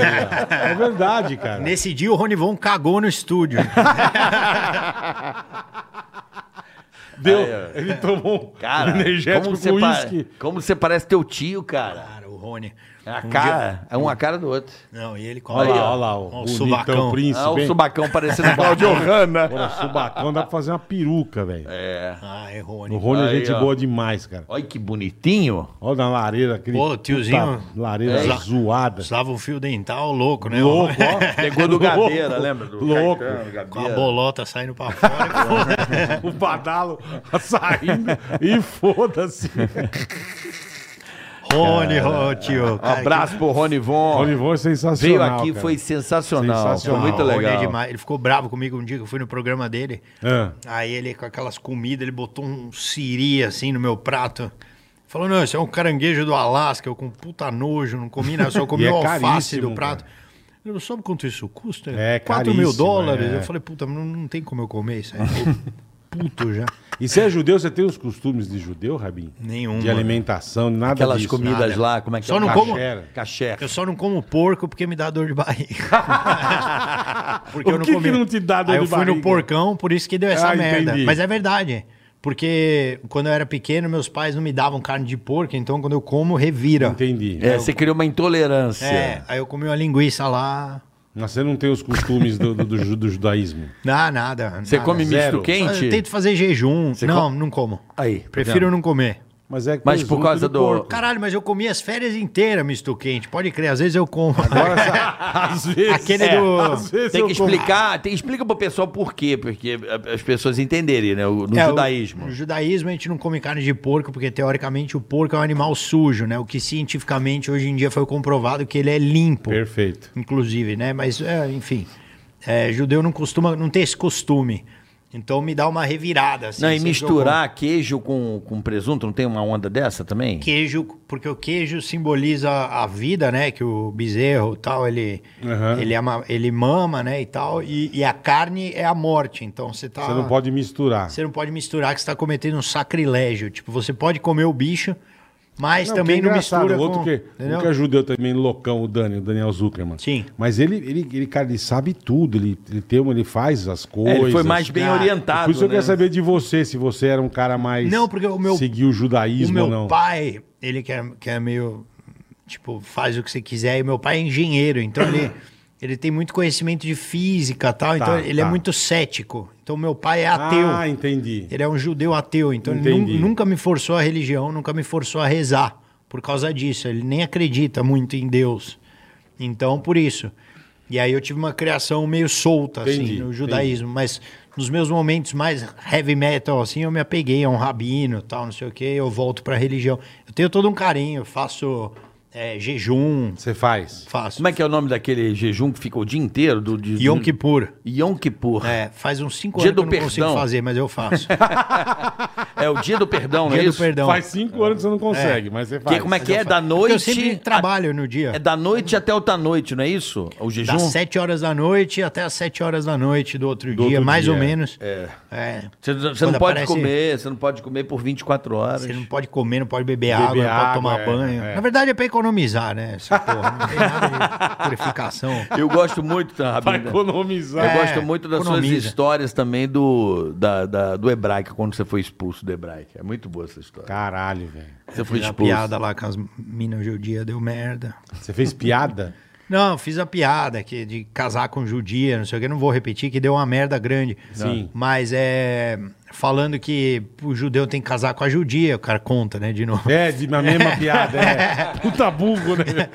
B: ó. É verdade, cara.
A: Nesse dia o Ronivon cagou no estúdio. (laughs)
B: Deu,
C: Aí, ó.
B: ele tomou um
C: Cara,
B: energético
C: como
B: com
C: você, pa-
B: um uísque.
C: como você parece teu tio, cara.
A: Cara, o Rony.
C: É a
A: Um
C: cara, é uma cara do outro.
A: dia- Não, e ele
B: Olha
A: coloca.
B: lá, olha lá. O,
A: Ó, o
B: bonitão
A: subacão.
B: príncipe.
C: Ah, o
B: hein?
C: subacão parecendo (laughs) Claudio
B: Olha,
C: Hanna.
B: o subacão dá pra fazer uma peruca, velho.
A: Ah, é
B: O
A: Rony.
B: Rony é
C: Aí,
B: gente
C: ó.
B: boa demais, cara.
C: Olha que bonitinho.
B: Olha na lareira aquele.
A: Pô, tiozinho.
B: puta Lareira
A: É.
B: zoada.
A: Usava um fio dental louco, né?
B: Louco,
A: (laughs)
B: ó.
C: Pegou (laughs) do Gabeira, lembra? Do
B: Louco.
A: Com a bolota saindo pra
B: (laughs)
A: fora.
B: o badalo (laughs) saindo e foda-se.
A: Rony, ô, tio.
C: Um
A: cara,
C: abraço pro Rony Von.
B: O Livon é sensacional.
C: Veio aqui,
B: cara.
C: foi sensacional.
B: Sensacional.
C: Foi muito
A: Não, o Rony é
C: legal.
A: demais. Ele ficou bravo comigo um dia que eu fui no programa dele.
B: É.
A: Aí ele, com aquelas comidas, ele botou um siri assim no meu prato. Falou, não, isso é um caranguejo do Alasca, eu com puta nojo, não comi, né? Eu só
B: (laughs)
A: comi
B: E é
A: o alface
B: caríssimo,
A: do prato. Eu não soube quanto isso custa?
B: É
A: 4 mil
B: caríssimo,
A: dólares.
B: é.
A: Eu falei, puta, não, não tem como eu comer isso aí. Tô
B: (laughs)
A: puto já.
B: E você é judeu, você tem os costumes de judeu, Rabin?
A: Nenhum,
B: De
A: mano.
B: alimentação, nada
C: Aquelas
B: disso.
C: comidas
A: nada.
C: lá, como é que
A: Só
C: é?
A: não
B: como-
C: Caché.
A: Eu só não como porco porque me dá dor
B: (laughs)
A: de barriga. porque
B: O que que não te dá dor
A: Aí
B: de
A: eu fui no
B: barriga?
A: porcão, por isso que deu essa
B: Ah,
A: merda.
B: entendi.
A: Mas é verdade. Porque quando eu era pequeno, meus pais não me davam carne de porco, então quando eu como, revira.
B: Entendi.
C: É, você criou uma intolerância.
A: É, aí eu comi uma linguiça lá.
B: Mas você não tem os costumes do, do, do ju- do judaísmo.
A: Não, Ah, nada.
C: Você
A: nada.
C: come
B: zero.
C: misto
A: Ah,
C: quente?
A: Eu tento fazer jejum. não, não como.
C: Aí, tá
A: Prefiro não comer.
B: Mas é
C: Mas por
B: presunto
C: causa
B: de
C: do-
B: porco.
A: Caralho, mas eu comi as férias inteiras misto quente. Pode crer, às vezes eu como. (laughs)
C: (laughs)
B: Agora, essa- às vezes.
A: Aquele do-
B: às vezes
C: Tem
B: eu
C: que
B: como-
C: explicar, tem, explica pro pessoal por quê, porque a- as pessoas entenderem, né? o- No
A: É, o-
C: judaísmo.
A: No judaísmo a gente não come carne de porco, porque teoricamente o porco é um animal sujo, né? O que cientificamente hoje em dia foi comprovado que ele é limpo,
B: Perfeito.
A: inclusive, né? Mas, é, enfim, é, judeu não costuma, não tem esse costume. Então me dá uma revirada. Assim,
C: não, e
A: sempre
C: misturar queijo com, com presunto, não tem uma onda dessa também?
A: eu como queijo, porque o queijo simboliza a vida, né? Que o bezerro e tal, ele,
B: Aham.
A: ele, ama- ele mama, né? E tal. E, e a carne é a morte. Então você tá.
B: Você não pode misturar.
A: Você não pode misturar que você está cometendo um sacrilégio. Tipo, você pode comer o bicho, mas
B: Não,
A: também
B: que é
A: não
B: engraçado,
A: mistura
B: o outro
A: com...
B: que,
A: entendeu?
B: o que é judeu também, loucão, o Dani, o Daniel Zuckerman.
A: Sim.
B: Mas ele, ele, ele cara, ele sabe tudo, ele, ele tem uma, ele faz as
C: É,
B: coisas.
C: ele foi mais bem
A: Ah,
C: orientado.
B: Por isso eu
C: né?
B: quero saber de você, se você era um cara mais.
A: Não, porque o meu-
B: Seguiu o judaísmo
A: O meu
B: ou não.
A: pai, ele que é, que é meio... Tipo, faz o que você quiser. E meu pai é engenheiro, então
B: (coughs)
A: ele... Ele tem muito conhecimento de física e tal, então ele é
B: tá.
A: muito cético. Então meu pai é ateu.
B: Ah, entendi.
A: Ele é um judeu ateu, então ele
B: Entendi.
A: nu- nunca me forçou a religião, nunca me forçou a rezar por causa disso. Ele nem acredita muito em Deus. Então, por isso. E aí eu tive uma criação meio solta,
B: Entendi,
A: assim, no judaísmo. Mas nos meus momentos mais heavy metal, assim, eu me apeguei a um rabino, tal, não sei o quê, eu volto pra religião. Eu tenho todo um carinho, faço é, jejum,
B: Você faz.
A: faço...
C: Como é que é o nome daquele jejum que fica o dia inteiro? Do, de,
A: Yom Kippur.
C: Yom Kippur. É.
A: É, faz uns cinco
C: Hum. Dia
A: anos que
C: do
A: eu não
C: perdão.
A: consigo fazer, mas eu faço.
C: o dia do
A: (laughs)
C: perdão, (laughs) não é
A: Dia do
C: isso?
A: perdão.
B: Faz cinco anos que você não consegue, mas você faz.
C: Que, como é que é?
A: Eu fa-
C: Da noite.
A: Eu sempre trabalho no dia.
C: É da noite até outra noite, não é isso? O jejum?
A: Das 7 horas da noite até as 7 horas da noite do outro dia,
B: outro
A: mais
B: dia,
A: ou menos. É.
C: Você, você
A: Quando
C: não pode
A: aparece-
C: comer, você não pode comer por 24 horas.
A: Você não pode comer, não pode beber, água, não
B: água,
A: pode tomar
B: é,
A: banho.
B: é.
A: Na verdade é pra economizar, né? Essa porra. Não tem nada de purificação.
C: Eu gosto muito,
A: (laughs)
C: tá,
B: Pra
C: Rabinho? Eu
B: economizar.
A: É,
C: gosto muito das suas
A: economiza.
C: histórias também do, da, da- do Hebraica, quando você foi expulso do Hebraica. É muito boa essa história.
B: Caralho, velho.
C: Você foi
A: Fiz a
C: expulso.
A: piada lá com as minas judia, deu merda.
B: Você fez piada?
A: Não, fiz a piada que de casar com judia, não sei o que, não vou repetir, que deu uma merda grande.
B: Sim.
A: Mas é. Falando que o judeu tem que casar com a judia, o cara conta, né, de novo.
B: É, de uma mesma piada,
A: (laughs)
B: é. Puta burro, né?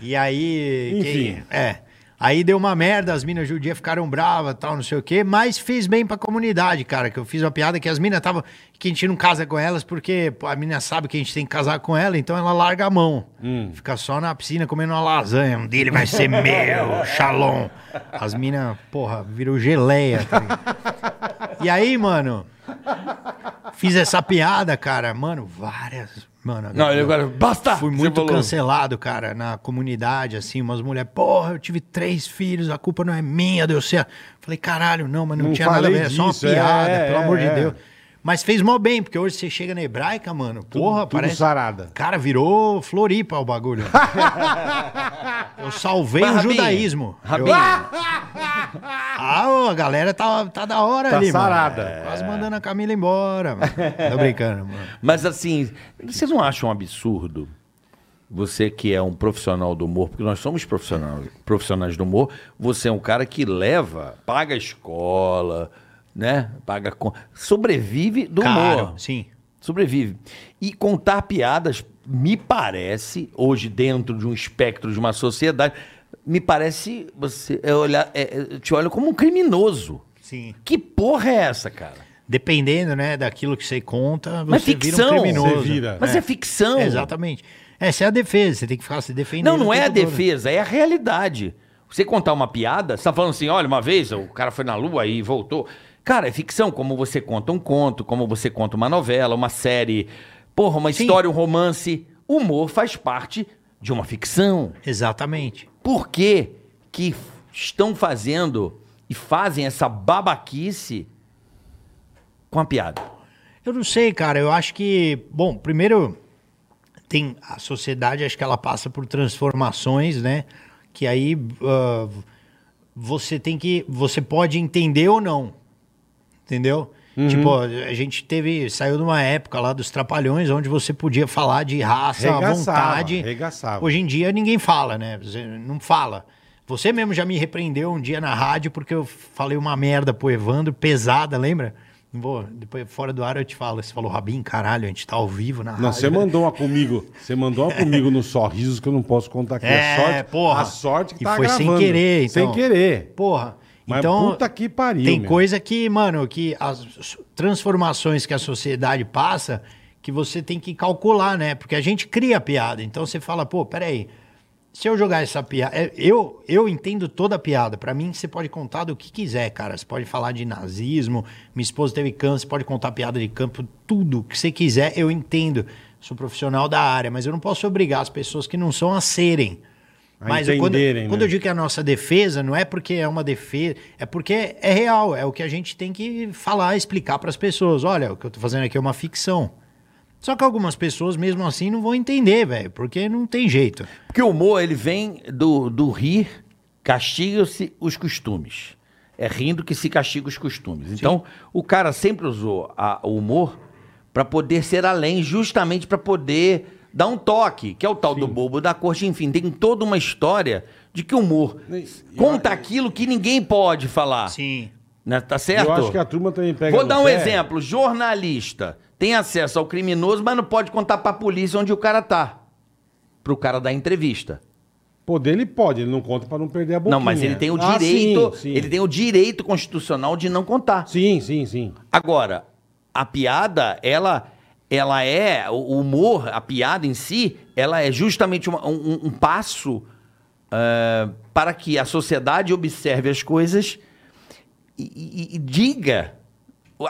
A: E aí.
B: Enfim.
A: que- é. Aí deu uma merda, as minas judias ficaram bravas, tal, não sei o quê, mas fez bem pra comunidade, cara, que eu fiz uma piada que as minas estavam, que a gente não casa com elas porque pô, a mina sabe que a gente tem que casar com ela, então ela larga a mão. Fica só na piscina comendo uma lasanha, um dele vai ser meu, shalom. As minas, porra, virou geleia. tá ligado? e aí, mano, fiz essa piada, cara, mano, várias, mano.
C: Não, ele agora. Basta!
B: (laughs)
A: Fui
C: Você
A: muito
C: falou.
A: cancelado, cara, na comunidade, assim, umas mulheres, porra, eu tive três filhos, a culpa não é minha, deu certo. Falei, caralho, não, mas não,
B: Não
A: tinha nada a
B: falei
A: ver, é só uma
B: disso, é,
A: piada,
B: é,
A: pelo amor
B: é.
A: de Deus. Mas fez mó bem, porque hoje você chega na hebraica, mano, porra,
B: tudo
A: parece...
B: sarada.
A: Cara, virou Floripa
B: (laughs)
A: o bagulho. eu salvei
C: Mas,
A: o
C: Rabinho,
A: um judaísmo.
C: Rabinho.
A: Eu- Ah, ô, a galera tá, tá da hora
B: Tá
A: ali, mano. É,
B: sarada. É.
A: Quase mandando a
B: (laughs)
A: Camila embora, mano. Tô brincando, mano.
C: Mas assim, vocês não acham um absurdo Você que é um profissional do humor, porque nós somos profissionais, profissionais do humor, você é um cara que leva, paga escola, né? Paga con- sobrevive do humor.
A: Caro, sim.
C: Sobrevive. E contar piadas, me parece, hoje dentro de um espectro de uma sociedade, me parece você é olhar, é- é- eu te olho como um criminoso.
A: Sim.
C: Que porra é essa, cara?
A: Dependendo, né, daquilo que você conta,
C: Mas
A: você
C: ficção.
A: vira um criminoso.
B: Você vira.
C: Mas é, ficção.
A: Exatamente. Essa é a defesa, você tem que ficar se defendendo.
C: Não,
A: o
C: não é a
A: tempo todo.
C: defesa, é a realidade. Você contar uma piada, você tá falando assim, olha, uma vez o cara foi na lua e voltou. Cara, é ficção, como você conta um conto, como você conta uma novela, uma série, porra, uma
A: Sim.
C: história, um romance. Humor faz parte de uma ficção.
A: Exatamente.
C: Por que que estão fazendo e fazem essa babaquice com a piada?
A: Eu não sei, cara. Eu acho que, bom, primeiro tem a sociedade, acho que ela passa por transformações, né? Que aí ah, você tem que, você pode entender ou não, entendeu?
B: Uhum.
A: Tipo, a gente teve, saiu de uma época lá dos trapalhões, onde você podia falar de raça à
B: Regaçava,
A: vontade.
B: regaçava.
A: Hoje em dia ninguém fala, né? Você não fala. Você mesmo já me repreendeu um dia na rádio porque eu falei uma merda pro Evandro, pesada, lembra? Não vou, depois fora do ar eu te falo. Você falou, Rabin, caralho, a gente tá ao vivo na
C: Ah,
B: Não,
A: rádio.
B: você mandou uma comigo. Você mandou uma comigo nos sorrisos que eu não posso contar aqui.
A: É, porra.
B: A sorte que
A: E
B: tá
A: foi sem
B: gravando.
A: querer, então.
B: Sem querer.
A: Porra.
B: Mas
A: então,
B: puta que pariu,
A: Tem
B: meu.
A: coisa que, mano, que as s- transformações que a sociedade passa, que você tem que calcular, né? Porque a gente cria a piada. Então você fala, pô, peraí. Se eu jogar essa piada. é, Eu, eu entendo toda a piada. Pra mim, você pode contar do que quiser, cara. Você pode falar de nazismo. Minha esposa teve câncer, pode contar piada de campo. Tudo que você quiser, eu entendo. Sou profissional da área, mas eu não posso obrigar as pessoas que não são a serem.
B: A
A: mas eu- quando-
B: entenderem, né?
A: quando eu digo que a nossa defesa não é porque é uma defesa, é porque é real, é o que a gente tem que falar, explicar para as pessoas. Olha, o que eu tô fazendo aqui é uma ficção. Só que algumas pessoas, mesmo assim, não vão entender, velho, porque não tem jeito.
C: Porque o humor, ele vem do, do rir, castigam-se os costumes. É rindo que se castiga os costumes. Então, o cara sempre usou a- o humor para poder ser além, justamente para poder dar um toque, que é o tal do bobo da corte. Enfim, tem toda uma história de que o humor
B: E- e
C: conta aquilo que ninguém pode falar.
A: Sim.
C: Né? Tá
B: Eu
C: certo?
B: acho que a turma também pega
C: Vou
B: no
C: dar um
B: pé.
C: exemplo. Jornalista tem acesso ao criminoso, mas não pode contar pra polícia onde o cara tá. Pro cara dar entrevista.
B: Poder ele pode, ele não conta pra não perder a boquinha.
C: Não, mas ele tem o
B: Ah,
C: direito,
B: sim, sim.
C: ele tem o direito constitucional de não contar.
B: Sim, sim, sim.
C: Agora, a piada, ela ela é o humor, a piada em si, ela é justamente uma- um, um passo ah, para que a sociedade observe as coisas e, e- e diga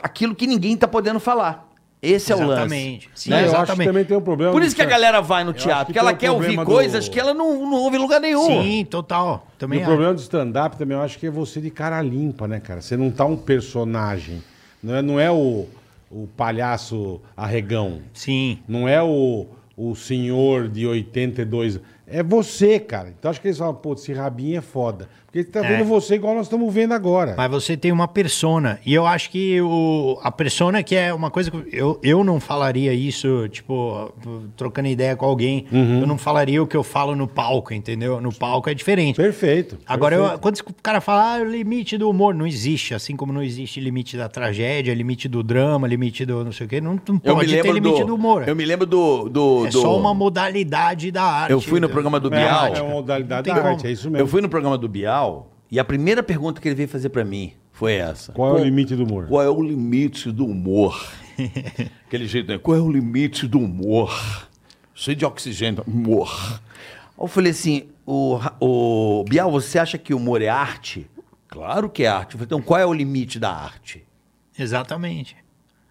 C: aquilo que ninguém está podendo falar. Esse é o lance.
A: Exatamente. Sim,
B: Não, Né? eu acho que
A: exatamente.
B: também tem um problema.
C: Por isso que a
B: do-
C: galera vai no
B: acho
C: teatro, porque
B: que
C: ela
B: tem o
C: quer ouvir
B: problema do-
C: coisas que ela não, não ouve em lugar nenhum.
A: um Sim, total.
B: um E
A: Também
B: o
A: acho.
B: problema do stand-up também, eu acho que é você de cara limpa, né, cara? Você não tá um personagem. Não é, não é o, o palhaço arregão.
A: Sim.
B: Não é o, o senhor de 82. É você, cara. Então acho que eles falam, pô, esse rabinho é foda. Porque ele tá
A: É.
B: vendo você igual nós estamos vendo agora.
A: Mas você tem uma persona. E eu acho que o, a persona que é uma coisa que. Eu, eu não falaria isso, tipo, trocando ideia com alguém.
C: Uhum.
A: Eu não falaria o que eu falo no palco, entendeu? No palco é diferente.
B: Perfeito.
A: Agora, eu-
B: perfeito.
A: quando esse- o cara fala, ah, o limite do humor não existe, assim como não existe limite da tragédia, limite do drama, limite do não sei o quê, não, não
C: Eu me
A: pode ter
C: lembro
A: limite
C: do,
A: do, humor.
C: Eu me lembro do do,
A: é
C: do-
A: só uma modalidade da arte.
C: Eu fui no programa do
B: É,
C: Bial.
B: é
A: um
B: uma modalidade
A: Não
B: da
A: tem
B: arte,
A: como.
B: é isso mesmo.
C: Eu fui no programa do Bial e a primeira pergunta que ele veio fazer pra mim foi essa.
B: Qual é o limite do humor?
C: Qual é o limite do
B: (laughs)
C: humor? Aquele jeito, né? Qual é o limite do humor? Cheio de oxigênio, humor. Aí Eu falei assim, o, Ra- o Bial, você acha que humor é arte? Claro que é arte. Eu falei, então qual é o limite da arte?
A: Exatamente.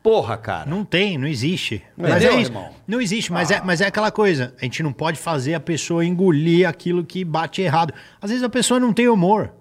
C: Porra, cara.
A: Não tem, não existe.
C: Mas
A: Mas
C: é,
A: é isso.
C: irmão. Ah.
A: Não existe, mas, é, mas é aquela coisa. A gente não pode fazer a pessoa engolir aquilo que bate errado. Às vezes a pessoa não tem humor.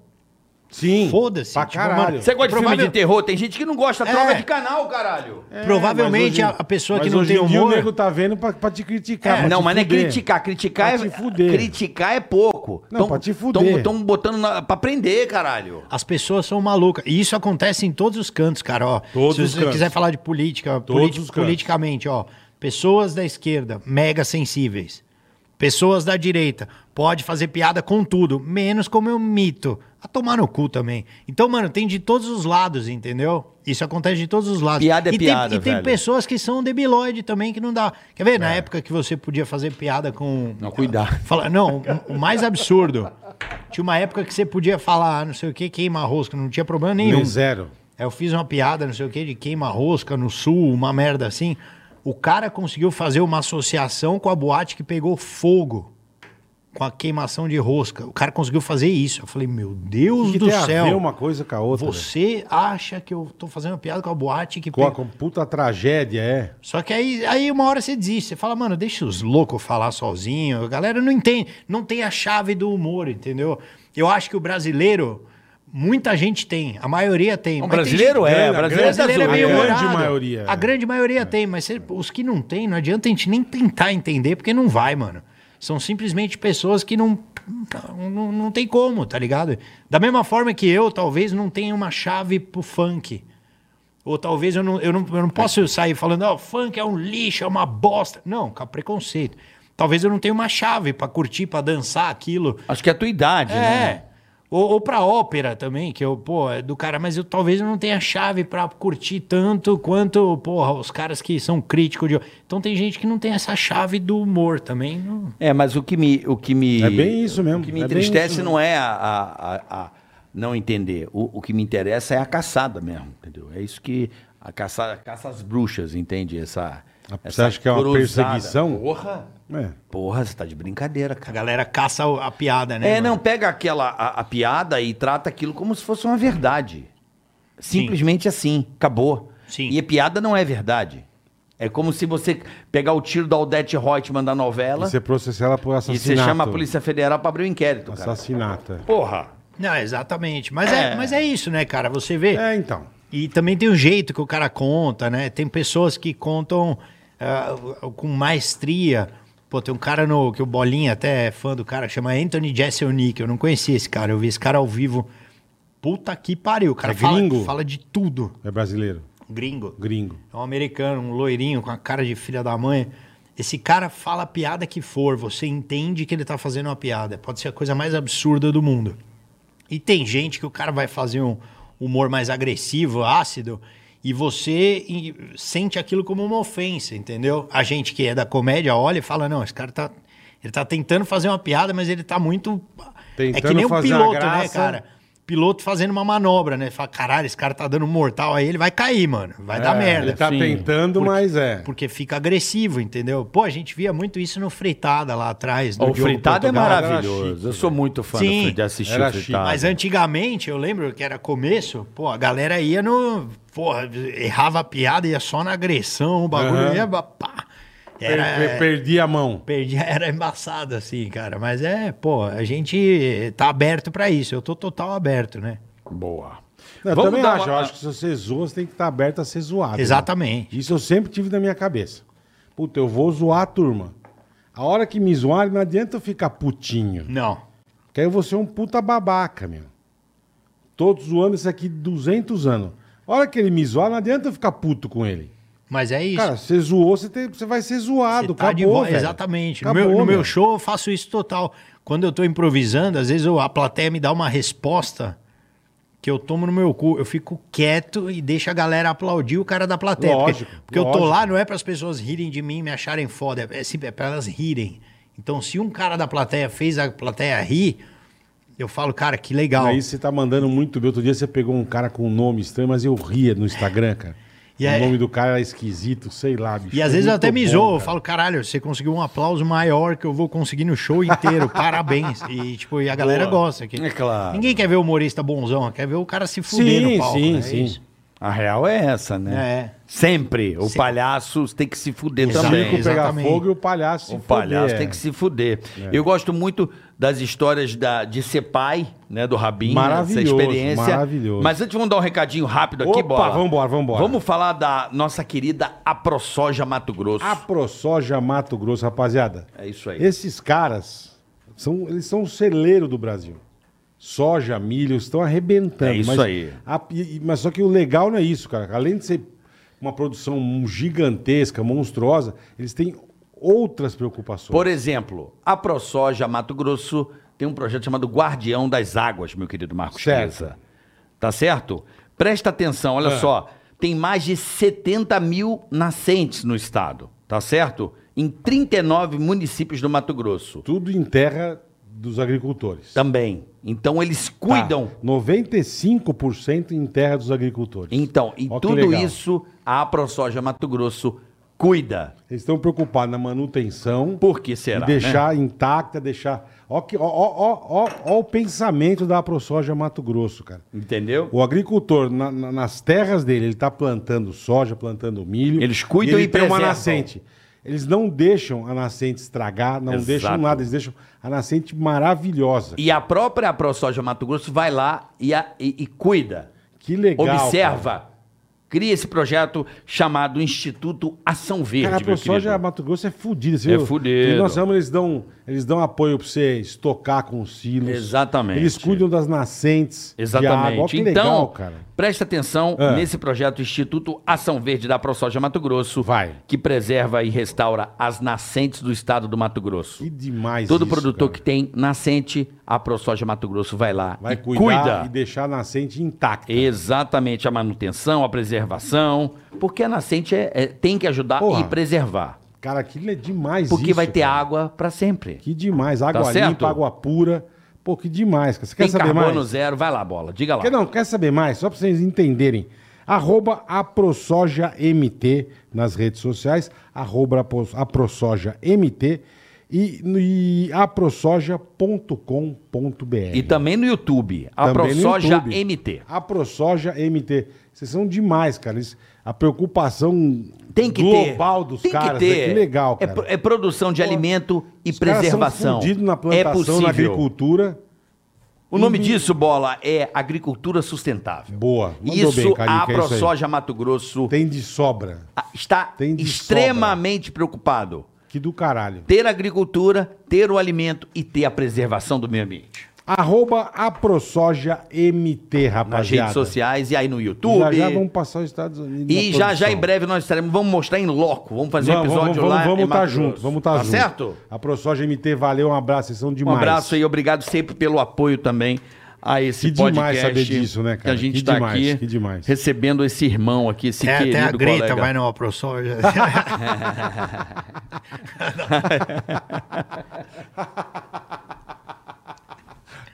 B: Sim.
A: Foda-se,
B: Pra
A: tipo,
B: caralho.
A: mano,
C: Você gosta de filme
A: Provável-
C: de terror? Tem gente que não gosta.
A: É.
C: Troca de canal, caralho.
A: Provavelmente a, a pessoa que não tem
B: E o
A: humor.
B: nego tá vendo pra, pra te criticar. pra
C: não,
B: te
C: mas não é
B: fuder.
C: criticar. Criticar
B: Pra
C: é,
B: te fuder.
C: criticar é pouco.
B: Não, pra te fuder.
C: Estão botando na, pra prender, caralho.
A: As pessoas são malucas. E isso acontece em todos os cantos, cara. Ó,
B: Todos
A: se
B: os
A: você
B: cantos.
A: quiser falar de política,
B: Todos
A: politi-
B: os cantos.
A: politicamente, ó. Pessoas da esquerda, mega sensíveis. Pessoas da direita, pode fazer piada com tudo, menos com o meu mito. A tomar no cu também. Então, mano, tem de todos os lados, entendeu? Isso acontece de todos os lados.
C: Piada é
A: e
C: piada,
A: Tem, e tem
C: velho.
A: pessoas que são debilóide também, que não dá. Quer ver?
B: É.
A: Na época que você podia fazer piada com.
C: Não, cuidado.
A: Fala, não, o o mais absurdo. Tinha uma época que você podia falar, ah, não sei o que, queima rosca, não tinha problema nenhum.
B: Nem zero.
A: Aí Eu fiz uma piada, não sei o que, de queima-rosca no sul, uma merda assim. O cara conseguiu fazer uma associação com a boate que pegou fogo com a queimação de rosca. O cara conseguiu fazer isso. Eu falei, meu Deus
B: que
A: do
B: tem a ver
A: céu.
B: uma coisa com a outra. velho?
A: Você acha que eu tô fazendo uma piada com a boate que
B: Com a
A: pegou.
B: com puta tragédia, é.
A: Só que aí, aí uma hora você desiste. Você fala, mano, deixa os loucos falar sozinho. A galera não entende, não tem a chave do humor, entendeu? Eu acho que o brasileiro, muita gente tem, a maioria tem.
C: O
A: mas tem
C: brasileiro é,
A: gente-
B: grande-
C: o brasileiro
B: grande-
C: tá zoando.
A: brasileiro é meio
B: A grande
A: humorado.
B: maioria,
A: A
B: é.
A: grande maioria tem, mas cê- os que não tem, não adianta a gente nem tentar entender, porque não vai, mano. São simplesmente pessoas que não, não, não tem como, tá ligado? Da mesma forma que eu, talvez, não tenha uma chave pro funk. Ou talvez eu não, eu não, eu não posso sair falando, ó, funk é um lixo, é uma bosta. Não, com preconceito. Talvez eu não tenha uma chave pra curtir, pra dançar aquilo.
C: Acho que é a tua idade,
A: É.
C: né?
A: Ou, ou pra ópera também, que eu, pô, é do cara, mas eu talvez eu não tenha chave pra curtir tanto quanto, porra, os caras que são críticos de. Então tem gente que não tem essa chave do humor também. Não...
C: É, mas o que me. O que me
B: É bem isso mesmo,
C: O que me
B: é bem isso
C: entristece
B: mesmo.
C: não é a, a- a- a não entender. O, o que me interessa é a caçada mesmo, entendeu? É isso que. A caça, caça às bruxas, entende? Essa.
B: Você
C: essa
B: acha que é uma
C: cruzada.
B: perseguição?
C: Porra!
B: É.
C: Porra, você tá de brincadeira,
A: A
C: cara.
A: galera caça a piada, né?
C: É,
A: mano?
C: não, pega aquela a, a piada e trata aquilo como se fosse uma verdade. Simplesmente assim, acabou.
A: Sim.
C: E a piada não é verdade. É como se você pegar o tiro da Odete Reutemann da novela
B: E você processa ela por
C: e
B: assassinato.
C: você chama a Polícia Federal pra abrir um inquérito, cara.
B: Assassinato. é.
C: Porra.
A: Não, exatamente. Mas é.
C: É.
A: mas é isso, né, cara? Você (laughs) vê.
B: É, então.
A: E também tem o jeito que o cara conta, né? Tem pessoas que contam ah, com maestria. Pô, tem um cara no, que o Bolinha até é fã do cara, chama Anthony Jeselnik. Eu não conhecia esse cara, eu vi esse cara ao vivo. Puta que pariu, o cara
B: É
A: fala,
B: gringo?
A: fala de tudo.
B: É brasileiro.
A: Gringo.
B: Gringo.
A: É um americano, um loirinho com a cara de filha da mãe. Esse cara fala a piada que for, você entende que ele tá fazendo uma piada. Pode ser a coisa mais absurda do mundo. E tem gente que o cara vai fazer um humor mais agressivo, ácido, e você e, sente aquilo como uma ofensa, entendeu? A gente que é da comédia olha e fala: não, esse cara tá. Ele tá tentando fazer uma piada, mas ele tá muito. é que
B: Tentando
A: nem o
B: fazer uma
A: piloto, né,
B: graça.
A: cara? Piloto fazendo uma manobra, né? Fala, caralho, esse cara tá dando um mortal aí, ele vai cair, mano. Vai dar
B: É,
A: merda.
B: Ele tá
C: sim.
B: tentando, mas é.
A: Porque fica agressivo, entendeu? Pô, a gente via muito isso no Fritada lá atrás. do
C: O
A: Diogo
C: fritado é
A: Portugal.
B: era
C: maravilhoso.
B: chique,
C: eu sou muito fã
A: Sim,
C: do, de assistir
B: era
C: o fritado.
B: chique.
A: Mas é- antigamente, eu lembro que era começo, pô, a galera ia no. Porra, errava a piada, ia só na agressão, o bagulho
B: Aham.
A: ia. Pá,
B: Per- per-
A: era,
B: Perdi a mão.
A: perdi, (laughs) era embaçado assim, cara. Mas é, pô, a gente tá aberto pra isso. Eu tô total aberto, né?
C: Boa.
B: Não, eu
C: Vamos
B: também
C: dar
B: acho.
C: uma-
B: Eu acho que se você zoa, você tem que estar aberto a ser zoado. né?
A: Exatamente.
B: Isso eu sempre tive na minha cabeça. Puta, eu vou zoar a turma. A hora que me zoarem, não adianta eu ficar putinho.
A: Não.
B: Que aí eu vou ser um puta babaca, meu. Tô zoando isso aqui 200 anos. A hora que ele me zoar, não adianta eu ficar puto com ele.
A: Mas é isso.
B: Cara, você zoou, você, tem- você vai ser zoado.
A: Você tá de
B: acabou,
A: volta,
B: velho.
A: Exatamente.
B: Acabou,
A: no meu, no meu
B: meu.
A: show eu faço isso total. Quando eu tô improvisando, às vezes eu- a plateia me dá uma resposta que eu tomo no meu cu. Eu fico quieto e deixo a galera aplaudir o cara da plateia.
B: Lógico,
A: porque porque eu tô
B: lógico.
A: lá não é para as pessoas rirem de mim, me acharem foda. É, sim- é para elas rirem. Então, se um cara da plateia fez a plateia rir, eu falo, cara, que legal.
B: Aí você tá mandando muito bem. Outro dia você pegou um cara com um nome estranho, mas eu ria no Instagram, cara.
A: E
B: o
C: é-
A: aí-
B: nome do cara era esquisito, sei lá, bicho.
A: E às
B: Foi
A: vezes eu
B: muito
A: até me
B: bom,
A: zoo, eu
B: cara.
A: falo, caralho, você conseguiu um aplauso maior que eu vou conseguir no show
B: (laughs)
A: inteiro, parabéns. E, tipo, e a galera gosta. Que...
C: É claro.
A: Ninguém quer ver o humorista bonzão, quer ver o cara se fuder
B: Sim,
A: no palco.
B: sim,
A: né? É
B: sim.
A: isso.
C: A real é essa, né?
A: É.
C: Sempre. O palhaço tem que se fuder
A: Exato.
B: O
C: também.
B: circo pegar
A: Exatamente.
B: fogo e o palhaço se
C: O palhaço
B: foder,
C: tem
B: é.
C: que se fuder. Eu gosto muito das histórias da, de ser pai, né? Do Rabinho. né, Essa
B: Maravilhoso,
C: experiência.
B: maravilhoso.
C: Mas antes, vamos dar um recadinho rápido aqui,
B: Opa,
C: Bola.
B: vambora, vambora.
C: Vamos falar da nossa querida AproSoja Mato Grosso.
B: A ProSoja Mato Grosso, rapaziada.
C: É isso aí.
B: Esses caras, são, eles são o celeiro do Brasil. Soja, milho, estão arrebentando.
C: É isso
B: mas
C: aí.
B: a- e- e- mas só que o legal não é isso, cara. Além de ser uma produção gigantesca, monstruosa, eles têm outras preocupações.
C: Por exemplo, a ProSoja Mato Grosso tem um projeto chamado Guardião das Águas, meu querido Marcos
B: Certo. É.
C: Pisa. Tá certo? Presta atenção, olha só. Tem mais de 70 mil nascentes no estado, tá certo? Em 39 municípios do Mato Grosso.
B: Tudo em terra dos agricultores.
C: Também. Então eles Tá. cuidam.
B: Tá. 95% em terra dos agricultores.
C: Então, em
B: Ó que
C: tudo
B: legal.
C: isso, a ProSoja Mato Grosso cuida.
B: Eles estão preocupados na manutenção
C: Por que
B: e
C: será? né?
B: deixar intacta, deixar. Ó, que- ó, ó, ó, ó, ó o pensamento da ProSoja Mato Grosso, cara.
C: Entendeu?
B: O agricultor, na- na- nas terras dele, ele está plantando soja, plantando milho.
C: Eles cuidam e
B: ele tem uma
C: preservam.
B: nascente. Eles não deixam a nascente estragar, não
C: Exato.
B: deixam nada, eles deixam a nascente maravilhosa.
C: E a própria ProSoja Mato Grosso vai lá e, a- e- e cuida.
B: Que legal.
C: Observa.
B: Cara,
C: Cria esse projeto chamado Instituto Ação Verde.
B: cara a
C: meu
B: ProSoja
C: um querido.
B: Mato Grosso é fudida.
C: É fudido.
B: Nós vamos, eles dão, eles dão apoio para você estocar com os silos.
C: Exatamente.
B: Eles cuidam das nascentes. de água. Ó,
C: Exatamente.
B: que
C: então,
B: legal, cara.
C: presta atenção
B: É.
C: nesse projeto Instituto Ação Verde da ProSoja Mato Grosso,
B: Vai.
C: que preserva e restaura as nascentes do estado do Mato Grosso.
B: Que demais
C: Todo
B: isso,
C: produtor
B: cara.
C: que tem nascente, a ProSoja Mato Grosso vai lá
B: Vai
C: e
B: cuidar
C: cuida.
B: e deixar a nascente intacta.
C: Exatamente, a manutenção, a preservação, porque a nascente é- é- tem que ajudar
B: Porra.
C: e preservar,
B: Cara, aquilo é demais
C: porque
B: isso,
C: vai ter
B: cara.
C: água para sempre.
B: Que demais. Água
C: Tá certo?
B: limpa, água pura. Pô, que demais. cara. Você quer
C: Tem
B: saber
C: carbono
B: mais?
C: zero, vai lá, bola, diga lá.
B: Quer, não, quer saber mais? Só pra vocês entenderem. Arroba AproSojaMT nas redes sociais. Arroba Apro- AproSojaMT e, no- e aprosoja.com.br.
C: E também no YouTube, a
B: Também no
C: ProSoja
B: YouTube.
C: MT.
B: A ProSoja MT. Vocês são demais, cara. Eles- a preocupação
C: Tem que ter.
B: global dos
C: tem
B: caras.
C: Que,
B: né?
C: ter.
B: Que legal,
C: É
B: cara.
C: pro- É, produção de alimento e
B: Os caras são
C: preservação.
B: fudidos na
C: é
B: plantação,
C: possível.
B: na agricultura.
C: O nome disso, bola, é agricultura sustentável.
B: Boa. Mandou
C: Isso
B: bem, Carica,
C: a
B: é isso aí.
C: ProSoja Mato Grosso
B: Tem de sobra.
C: ah, está
B: Tem de
C: extremamente preocupado.
B: Que do caralho.
C: Ter agricultura, ter o alimento e ter a preservação do meio ambiente.
B: Arroba AproSojaMT, rapaziada.
C: Nas redes sociais e aí no YouTube.
B: Já já vamos passar os Estados Unidos.
C: E já
B: na
C: já em
B: produção.
C: breve nós estaremos, vamos mostrar em loco, vamos fazer um
B: Vamos,
C: episódio
B: vamos,
C: lá. em
B: vamos, vamos estar
C: Mato
B: juntos.
C: Grosso.
B: Vamos estar
C: tá
B: juntos.
C: certo?
B: A ProSoja MT, valeu, um abraço, vocês são
C: Um
B: demais.
C: abraço aí, obrigado sempre pelo apoio também a esse
B: Que
C: podcast.
B: demais saber disso, né,
C: Que
B: cara?
C: a gente
B: Que
C: está
B: demais,
C: aqui
B: que demais.
C: recebendo esse irmão aqui, esse
A: Até,
C: querido
A: até É, a Greta
C: colega.
A: vai né?
B: (laughs)
A: no ProSoja. (laughs)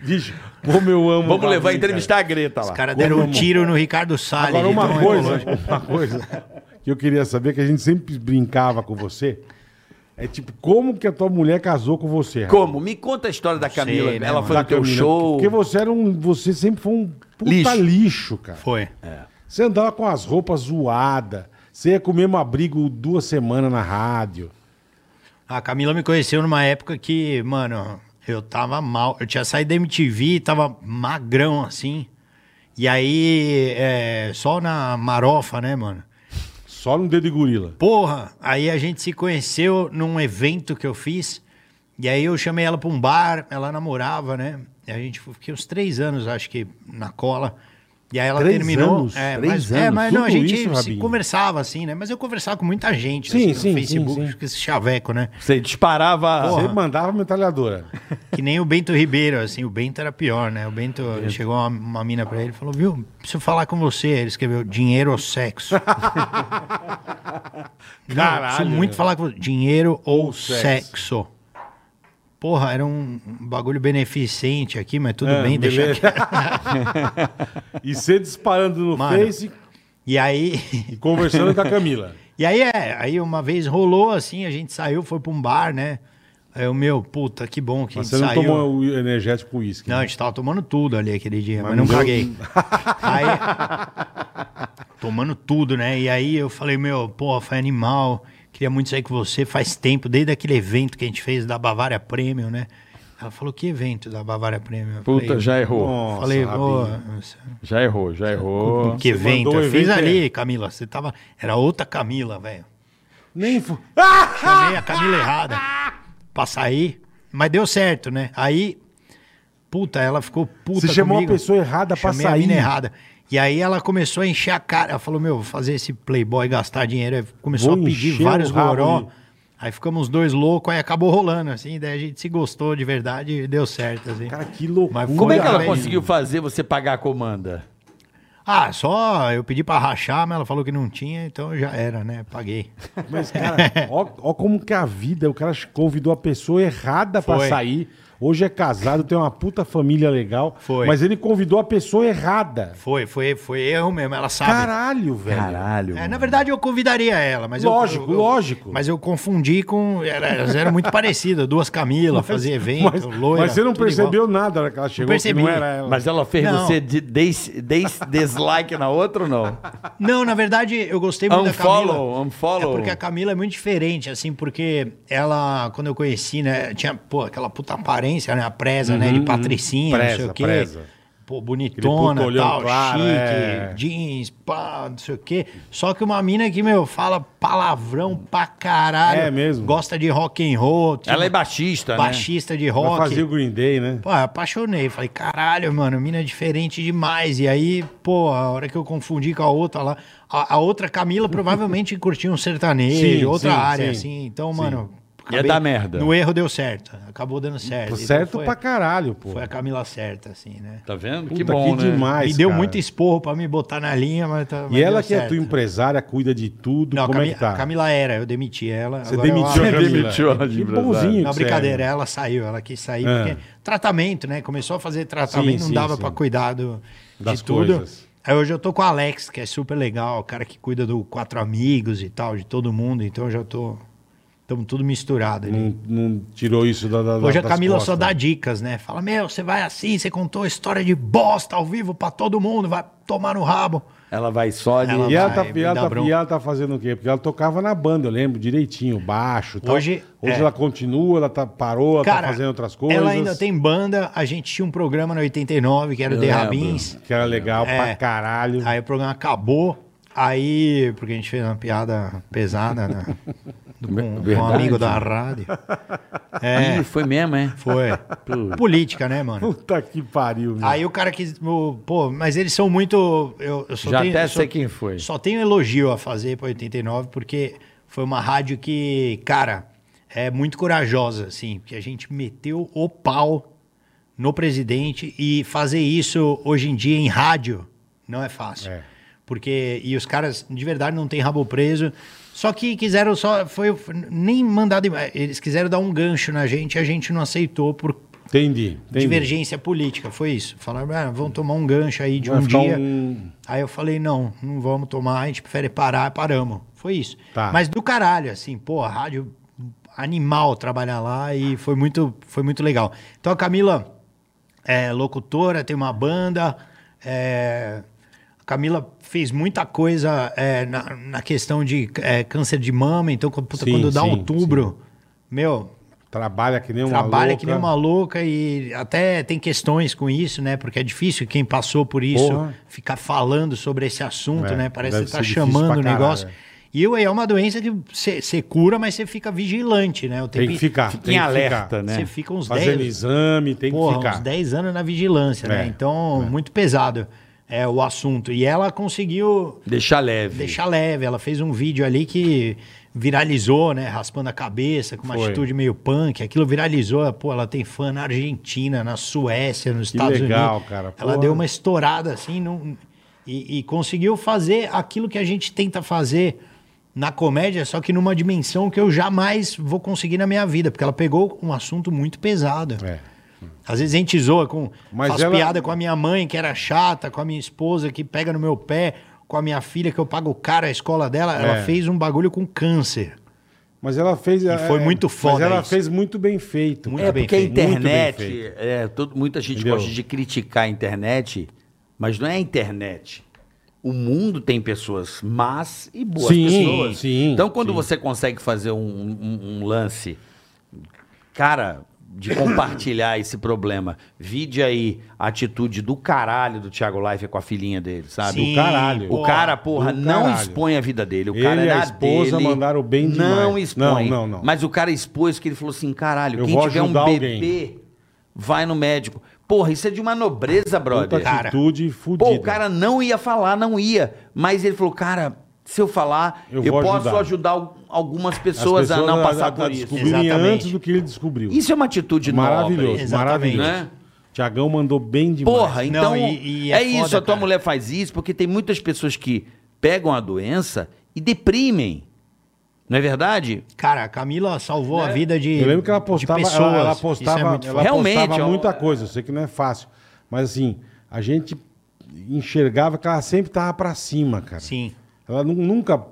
B: Vixe, como eu
C: (laughs)
B: amo.
C: Vamos
B: o
C: levar a
B: Davi,
C: entrevistar a Greta lá.
A: Os caras deram um tiro no Ricardo Salles. então, é
B: Agora,
A: de
B: uma
A: tão longe.
B: coisa, (laughs) uma coisa que eu queria saber, que a gente sempre brincava com você, é tipo, como que a tua mulher casou com você? rapaz?
C: Como? Me conta a história da Camila.
A: né,
C: Ela
A: mano?
C: foi no
B: Da
C: teu
B: Camila?
C: show.
B: Porque você era um. Você sempre foi um puta
C: Lixo.
B: lixo, cara.
A: Foi.
B: Você andava com as roupas zoadas. Você ia com o mesmo abrigo duas semanas na rádio.
A: A Camila me conheceu numa época que, mano, eu tava mal. Eu tinha saído da MTV, tava magrão assim. E aí, é, só na marofa, né, mano?
B: Só no dedo de gorila.
A: Porra, aí a gente se conheceu num evento que eu fiz. E aí eu chamei ela pra um bar, ela namorava, né? E a gente ficou- fiquei uns três anos, acho que, na cola. E aí ela
B: Três
A: terminou.
B: anos?
A: é,
B: Três
A: mas, É,
B: anos?
A: mas não, a
B: Tudo
A: gente
B: isso,
A: se
B: Rabinho?
A: conversava assim, né? Mas eu conversava com muita gente
B: Sim,
A: assim,
B: sim, sim,
A: no Facebook,
B: sim.
A: com esse chaveco, né?
C: Você disparava.
B: Você
A: Porra.
B: mandava metralhadora.
A: Que nem o Bento Ribeiro, assim, o Bento era pior, né? O Bento, chegou uma, uma mina pra ele e falou, viu, preciso falar com você. Ele escreveu, dinheiro
B: (laughs)
A: ou sexo? Não, preciso muito
B: meu.
A: falar com você. Dinheiro ou,
B: Ou sexo.
A: sexo. Porra, era um um bagulho beneficente aqui, mas tudo
B: É,
A: bem, deixa
B: beleza.
A: aqui.
B: E você disparando no
A: Mano.
B: Face
A: E aí, (laughs)
B: e conversando com a Camila.
A: e aí é, aí uma vez rolou assim, a gente saiu, foi pra um bar, né? Aí o meu, puta, que bom que
B: Mas
A: a
B: você
A: gente
B: não
A: saiu.
B: tomou o energético com uísque.
A: Não, a
B: né?
A: gente tava tomando tudo ali aquele dia,
B: Mas
A: mas, não
B: não deu-
A: caguei.
B: (laughs)
A: aí, tomando tudo, né? E aí eu falei, meu, pô, foi animal, queria muito sair com você, faz tempo, desde aquele evento que a gente fez da Bavária Premium, né? Ela falou, que evento da Bavária Premium? Eu
E: Puta,
A: falei,
E: já errou.
B: é- Nossa,
A: Falei, ô,
B: Rabinho.
E: Já errou, já errou.
A: que evento?
B: mandou o
A: Eu fiz
B: evento,
A: ali, Camila, você tava... Era outra Camila, velho.
B: Nem fu... Ah!
A: Chamei a Camila errada pra sair, mas deu certo, né? Aí, puta, ela ficou puta
B: Você chamou
A: comigo.
B: a pessoa errada pra
A: Chamei a
B: sair.
A: mina errada. E aí ela começou a encher a cara. Ela falou, meu, vou fazer esse playboy gastar dinheiro. Aí começou
B: Vou
A: a pedir
B: encher
A: vários
B: o rabo
A: goró.
B: de-
A: Aí ficamos os dois loucos, aí acabou rolando, assim. Daí a gente se gostou de verdade e deu certo, assim.
B: Cara, que loucura.
A: Mas
C: Como é
A: Olha,
C: que ela
A: velho.
C: conseguiu fazer você pagar a comanda?
A: Ah, só eu pedi pra rachar, mas ela falou que não tinha, então já era, né? Paguei.
B: Mas, cara, ó, ó como que é a vida, o cara convidou a pessoa errada pra
A: Foi.
B: sair. Hoje é casado, tem uma puta família legal.
A: Foi.
B: Mas ele convidou a pessoa errada.
A: Foi, foi, foi erro mesmo, ela sabe.
B: Caralho, velho.
C: Caralho.
A: É, na verdade, eu convidaria ela, mas
B: Lógico,
A: eu, eu- eu-
B: lógico.
A: Mas eu confundi com. era- Elas eram muito parecidas, duas Camila, fazia evento,
B: Mas,
A: loira.
B: mas você não
A: tudo igual.
B: percebeu nada na hora que ela chegou, que
A: percebi.
B: não era ela.
C: Mas ela fez
A: Não.
C: você de, des- des- dislike na outra ou não?
A: Não, na verdade, eu gostei muito da Camila.
C: Unfollow, unfollow.
A: É porque a Camila é muito diferente, assim, porque ela, quando eu conheci, né, tinha, pô, aquela puta aparência, né, a presa, né, de patricinha, não sei
B: Uhum, Presa,
A: o quê.
B: presa.
A: Pô,
B: Aquele puto
A: bonitona,
B: olhão
A: tal,
B: claro,
A: chique,
B: é.
A: jeans, pá, não sei o quê. Só que uma mina que, meu, fala palavrão pra caralho.
B: É mesmo?
A: Gosta de rock and roll.
C: (laughs)
A: tipo,
C: Ela é baixista, né?
A: baixista de
B: Vai
A: rock.
B: fazer o Green Day, né?
A: Pô, eu apaixonei. Falei, caralho, mano, mina é diferente demais. E aí, pô, a hora que eu confundi com a outra lá, a, a outra
B: (laughs)
A: Camila provavelmente curtia um sertanejo,
B: Sim,
A: outra
B: sim,
A: área,
B: sim.
A: assim. Então, mano.
C: Ia dar merda.
A: No erro deu certo. Acabou dando certo. Então
B: certo
A: foi,
B: pra caralho, pô.
A: Foi a Camila certa, assim, né?
C: Tá vendo?
B: Puta,
C: que bom, né?
B: demais,
A: me deu
B: Tá cara.
A: muito esporro pra me botar na linha, mas. tá- mas
B: E ela
A: deu
B: que é
A: certo.
B: tua empresária, cuida de tudo,
A: Não, a
B: como
A: Cami-
B: é que tá?
A: a Camila era, eu demiti ela.
B: Você
A: agora eu-
B: demitiu,
A: Ah,
B: a Camila.
C: demitiu ela de
B: Que
C: empresária.
B: bonzinho.
A: Não,
B: que você é.
A: brincadeira, ela saiu, ela quis sair,
B: É.
A: porque tratamento, né? Começou a fazer tratamento,
B: Sim,
A: não
B: sim,
A: dava
B: sim.
A: pra cuidar do,
B: Das
A: de tudo.
B: coisas.
A: Aí hoje eu tô com o Alex, que é super legal, o cara que cuida do Quatro Amigos e tal, de todo mundo, então eu já tô. Estamos tudo misturado ali.
B: Não, não tirou isso da. da
A: Hoje a
B: das
A: Camila só
B: Hum, costas.
A: dá dicas, né? Fala, meu, você vai assim, você contou história de bosta ao vivo pra todo mundo, vai tomar no rabo.
C: Ela vai só de.
A: Ela
B: E ela,
A: Vai,
B: tá,
A: Ah, é, me
B: e, ela
A: dá
B: tá-
A: bronca.
B: e ela tá fazendo o quê? Porque ela tocava na banda, eu lembro, direitinho, baixo. Tal.
A: Hoje-
B: Hoje
A: é.
B: ela continua, ela tá, parou, ela
A: Cara,
B: tá fazendo outras coisas.
A: ela ainda tem banda, a gente tinha um programa no 89, que era o
C: Eu
A: Derrabins.
B: Que era legal
A: É.
B: pra caralho.
A: Aí o programa acabou. Aí, porque a gente fez uma piada pesada,
C: (laughs)
A: né? Do- com, com um
C: Verdade.
A: amigo da rádio. É,
C: Ih, foi mesmo, é?
A: foi. Política, né, mano?
B: Puta que pariu, meu.
A: Aí o cara quis. o- Pô, mas eles são muito. Eu, eu só
C: Já
A: tenho,
C: até
A: eu só-
C: sei quem foi.
A: Só tenho elogio a fazer pra 89, porque foi uma rádio que, cara, é muito corajosa, assim, porque a gente meteu o pau no presidente e fazer isso hoje em dia em rádio não é fácil.
B: É.
A: Porque, e os caras de verdade não têm rabo preso, só que quiseram só, foi, foi- nem mandado, em- eles quiseram dar um gancho na gente e a gente não aceitou por
B: Entendi, entendi.
A: divergência política, foi isso. Falaram, ah, vamos tomar um gancho aí de
B: Vai
A: um
B: ficar
A: dia.
B: um-
A: Aí eu falei, não, não vamos tomar, a gente prefere parar, paramos. Foi isso.
B: Tá.
A: Mas do caralho, assim, pô, a rádio animal trabalhar lá e foi muito, foi muito legal. Então a Camila é locutora, tem uma banda, é, a Camila fez muita coisa é, na, na questão de é, câncer de mama, então quando, puta,
B: Sim,
A: quando dá
B: sim,
A: outubro, meu,
B: Trabalha que nem uma
A: trabalha
B: louca.
A: que nem uma louca e até tem questões com isso, né? Porque é difícil quem passou por isso
B: Porra.
A: ficar falando sobre esse assunto,
B: É,
A: né? Parece que
B: deve
A: você tá
B: ser difícil pra
A: chamando o negócio.
B: caralho,
A: E ué, é uma doença que você cura, mas você fica vigilante, né? O
B: Tem que ficar.
C: Fica
B: tem
C: em
B: que
C: alerta,
B: ficar.
C: né?
A: Você fica uns
B: Fazendo
A: 10
B: exame, tem
A: Porra,
B: que ficar.
A: uns 10 anos na vigilância, né?
B: É,
A: Então, muito pesado é o assunto. E ela conseguiu
C: Deixar leve.
A: deixar leve. Ela fez um vídeo ali que viralizou, né? Raspando a cabeça, com uma
B: Foi.
A: atitude meio punk. Aquilo viralizou. Pô, ela tem fã na Argentina, na Suécia, nos
B: Que
A: Estados
B: legal,
A: Unidos.
B: cara.
A: Ela
B: Porra.
A: deu uma estourada assim num- e, e conseguiu fazer aquilo que a gente tenta fazer na comédia, só que numa dimensão que eu jamais vou conseguir na minha vida, porque ela pegou um assunto muito pesado.
B: É.
A: Às vezes a gente zoa com.
B: Mas
A: faz
B: ela-
A: piada com a minha mãe, que era chata, com a minha esposa, que pega no meu pé, com a minha filha, que eu pago caro a escola dela.
B: É.
A: Ela fez um bagulho com câncer.
B: Mas ela fez. é,
A: foi muito foda
B: Mas ela
A: isso.
B: fez muito bem feito.
A: Muito
B: cara.
C: É
A: bem
C: porque a
A: feito.
B: Muito bem
C: internet,
B: feito.
C: é, todo- muita gente
B: Entendeu?
C: gosta de criticar a internet, mas não é a internet. O mundo tem pessoas más e boas
B: Sim,
C: pessoas.
B: sim,
C: então, quando
B: sim.
C: você consegue fazer um, um- um lance, cara, de compartilhar esse problema, vide aí a atitude do caralho do Thiago Life com a filhinha dele, sabe?
A: Sim,
C: O
B: Ah, caralho.
C: o cara,
B: Do
C: porra, não
B: caralho.
C: expõe a vida dele. O
B: Ele
C: cara
B: e
C: é
B: a
C: na
B: esposa
C: dele.
B: mandaram bem
C: Não
B: demais.
C: expõe.
B: Não, não, não.
C: Mas o cara expôs que ele falou assim, caralho,
B: Eu
C: quem
B: vou
C: tiver um bebê
B: ajudar
C: vai no médico. Porra, isso é de uma nobreza, brother.
B: Puta
A: Cara,
B: atitude
C: Pô,
B: fudida.
C: o cara não ia falar, não ia. Mas ele falou, cara, se eu falar,
B: Eu
C: eu,
B: vou
C: posso
B: ajudar.
C: ajudar, al- algumas pessoas, a não passar por isso.
B: descobrirem
A: Exatamente.
B: tá antes do que ele descobriu.
C: Isso é uma atitude
B: maravilhoso,
C: nobre.
A: Exatamente.
B: maravilhoso.
C: Né?
B: Tiagão mandou bem demais.
C: Porra, então
A: Não, e- e é
C: é, isso,
A: foda,
C: a tua
A: cara.
C: mulher faz isso porque tem muitas pessoas que pegam a doença e deprimem. Não é verdade?
A: Cara, a Camila salvou a vida de,
B: Eu lembro que ela
A: de
B: postava, ela-
A: pessoas.
B: ela
A: Isso é
B: postava,
A: muito
B: ela
A: foda.
C: Realmente,
B: postava
C: é um-
B: muita coisa. Eu sei que não é fácil, mas assim, a gente enxergava que ela sempre tava pra cima, cara.
A: Sim.
B: Ela nu- nunca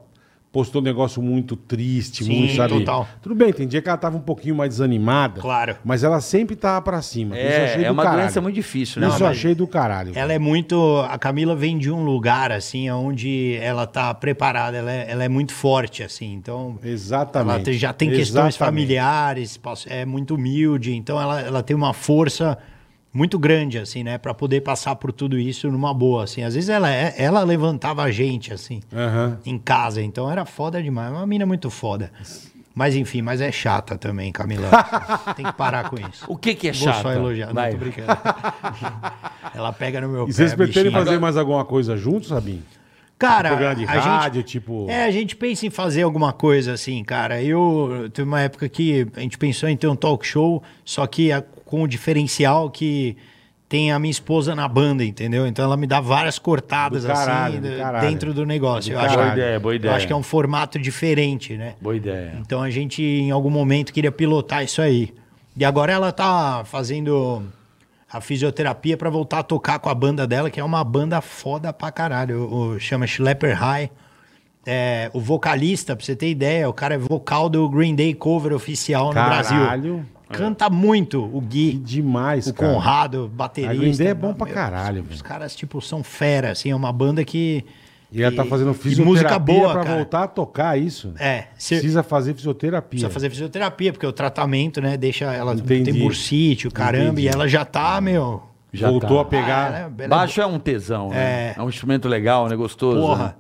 B: postou um negócio muito triste,
A: Sim,
B: muito, sabe?
A: total.
B: Tudo bem, tem dia que ela tava um pouquinho mais desanimada.
A: Claro.
B: Mas ela sempre tava pra cima. Isso eu achei
C: É, é
B: do
C: uma
B: caralho.
C: doença muito difícil, né?
B: Isso eu
A: Não, mas-
B: achei do caralho.
A: Ela é muito. A Camila vem de um lugar, assim, onde ela tá preparada, ela é, ela é muito forte, assim. Então,
B: Exatamente.
A: ela te- já tem questões
B: Exatamente.
A: familiares, pass- é muito humilde. Então, ela, ela tem uma força muito grande, assim, né? Pra poder passar por tudo isso numa boa, assim. Às vezes ela, é- ela levantava a gente, assim,
B: Aham.
A: em casa. Então, era foda demais. Uma mina muito foda. Mas, enfim, mas é chata também, Camila. tem que parar com isso.
C: O que, que é
A: Vou
C: chato?
A: só elogiar,
C: Vai.
A: não tô brincando. Ela pega no meu pé.
B: E vocês
A: a
B: pretendem
A: bichinha.
B: fazer mais alguma coisa juntos, Sabinho? Tipo,
A: Cara,
B: programa de
A: a gente-
B: rádio, tipo-
A: É, a gente pensa em fazer alguma coisa assim, cara. Eu teve uma época que a gente pensou em ter um talk show, só que a- com o diferencial que tem a minha esposa na banda, entendeu? Então ela me dá várias cortadas
B: Do caralho,
A: assim
B: do
A: de-
B: caralho.
A: dentro do negócio.
B: Do
A: eu acho,
B: caralho.
A: que-
B: Boa ideia,
C: boa
A: Eu
C: ideia.
A: acho que é um formato diferente, né?
C: Boa ideia.
A: Então a gente, em algum momento, queria pilotar isso aí. E agora ela tá fazendo a fisioterapia pra voltar a tocar com a banda dela, que é uma banda foda pra caralho. O, o- chama Schlepper High. É, o vocalista, pra você ter ideia, o cara é vocal do Green Day cover oficial no
B: Caralho.
A: Brasil. Canta muito o
B: Que
A: Gui,
B: demais,
A: o
B: cara.
A: Conrado, baterista.
B: A Green Day é bom pra
A: Meu,
B: caralho,
A: Os
B: velho.
A: caras, tipo, são fera, assim, é uma banda que...
B: E ela tá fazendo
A: que- que música
B: fisioterapia
A: boa,
B: pra
A: cara.
B: voltar a tocar isso.
A: É, se-
B: Precisa fazer fisioterapia.
A: Precisa fazer fisioterapia, porque o tratamento, né, deixa ela
B: É. Entendi.
A: tem bursite, o caramba,
B: Entendi.
A: e ela já tá, meu.
B: Voltou
C: tá.
B: a pegar.
A: Ah, ela é- ela é-
C: Baixo é um tesão, né? É,
A: É.
C: um instrumento legal, né? Gostoso.
A: Porra.
C: né?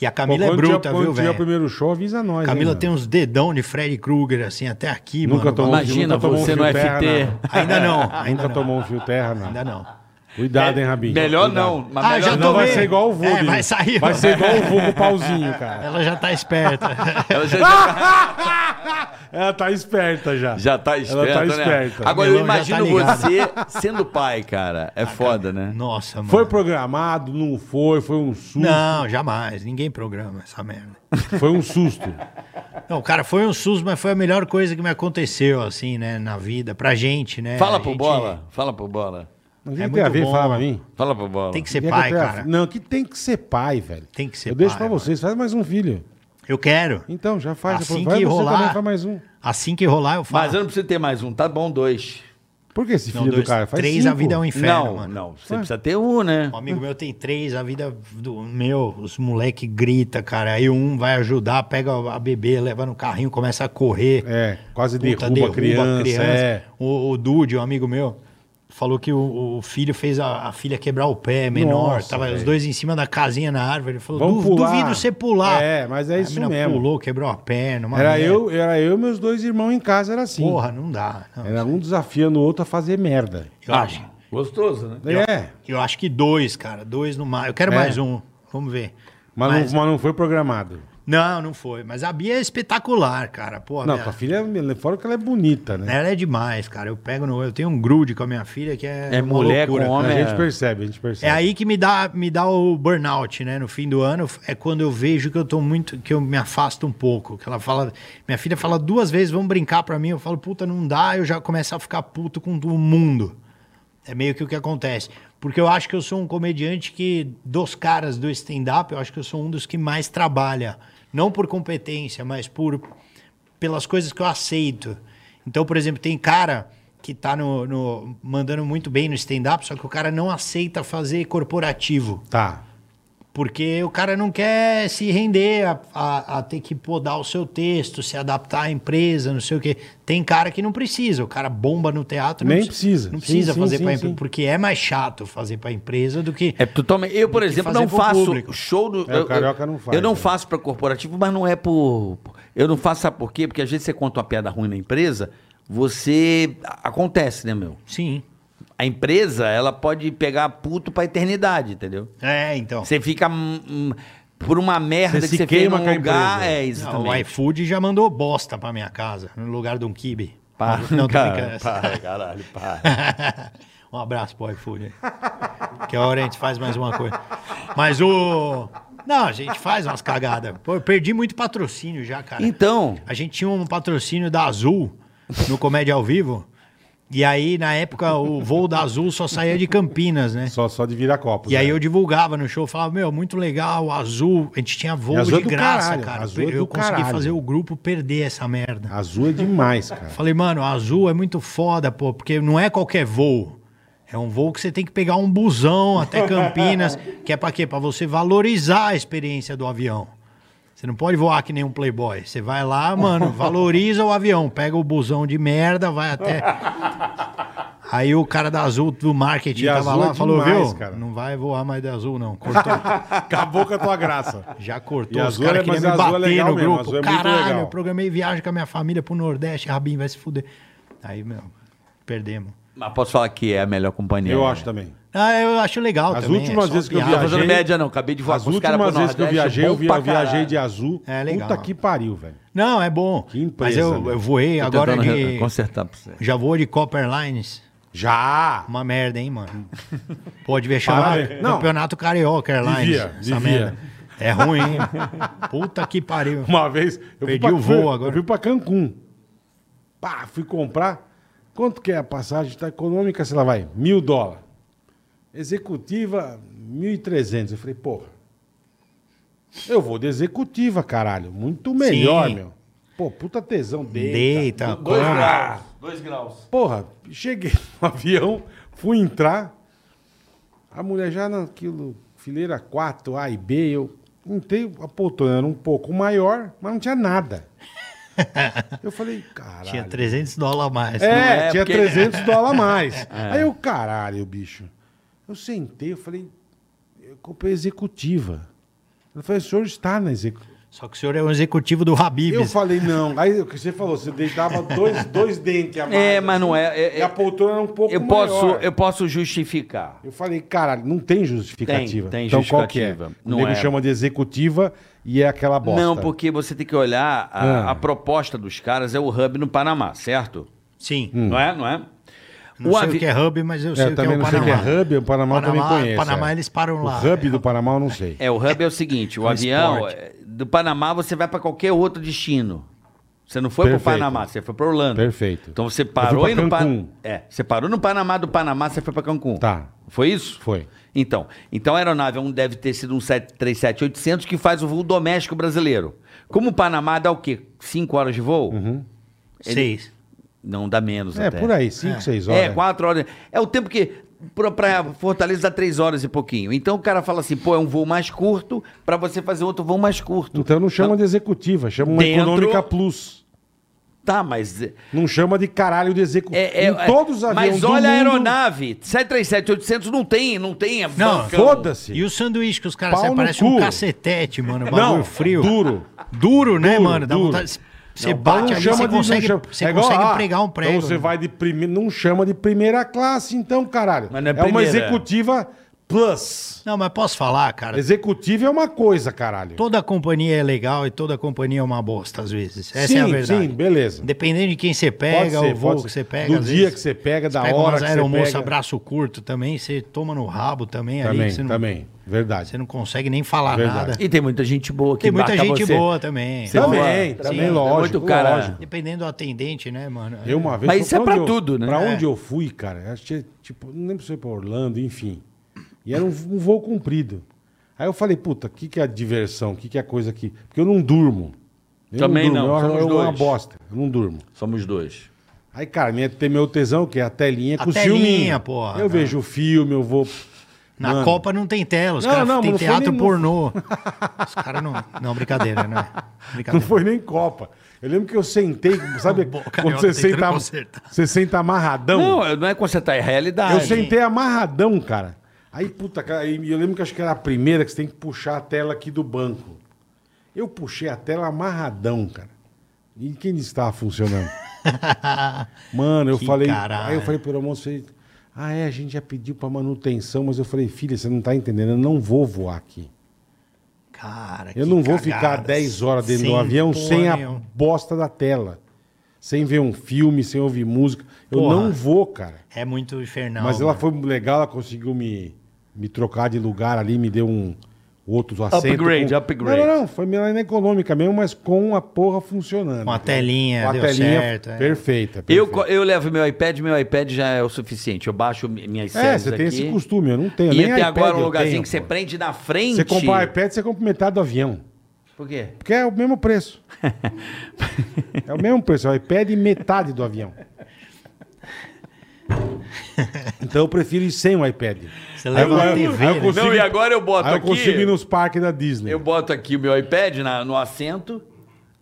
A: E a
B: Pô,
A: Camila é
B: quando
A: bruta,
B: tiver- quando
A: viu,
B: tiver o
A: velho?
B: primeiro show, avisa nós.
A: Camila
B: hein,
A: tem um
B: mano?
A: uns dedão de Freddy Krueger, assim, até aqui,
B: né? Nunca
A: mano.
B: tomou um fio-
C: Imagina
B: nunca tomou um
C: você
B: fio
C: no FT.
B: terra, não.
A: Ainda não, (laughs) ainda
B: Nunca
A: não.
B: tomou um fio terra, não.
A: Ainda não.
B: Cuidado, hein, Rabinho.
C: Melhor
B: Cuidado.
C: não. Mas
A: Ah,
C: melhor
A: já
B: Senão
C: não.
A: tomei.
B: vai ser igual o vô.
A: É,
B: dele.
A: vai sair,
B: Vai
A: mano.
B: ser igual o vô
A: (laughs)
B: com o pauzinho, cara.
A: Ela já tá
B: (laughs)
A: esperta.
C: Ela
A: Ah!
C: já,
B: Ela tá esperta já.
C: já tá
B: Ela
C: esperta,
B: tá
C: né?
B: esperta.
C: Agora eu
A: Melão já
C: imagino
A: tá Ah,
C: você sendo pai, cara. É foda, né?
A: Nossa, mano.
B: Foi programado, não foi, foi um susto.
A: Não, jamais. Ninguém programa essa merda.
B: Foi um
A: (laughs)
B: susto.
A: Não, cara, foi um susto, mas foi a melhor coisa que me aconteceu, assim, né, na vida, pra gente, né?
C: Fala
A: A
C: pro
A: gente
C: Bola. Fala pro Bola.
B: Mas o que
A: É
B: tem a
A: muito
B: ver,
A: bom.
B: fala pra mim.
C: Fala pro Bola.
A: Tem que ser
B: Quem é
A: pai,
B: tem a-
A: cara.
B: Não, que tem que ser pai, velho.
A: Tem que ser
B: Eu deixo
A: pai, é
B: pra
A: mano.
B: vocês, faz mais um filho.
A: Eu quero.
B: Então, já faz.
A: Assim
B: já faz.
A: que
B: Vai, você
A: rolar-
B: também faz mais um.
A: Assim que rolar, eu falo.
C: Mas eu não preciso ter mais um, tá bom dois.
B: Por que esse
A: Não,
B: filho
A: dois,
B: do cara? Faz
A: três, a
B: cinco.
A: vida é um inferno,
C: não,
A: mano.
C: não. Você precisa ter um, né?
A: Um amigo meu tem três, a vida do meu, os moleque grita, cara. Aí um vai ajudar, pega a bebê, leva no carrinho, começa a correr.
B: É, quase derruba,
A: derruba
B: a criança. É.
A: O, o Dude, um amigo meu, falou que o, o filho fez a, a filha quebrar o pé, menor.
B: Nossa,
A: tava os
B: velho.
A: dois em cima da casinha na árvore. Ele falou,
B: Vamos
A: "Du-
B: pular."
A: duvido você pular.
B: É, mas é
A: Aí a
B: isso
A: mina
B: mesmo.
A: pulou, quebrou a perna. uma
B: Era
A: merda.
B: eu, era eu e meus dois irmãos em casa, era assim.
A: Porra, não dá. não.
B: Era um desafiando o outro a fazer merda.
C: Ah,
A: Eu acho.
C: Gostoso, né?
B: É,
A: Eu acho que dois, cara. Dois no mar. Eu quero
B: É.
A: mais um. Vamos ver.
B: mas,
A: Mas-
B: Não, mas não foi programado.
A: Não, não foi. Mas a Bia é espetacular, cara. Pô,
B: Não,
A: minha-
C: tá
B: tua filha, é- fora que ela é bonita, né?
A: ela é demais, cara. Eu pego no. Eu tenho um grude com a minha filha que é.
C: É
A: uma
C: mulher com
B: A
C: homem.
B: gente
C: é-
B: percebe, a gente percebe.
A: É aí que me dá, me dá o burnout, né? No fim do ano é quando eu vejo que eu tô muito, que eu me afasto um pouco. Que ela fala, minha filha fala duas vezes, vamos brincar pra mim. Eu falo, puta, não dá. Eu já começo a ficar puto com o mundo. É meio que o que acontece. Porque eu acho que eu sou um comediante que, dos caras do stand-up, eu acho que eu sou um dos que mais trabalha. Não por competência, mas por pelas coisas que eu aceito. Então, por exemplo, tem cara que tá no, no- mandando muito bem no stand-up, só que o cara não aceita fazer corporativo.
B: Tá.
A: Porque o cara não quer se render a, a- a ter que podar o seu texto, se adaptar à empresa, não sei o quê. Tem cara que não precisa, o cara bomba no teatro.
B: Nem
A: não
B: precisa.
A: Não
B: Sim,
A: precisa
B: sim,
A: fazer
B: sim,
A: para
B: sim.
A: empresa, porque é mais chato fazer para empresa do que...
C: É totalmente. Eu, por exemplo,
A: fazer
C: não
A: pro
C: faço
A: público.
C: show no.
B: É, o
C: eu-
B: carioca não faz,
C: Eu não
B: né?
C: faço pra corporativo, mas não é por. Eu não faço, sabe por quê? Porque às vezes você conta uma piada ruim na empresa, você. Acontece, né, meu?
A: Sim.
C: A empresa, ela pode pegar puto pra eternidade, entendeu?
A: É, então.
C: Você fica. hum, hum, por uma merda que
B: Você se
C: você fez
B: queima
C: num
B: com a
C: lugar.
B: empresa.
C: É,
A: Não,
C: exatamente.
A: o iFood já mandou bosta pra minha casa, no lugar de um kibe.
B: (laughs)
C: Para,
A: não, tô
C: cara,
B: é.
A: brincando.
C: para, caralho, para.
A: (laughs) um abraço pro iFood. aí. Que a hora a gente faz mais uma coisa. Mas o. Não, a gente faz umas cagadas. Pô, eu perdi muito patrocínio já, cara.
C: Então,
A: A gente tinha um patrocínio da Azul no Comédia ao Vivo. E aí, na época, o voo da Azul só saía de Campinas, né?
B: Só, só de virar copo.
A: E aí eu divulgava no show, falava, meu, muito legal, azul. A gente tinha voo
B: Azul é
A: de
B: do
A: graça,
B: caralho,
A: cara.
B: Azul é do
A: eu consegui
B: caralho.
A: fazer o grupo perder essa merda.
B: Azul é demais, cara.
A: (laughs) Falei, mano, azul é muito foda, pô, porque não é qualquer voo. É um voo que você tem que pegar um busão
B: (laughs)
A: até Campinas, que é pra quê? Pra você valorizar a experiência do avião. Você não pode voar que nem um playboy. Você vai
B: (laughs)
A: lá, mano, valoriza o avião, pega o busão de merda, vai até.
B: (laughs)
A: Aí o cara da Azul do marketing
B: E
A: tava
B: Azul
A: lá,
B: é
A: falou,
B: demais,
A: viu?
B: cara.
A: Não vai voar mais da Azul não. Cortou.
B: (laughs) Acabou com a tua graça.
A: Já
B: E
A: cortou, os
B: Azul
A: caras
B: é- mas
A: queriam me
B: Azul é
A: bater
B: legal
A: no
B: mesmo,
A: grupo.
B: Azul é muito
A: Caralho,
B: legal.
A: eu programei viagem com a minha família pro Nordeste, Rabin vai se fuder. Aí, meu, perdemos.
C: mas posso falar que é a melhor companhia.
B: (laughs) Eu
C: né?
B: acho também.
A: Ah, eu acho legal
B: As
A: também.
B: últimas
A: só
B: vezes que eu
C: Não tô
A: piada.
C: Tá fazendo
B: viajei-
C: média, não. Acabei de voar
B: As
C: com os caras pro
B: últimas vezes que eu
C: Nordeste,
B: viajei, eu,
C: bom
B: vi-
C: pra
B: eu viajei
C: caralho.
B: de azul.
A: É, legal.
B: Puta que pariu, velho.
A: Não, é bom.
B: Que empresa,
A: Mas eu,
B: né?
A: eu voei
C: Tô
A: agora
C: tentando
A: de...
C: re- consertar pra você.
A: Já voou de Copper Lines.
B: Já!
A: Uma merda, hein, mano? Pô, devia chamar
B: Para, não.
A: Campeonato Carioca Airlines.
B: Devia,
A: essa
B: devia.
A: merda. É ruim, hein? Puta que pariu.
B: Uma vez. Eu
A: Perdi o voo agora.
B: Eu fui pra Cancún. Pá, fui comprar. Quanto que é a passagem? Tá econômica, sei lá, vai. Mil dólares. Executiva, 1.300. Eu falei, porra. Eu vou de executiva, caralho. Muito melhor,
A: Sim.
B: meu. Pô, puta tesão. Deita.
A: Deita,
C: Dois
A: come.
C: graus. Dois graus.
B: Porra, cheguei (laughs) no avião, fui entrar. A mulher já naquilo, fileira 4, A e B, eu entrei, a poltrona era um pouco maior, mas não
C: (laughs)
B: tinha nada. Eu falei, caralho.
A: Tinha 300 dólares a mais.
B: É,
C: Não é,
B: tinha
C: porque- É.
B: 300 dólares
C: (laughs)
B: a mais. Aí eu, caralho, bicho. Eu sentei, eu falei, eu comprei executiva. Ele falou, o senhor está na executiva.
A: Só que o senhor é um executivo do Habib.
B: Eu falei, não. Aí o que você falou, você deitava
C: (laughs)
B: dois, dois dentes a mais.
C: É, mas não é- é-
B: e a poltrona era um pouco
C: Eu posso,
B: maior.
C: eu posso justificar.
B: Eu falei, caralho, não tem justificativa.
C: Tem, tem
B: então qual que é?
C: justificativa.
B: O
C: Não
B: nego
C: é.
B: chama de executiva e é aquela bosta.
C: Não, porque você tem que olhar a,
B: Ah.
C: a proposta dos caras é o hub no Panamá, certo?
A: Sim.
B: Hum.
C: Não é, não é?
A: Não sei
C: avi-
A: o que é hub, mas eu
B: É,
A: sei o que é
B: também
A: o
B: não
A: Panamá.
B: sei o que é hub, o Panamá, eu também conheço.
A: Panamá
B: é.
A: eles param lá.
B: O hub do Panamá eu não sei.
C: É, o hub é o seguinte, o
A: um
C: avião
A: esporte.
C: é, do Panamá você vai para qualquer outro destino. Você não foi para
B: Perfeito.
C: pro Panamá, você foi para Orlando.
B: Perfeito.
C: Então você
B: Eu
C: parou
B: fui
C: e
B: pra
C: no Panamá.
B: Cancún.
C: É, você parou no Panamá do Panamá, você foi para Cancún.
B: Tá.
C: Foi isso?
B: Foi.
C: Então, então a aeronave é um- deve ter sido um 737-800 que faz o voo doméstico brasileiro. Como o Panamá dá o quê? Cinco horas de voo?
A: Seis.
C: Não, dá menos
B: Uhum. É,
C: até.
B: por aí, 5, 6 horas.
C: É, quatro horas. É o tempo que. pra- Pra Fortaleza dá três horas e pouquinho. Então o cara fala assim, pô, é um voo mais curto pra você fazer outro voo mais curto.
B: Então não chama de executiva, chama uma
C: Dentro-
B: econômica plus.
C: Tá, mas. é-
B: Não chama de caralho de executiva.
C: é- é-
B: em todos os aviões
C: Mas
B: do
C: olha a
B: mundo-
C: aeronave. 737-800 não tem, não tem. é
A: Não,
C: vulcão.
B: Foda-se.
A: E o sanduíche que os caras
B: Pau
A: saem,
B: no
A: parece
B: cu.
A: um cacetete, mano. Bagulho
B: Não,
A: frio.
B: duro.
A: Duro, né,
B: Duro,
A: mano? Dá
B: duro.
A: vontade. Você
B: Não,
A: bate
B: não
A: ali,
B: chama
A: você
B: de- não
A: consegue,
B: chama-
A: você
B: é igual,
A: consegue
B: ah,
A: pregar um prego.
B: Então você vai de primeira. Não chama de primeira classe, então, caralho.
C: Mas não é
B: é uma
C: primeira.
B: executiva plus.
A: Não, mas posso falar, cara?
B: Executivo é uma coisa, caralho.
A: Toda companhia é legal e toda companhia é uma bosta, às vezes. Essa
B: sim,
A: é a verdade.
B: sim, beleza.
A: Dependendo de quem você pega, o voo que você pega.
B: Do
A: às
B: dia
A: vezes,
B: que você pega, da
A: você pega
B: hora
A: umas
B: que
A: aeromoça,
B: você pega.
A: braço curto também, você toma no rabo também, ali.
B: Também,
A: que Você não,
B: também. Verdade.
A: você não consegue nem falar
B: Verdade.
A: nada.
C: E tem muita gente boa que
A: Tem muita
C: embarca
A: gente
C: você.
A: boa também.
C: Você
A: Rola.
B: também,
C: Sim, é
B: também,
A: tem
B: lógico.
C: muito cara-
B: lógico.
A: Dependendo do atendente, né, mano?
B: Eu uma vez...
C: Mas
B: foi
C: isso é pra
B: onde eu-
C: tudo, né?
B: Pra
C: É.
B: onde eu fui, cara, acho que, tipo, não lembro se foi pra Orlando, enfim. E era um, um voo comprido. Aí eu falei, puta, o que, que é a diversão? O que, que é a coisa aqui? Porque eu não durmo. Eu
C: Também
B: durmo,
C: não,
B: Eu,
C: somos
B: eu, eu uma
C: dois.
B: bosta. Eu não durmo.
C: Somos dois.
B: Aí, cara, minha, tem meu tesão, que é a telinha
A: A
B: com o
A: telinha,
B: filminho.
A: porra, né?
B: eu
A: cara.
B: vejo o filme, eu vou...
A: Na
B: Mano.
A: Copa não tem tela, os
B: Não,
A: caras
B: não,
A: têm
B: mas não foi
A: teatro
B: nem-
A: pornô. (laughs) Os caras não. Não,
B: (laughs)
A: brincadeira, né?
B: Não
A: Brincadeira.
B: foi nem Copa. Eu lembro que eu sentei,
A: (laughs)
B: sabe?
A: Bom, carioca
B: quando você
A: tentando
B: senta,
A: consertar.
B: você senta amarradão.
C: Não, não é consertar, é realidade.
B: Então- eu sentei amarradão, cara. Aí, puta, cara, aí eu lembro que acho que era a primeira que você tem que puxar a tela aqui do banco. Eu puxei a tela amarradão, cara. E quem estava
A: (laughs)
B: funcionando? Mano, eu
A: Que
B: falei.
A: caralho.
B: Aí eu falei pro almoço, falei, ah, é, a gente já pediu pra manutenção, mas eu falei, filha, você não tá entendendo, eu não vou voar aqui.
A: Cara,
B: Eu
A: que
B: não vou
A: cagada.
B: ficar 10 horas dentro do
A: Sim,
B: avião
A: porra
B: sem a
A: nenhuma.
B: bosta da tela. Sem ver um filme, sem ouvir música. Eu
A: Porra.
B: não vou, cara.
A: É muito infernal.
B: Mas ela
A: mano.
B: foi legal, ela conseguiu me, me trocar de lugar ali, me deu um outro assento.
C: Upgrade,
B: com-
C: upgrade.
B: Não, não, não, foi melhor na econômica mesmo, mas com a porra funcionando.
A: Com a telinha,
B: Com a
A: deu
B: telinha
A: certo. é.
B: perfeita.
C: Eu,
B: perfeita.
C: co- eu levo meu iPad, meu iPad já é o suficiente. Eu baixo mi- minhas
B: É,
C: séries
B: você tem
C: aqui.
B: esse costume, eu não tenho.
C: E
B: nem
C: até
B: iPad
C: agora um
B: eu
C: lugarzinho
B: tenho,
C: que você
B: pô.
C: prende na frente.
B: Você comprar iPad, você compra metade do avião.
C: Por quê?
B: Porque é o mesmo preço. é o mesmo preço, é o iPad e metade do
C: (laughs)
B: avião. Então eu prefiro ir sem o iPad.
A: Você leva uma TV, né?
B: consigo-
C: Não, e agora eu boto
B: aí eu
C: aqui-
B: consigo ir nos parques da Disney.
C: Eu boto aqui o meu iPad na- no assento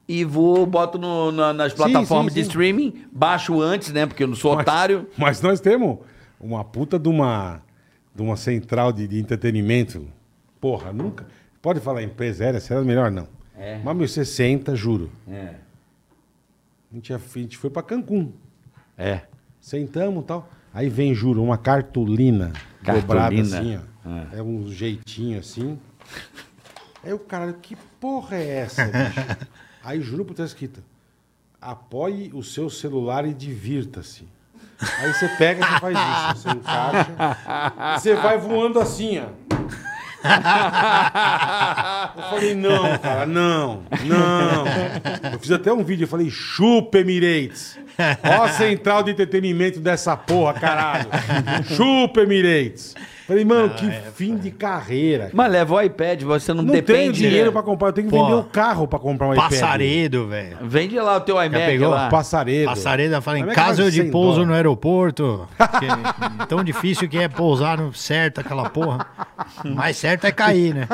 C: e vou, boto no- na- nas plataformas
B: sim,
C: de
B: sim.
C: streaming, baixo antes, né? Porque eu não sou otário.
B: Mas nós temos uma puta de uma, de uma central de, de entretenimento. Porra, nunca. Pode falar empresa aérea, será melhor não.
C: É.
B: Mas meu, você senta, juro.
C: É.
B: A gente, a gente foi pra Cancún.
C: É.
B: Sentamos e tal. Aí vem, juro, uma cartolina, dobrada
C: Cartolina.
B: assim, ó. É. um jeitinho assim. Aí o cara, que porra é
C: (laughs)
B: essa, bicho? Aí juro por ter escrito. Apoie o seu celular e divirta-se. Aí você pega, você faz isso, você encaixa. E você vai voando assim, ó. Eu falei, não, cara, não, não. Eu fiz até um vídeo, eu falei, chupa, Emirates. Ó a central de entretenimento dessa porra, caralho. Chupa, Emirates. Falei, mano, que fim de carreira.
C: Mas leva o iPad, você não,
B: não tenho
C: depende.
B: dinheiro
C: né?
B: pra comprar, eu tenho que
A: Pô,
B: vender o carro pra comprar um iPad.
A: Passaredo, velho.
C: Vende lá o teu iMac
A: pegou?
C: lá.
B: Passaredo.
A: Passaredo fala, em
B: Como é que
A: caso
B: vai
A: de
B: sem
A: pouso
B: dólar?
A: no aeroporto,
B: (laughs)
A: porque é tão difícil que é pousar no certo aquela porra, mais certo é cair, né?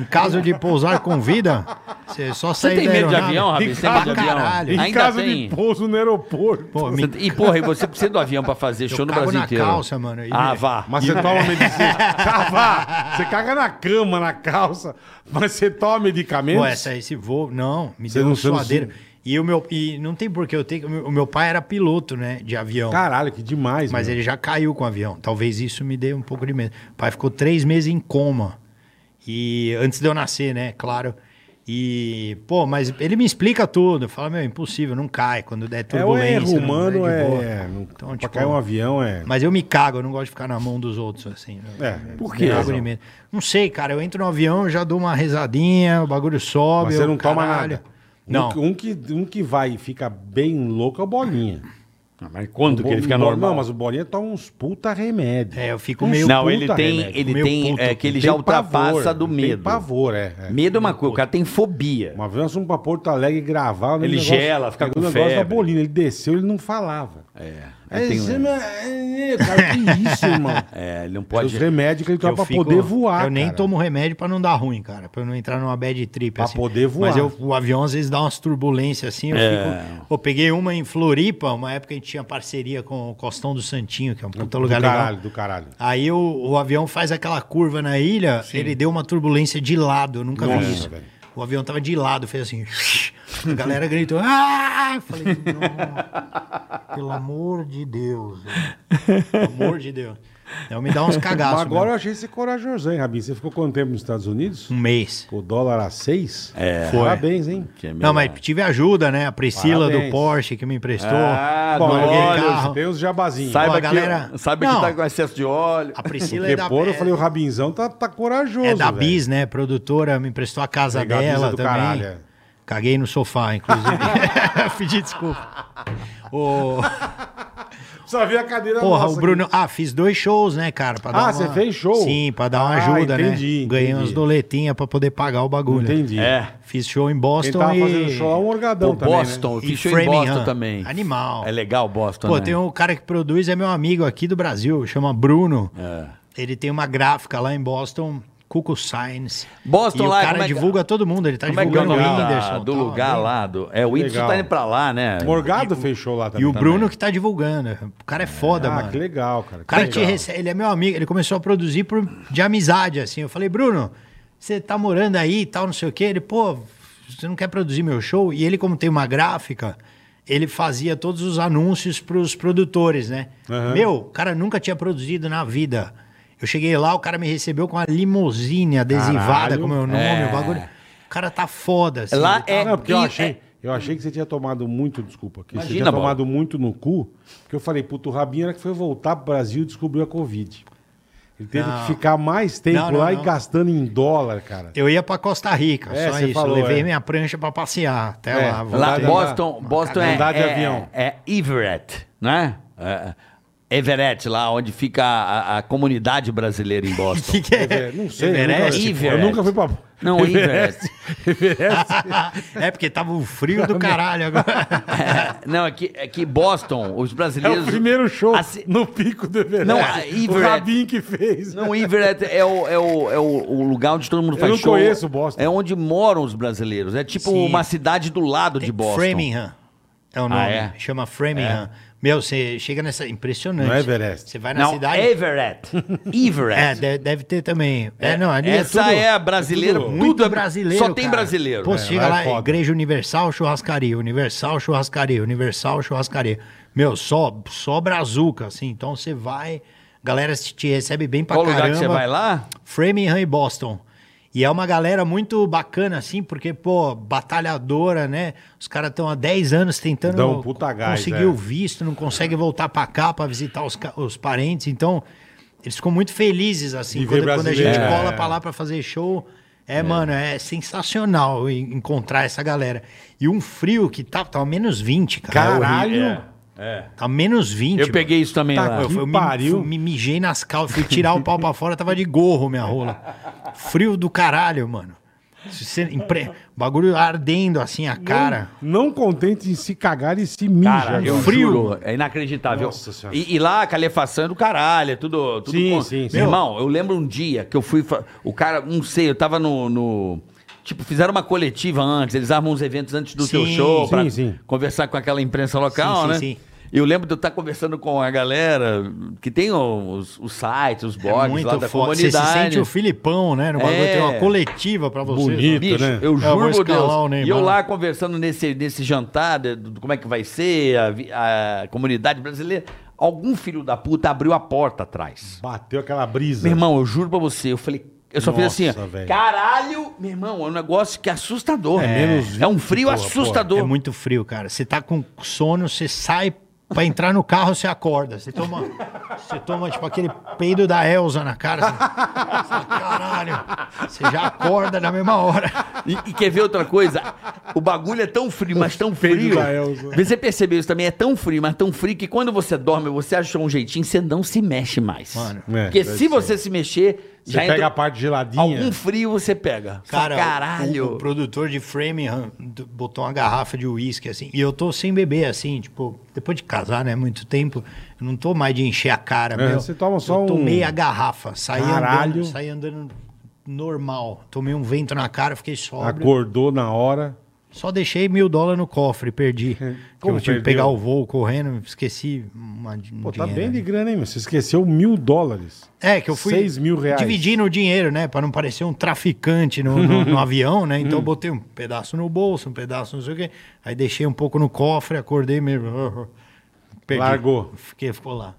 A: em caso de pousar com vida, você só
C: Você
A: sai
C: tem
A: da
C: medo de
A: aeronave.
C: avião, Rabi? Você tem medo de
A: Pra
C: avião?
A: caralho.
B: Em
C: Ainda
B: caso
C: tem.
B: de pouso no aeroporto.
A: Pô, me...
C: Você- E porra, e você precisa do avião pra fazer show no
A: cago
C: Brasil
A: na
C: inteiro.
A: calça, mano, e-
C: Ah, vá.
B: Mas você
A: (laughs)
B: toma medicina. Tá, vá. Você caga na cama, na calça, mas você toma medicamento.
A: Pô, essa, esse voo, não, me
B: Você
A: deu
B: não-
A: uma
B: você não
A: suadeira.
B: se-
A: E, o meu, e não tem porquê eu ter, o meu- o meu pai era piloto, né, de avião.
B: Caralho, que demais,
A: Mas
B: meu.
A: ele já caiu com o avião. Talvez isso me dê um pouco de medo. O pai ficou três meses em coma. E antes de eu nascer, né? Claro. E, pô, mas ele me explica tudo. Fala, meu, impossível, não cai. Quando der
B: É o
A: turbulência.
B: erro
A: não-
B: humano,
A: né? de boa.
B: é. não-
A: Então,
B: pra
A: tipo,
B: cair um avião é.
A: Mas eu me cago, eu não gosto de ficar na mão dos outros, assim.
B: É,
A: Por
B: tem
A: quê?
B: razão.
A: Não sei, cara. Eu entro no avião, eu já dou uma rezadinha, o bagulho sobe.
B: Mas você
A: eu,
B: não toma
A: caralho.
B: nada. Um
A: Não.
B: que- Um, que, um que vai e fica bem louco é o Bolinha.
E: Ah, mas quando que ele fica
B: O Bo-
E: normal?
B: Não, mas o Bolinha toma uns puta remédio.
A: É, eu fico
B: Uns
A: meio
C: Não,
B: puta
C: ele tem,
B: remédio.
A: Meu
C: ele tem,
A: puto,
C: é, que ele
B: Tem
C: já
B: pavor,
C: ultrapassa do
B: tem
C: medo.
B: pavor, é. é.
C: Medo é uma coisa, o cara tem fobia.
B: Uma vez nós fomos pra Porto Alegre gravar. o
E: Ele
B: negócio-
E: gela, fica
B: o
E: com
B: negócio da
E: febre.
B: Bolinha. Ele desceu, ele não falava.
C: É,
B: É,
C: tem-
B: isso, mas- é, cara, que isso, irmão?
C: é, ele não
B: Os
C: pode...
B: remédios que ele toma
A: Eu
B: pra
A: fico-
B: poder voar.
A: Eu nem
B: cara.
A: tomo remédio pra não dar ruim, cara. Pra eu não entrar numa bad trip.
B: Pra
A: assim.
B: poder voar. É.
A: Mas eu- o avião às vezes dá umas turbulências assim. Eu fico. Pô, peguei uma em Floripa, uma época a gente tinha parceria com o Costão do Santinho, que é um puta
B: Do
A: lugar
B: caralho,
A: legal.
B: do caralho.
A: Aí o, o avião faz aquela curva na ilha, ele deu uma turbulência de lado. Eu nunca
B: Nossa,
A: vi isso.
B: velho.
A: O avião tava de lado, fez assim. (laughs) A galera gritou. Ah! Eu Falei, não, pelo amor de Deus. velho. Pelo amor de Deus. Então me dá
B: (laughs) Mas
A: uns cagaços.
B: agora
A: mesmo.
B: eu achei você corajoso, hein, Rabinho? Você ficou quanto tempo nos Estados Unidos?
A: Um mês.
B: O dólar a seis?
C: É.
A: Foi.
B: Parabéns, hein?
C: que é melhor.
A: Não, mas tive ajuda, né? A Priscila
B: Parabéns.
A: do Porsche que me emprestou.
C: Ah,
B: Bom,
C: do
A: olha,
B: alguém-
A: carro.
B: tem os jabazinhos.
A: Sai-
C: Saiba,
A: Ó,
C: que,
A: galera-
C: saiba que
A: Não.
C: tá com excesso de óleo.
A: A Priscila é
B: Porque
A: da,
B: por, eu
A: é-
B: falei, o Rabinzão tá, tá corajoso,
A: é da
B: velho.
A: Bis, né? Produtora, me emprestou a casa
B: Legal, Bis é
A: dela
B: do
A: também.
B: caralho, é.
A: Caguei no sofá, inclusive. Pedi desculpa. O...
B: Precisa ver a cadeira
A: Porra,
B: nossa
A: o Bruno. Ah, fiz dois shows, né, cara? Pra dar
B: Ah,
A: uma-
B: você fez show?
A: Sim, pra dar uma
B: Ah,
A: ajuda,
B: entendi,
A: né? Ganhei
B: entendi.
A: uns doletinhas pra poder pagar o
B: aqui.
A: bagulho.
B: Entendi.
C: É.
A: Fiz show em
B: Quem
A: Boston
B: tava
A: e.
B: fazendo show lá é um orgadão
C: Pô,
B: também, né?
C: Boston, eu
A: e
C: fiz show em Boston
A: Framingham.
C: também.
A: Animal.
C: É legal Boston,
A: Pô,
C: né?
A: tem um cara que produz, é meu amigo aqui do Brasil, chama Bruno.
C: É.
A: Ele tem uma gráfica lá em Boston, Cuco Signs.
C: Boston
A: e
C: lá,
A: o cara
C: como é que-
A: divulga todo mundo, ele tá
C: Como é que é o
A: divulgando
C: nome
A: o
C: da-
A: Whindersson.
C: do
A: tal,
C: lugar
A: né?
C: lá? Do, é, o Whindersson
B: Legal.
C: tá indo pra lá, né?
B: Morgado fez show lá também.
A: E o Bruno que tá divulgando. O cara é foda,
B: Ah,
A: mano.
B: que legal, cara.
A: O cara
B: que
A: te
B: legal.
A: recebe, ele é meu amigo, ele começou a produzir por, de amizade, assim. Eu falei, Bruno, você tá morando aí e tal, não sei o quê. Ele, pô, você não quer produzir meu show? E ele, como tem uma gráfica, ele fazia todos os anúncios pros produtores, né?
B: Aham.
A: Meu, o cara nunca tinha produzido na vida. Eu cheguei lá, o cara me recebeu com uma limusine adesivada
B: Caralho.
A: com o meu nome,
C: É.
A: o bagulho. O cara tá foda, assim.
C: Lá é.
B: não, porque eu
C: e-
B: achei, eu achei que você tinha tomado muito, desculpa, que você
C: Imagina,
B: tinha
C: Bola.
B: tomado muito no cu, porque eu falei, puto, o Rabinho era que foi voltar pro Brasil e descobriu a Covid. Ele teve
A: Não.
B: que ficar mais tempo
A: Não, não,
B: lá e
A: não.
B: gastando em dólar, cara.
A: Eu ia pra Costa Rica,
B: É,
A: só
B: você
A: isso.
B: falou,
A: Levei
B: é.
A: minha prancha pra passear até
B: É,
A: lá.
C: Lá,
B: Andar de-
C: Boston, Boston é,
B: andar de
C: é-
B: avião.
C: é Everett, né? É, Everett, lá onde fica a, a comunidade brasileira em Boston.
B: (laughs)
A: (laughs) que, que é?
B: É, não sei.
A: Everest,
B: eu, nunca,
C: pô.
B: eu nunca fui pra.
C: Não, Everett.
A: é porque tava um frio do caralho agora.
C: É, não, é que, é que Boston, os
B: É
C: brasileiros.
B: o primeiro show
C: Assim-
B: no pico do Everest.
C: Não, a
B: o
C: Everett-
B: Rabinho que fez.
C: Não, Everett é o, é o, é o, o lugar onde todo mundo faz
B: não
C: show.
B: conheço Boston.
C: É onde moram os brasileiros. É tipo
A: Sim.
C: uma cidade do lado (laughs) de Boston.
A: Framingham. É o nome.
C: é?
A: Chama Framingham. Meu, você chega nessa. Impressionante.
B: Não é Everest.
A: Você vai na
C: Não, é
B: (laughs)
A: cidade.
C: Everett. Everett.
A: É, de- deve, ter também. É, não, ali
C: Essa
A: tudo-
C: é a brasileira.
A: tudo
C: tudo,
A: muito
C: é
A: brasileiro.
C: Só tem
A: cara.
C: brasileiro.
A: Pô,
C: É.
A: você chega
B: lá é
A: lá,
B: foda.
A: Igreja Universal Churrascaria, Universal Churrascaria, Universal Churrascaria. Meu, só, só brazuca, assim. Então você vai. Galera te te recebe bem pra
C: Qual
A: caramba.
C: lugar que você vai lá?
A: Framingham e Boston. E é uma galera muito bacana, assim, porque, pô, batalhadora, né? Os caras estão há 10 anos tentando
B: Dão um puta gás,
A: conseguir o
B: é.
A: visto, não consegue voltar pra cá pra visitar os, ca- os parentes. Então, eles ficam muito felizes, assim,
B: E
A: quando,
B: ver
A: quando a gente
B: brasileiro.
A: cola
B: É.
A: pra lá pra fazer show. É, mano, é sensacional en- encontrar essa galera. E um frio que tá, tá menos 20, cara. É
B: Caralho!
A: Tá menos 20.
C: Eu
A: mano.
C: peguei isso também
B: Tá
C: lá.
B: com-
A: Eu,
B: Que
A: eu me,
B: pariu.
A: fui- me mijei nas calças, fui tirar o pau pra fora, tava de gorro minha rola. Frio do caralho, mano. Se você impre- Bagulho ardendo assim a cara.
B: Não contente em se cagar e se mijar.
C: Cara, eu
A: Frio.
C: juro, é inacreditável.
B: Nossa Senhora.
C: e, e lá a calefação é do caralho, é tudo. tudo
B: Sim, sim, sim.
C: Meu irmão, eu lembro um dia que eu fui. fa- O cara, não sei, eu tava no. no- tipo, fizeram uma coletiva antes, eles armam uns eventos antes do seu
A: Sim.
C: show pra
B: Sim, sim.
C: conversar com aquela imprensa local,
A: Sim, sim,
C: né?
A: sim.
C: E eu lembro de eu estar conversando com a galera que tem os, os sites, os blogs
A: é
C: lá da
A: muito foda. Você se
C: comunidade.
A: sente o Filipão, né? No bagulho
C: É.
A: tem uma coletiva pra você.
B: Bonito.
C: Bicho,
B: né?
C: eu
A: É, vou
C: juro por
A: escalar
C: Deus.
A: o Neymar.
C: E eu lá conversando nesse, nesse jantar, de- do- como é que vai ser, a vi- a, comunidade brasileira. Algum filho da puta abriu a porta atrás.
B: Bateu aquela brisa.
C: Meu irmão, eu juro pra você, eu falei. Eu só fiz assim,
B: Nossa,
C: ó,
B: velho.
C: caralho, meu irmão, é um negócio que é assustador.
B: É, menos
C: É um frio
B: 20, porra,
C: assustador.
A: É muito frio, cara. Você tá com sono, você sai pra entrar no carro, você acorda. Você toma, você toma tipo aquele peido da Elsa na cara. Você, você fala, caralho. Você já acorda na mesma hora.
C: E, e quer ver outra coisa? O bagulho é tão frio, mas tão frio.
B: da Elsa.
C: Você percebeu isso também? É tão frio, mas tão frio que quando você dorme, você achou um jeitinho, você não se mexe mais.
A: Mano.
B: É,
C: Porque
B: deve
C: se
B: ser.
C: você se mexer,
B: Você
C: já
B: pega
C: entra
B: a parte geladinha.
C: algum frio, você pega. Cara,
A: Cara, o-
C: caralho.
A: O, produtor de Framingham d- botou uma garrafa de uísque, assim. E eu tô sem beber, assim, tipo, depois de casar, né? Muito tempo. Eu não tô mais de encher a cara,
B: É,
A: meu.
B: você toma só
A: eu
B: um-
A: tomei a garrafa. Saí
B: Caralho.
A: andando, saí andando normal. Tomei um vento na cara, fiquei sóbrio.
B: Acordou na hora.
A: Só deixei mil dólares no
B: (laughs)
A: cofre, perdi.
B: Como
A: eu tive
B: perdeu?
A: que pegar o voo correndo, esqueci uma, um
B: Pô, tá
A: dinheiro,
B: bem
A: né?
B: de grana, hein, meu? Você esqueceu mil dólares.
A: É, que eu fui
B: Seis mil reais.
A: dividindo o dinheiro, né? Pra não parecer um traficante no,
B: (laughs)
A: no- no avião, né?
B: Hum.
A: Então eu botei um pedaço no bolso, um pedaço não sei o quê. Aí deixei um pouco no cofre, acordei mesmo. Perdi.
B: Largou.
A: Fiquei, ficou lá.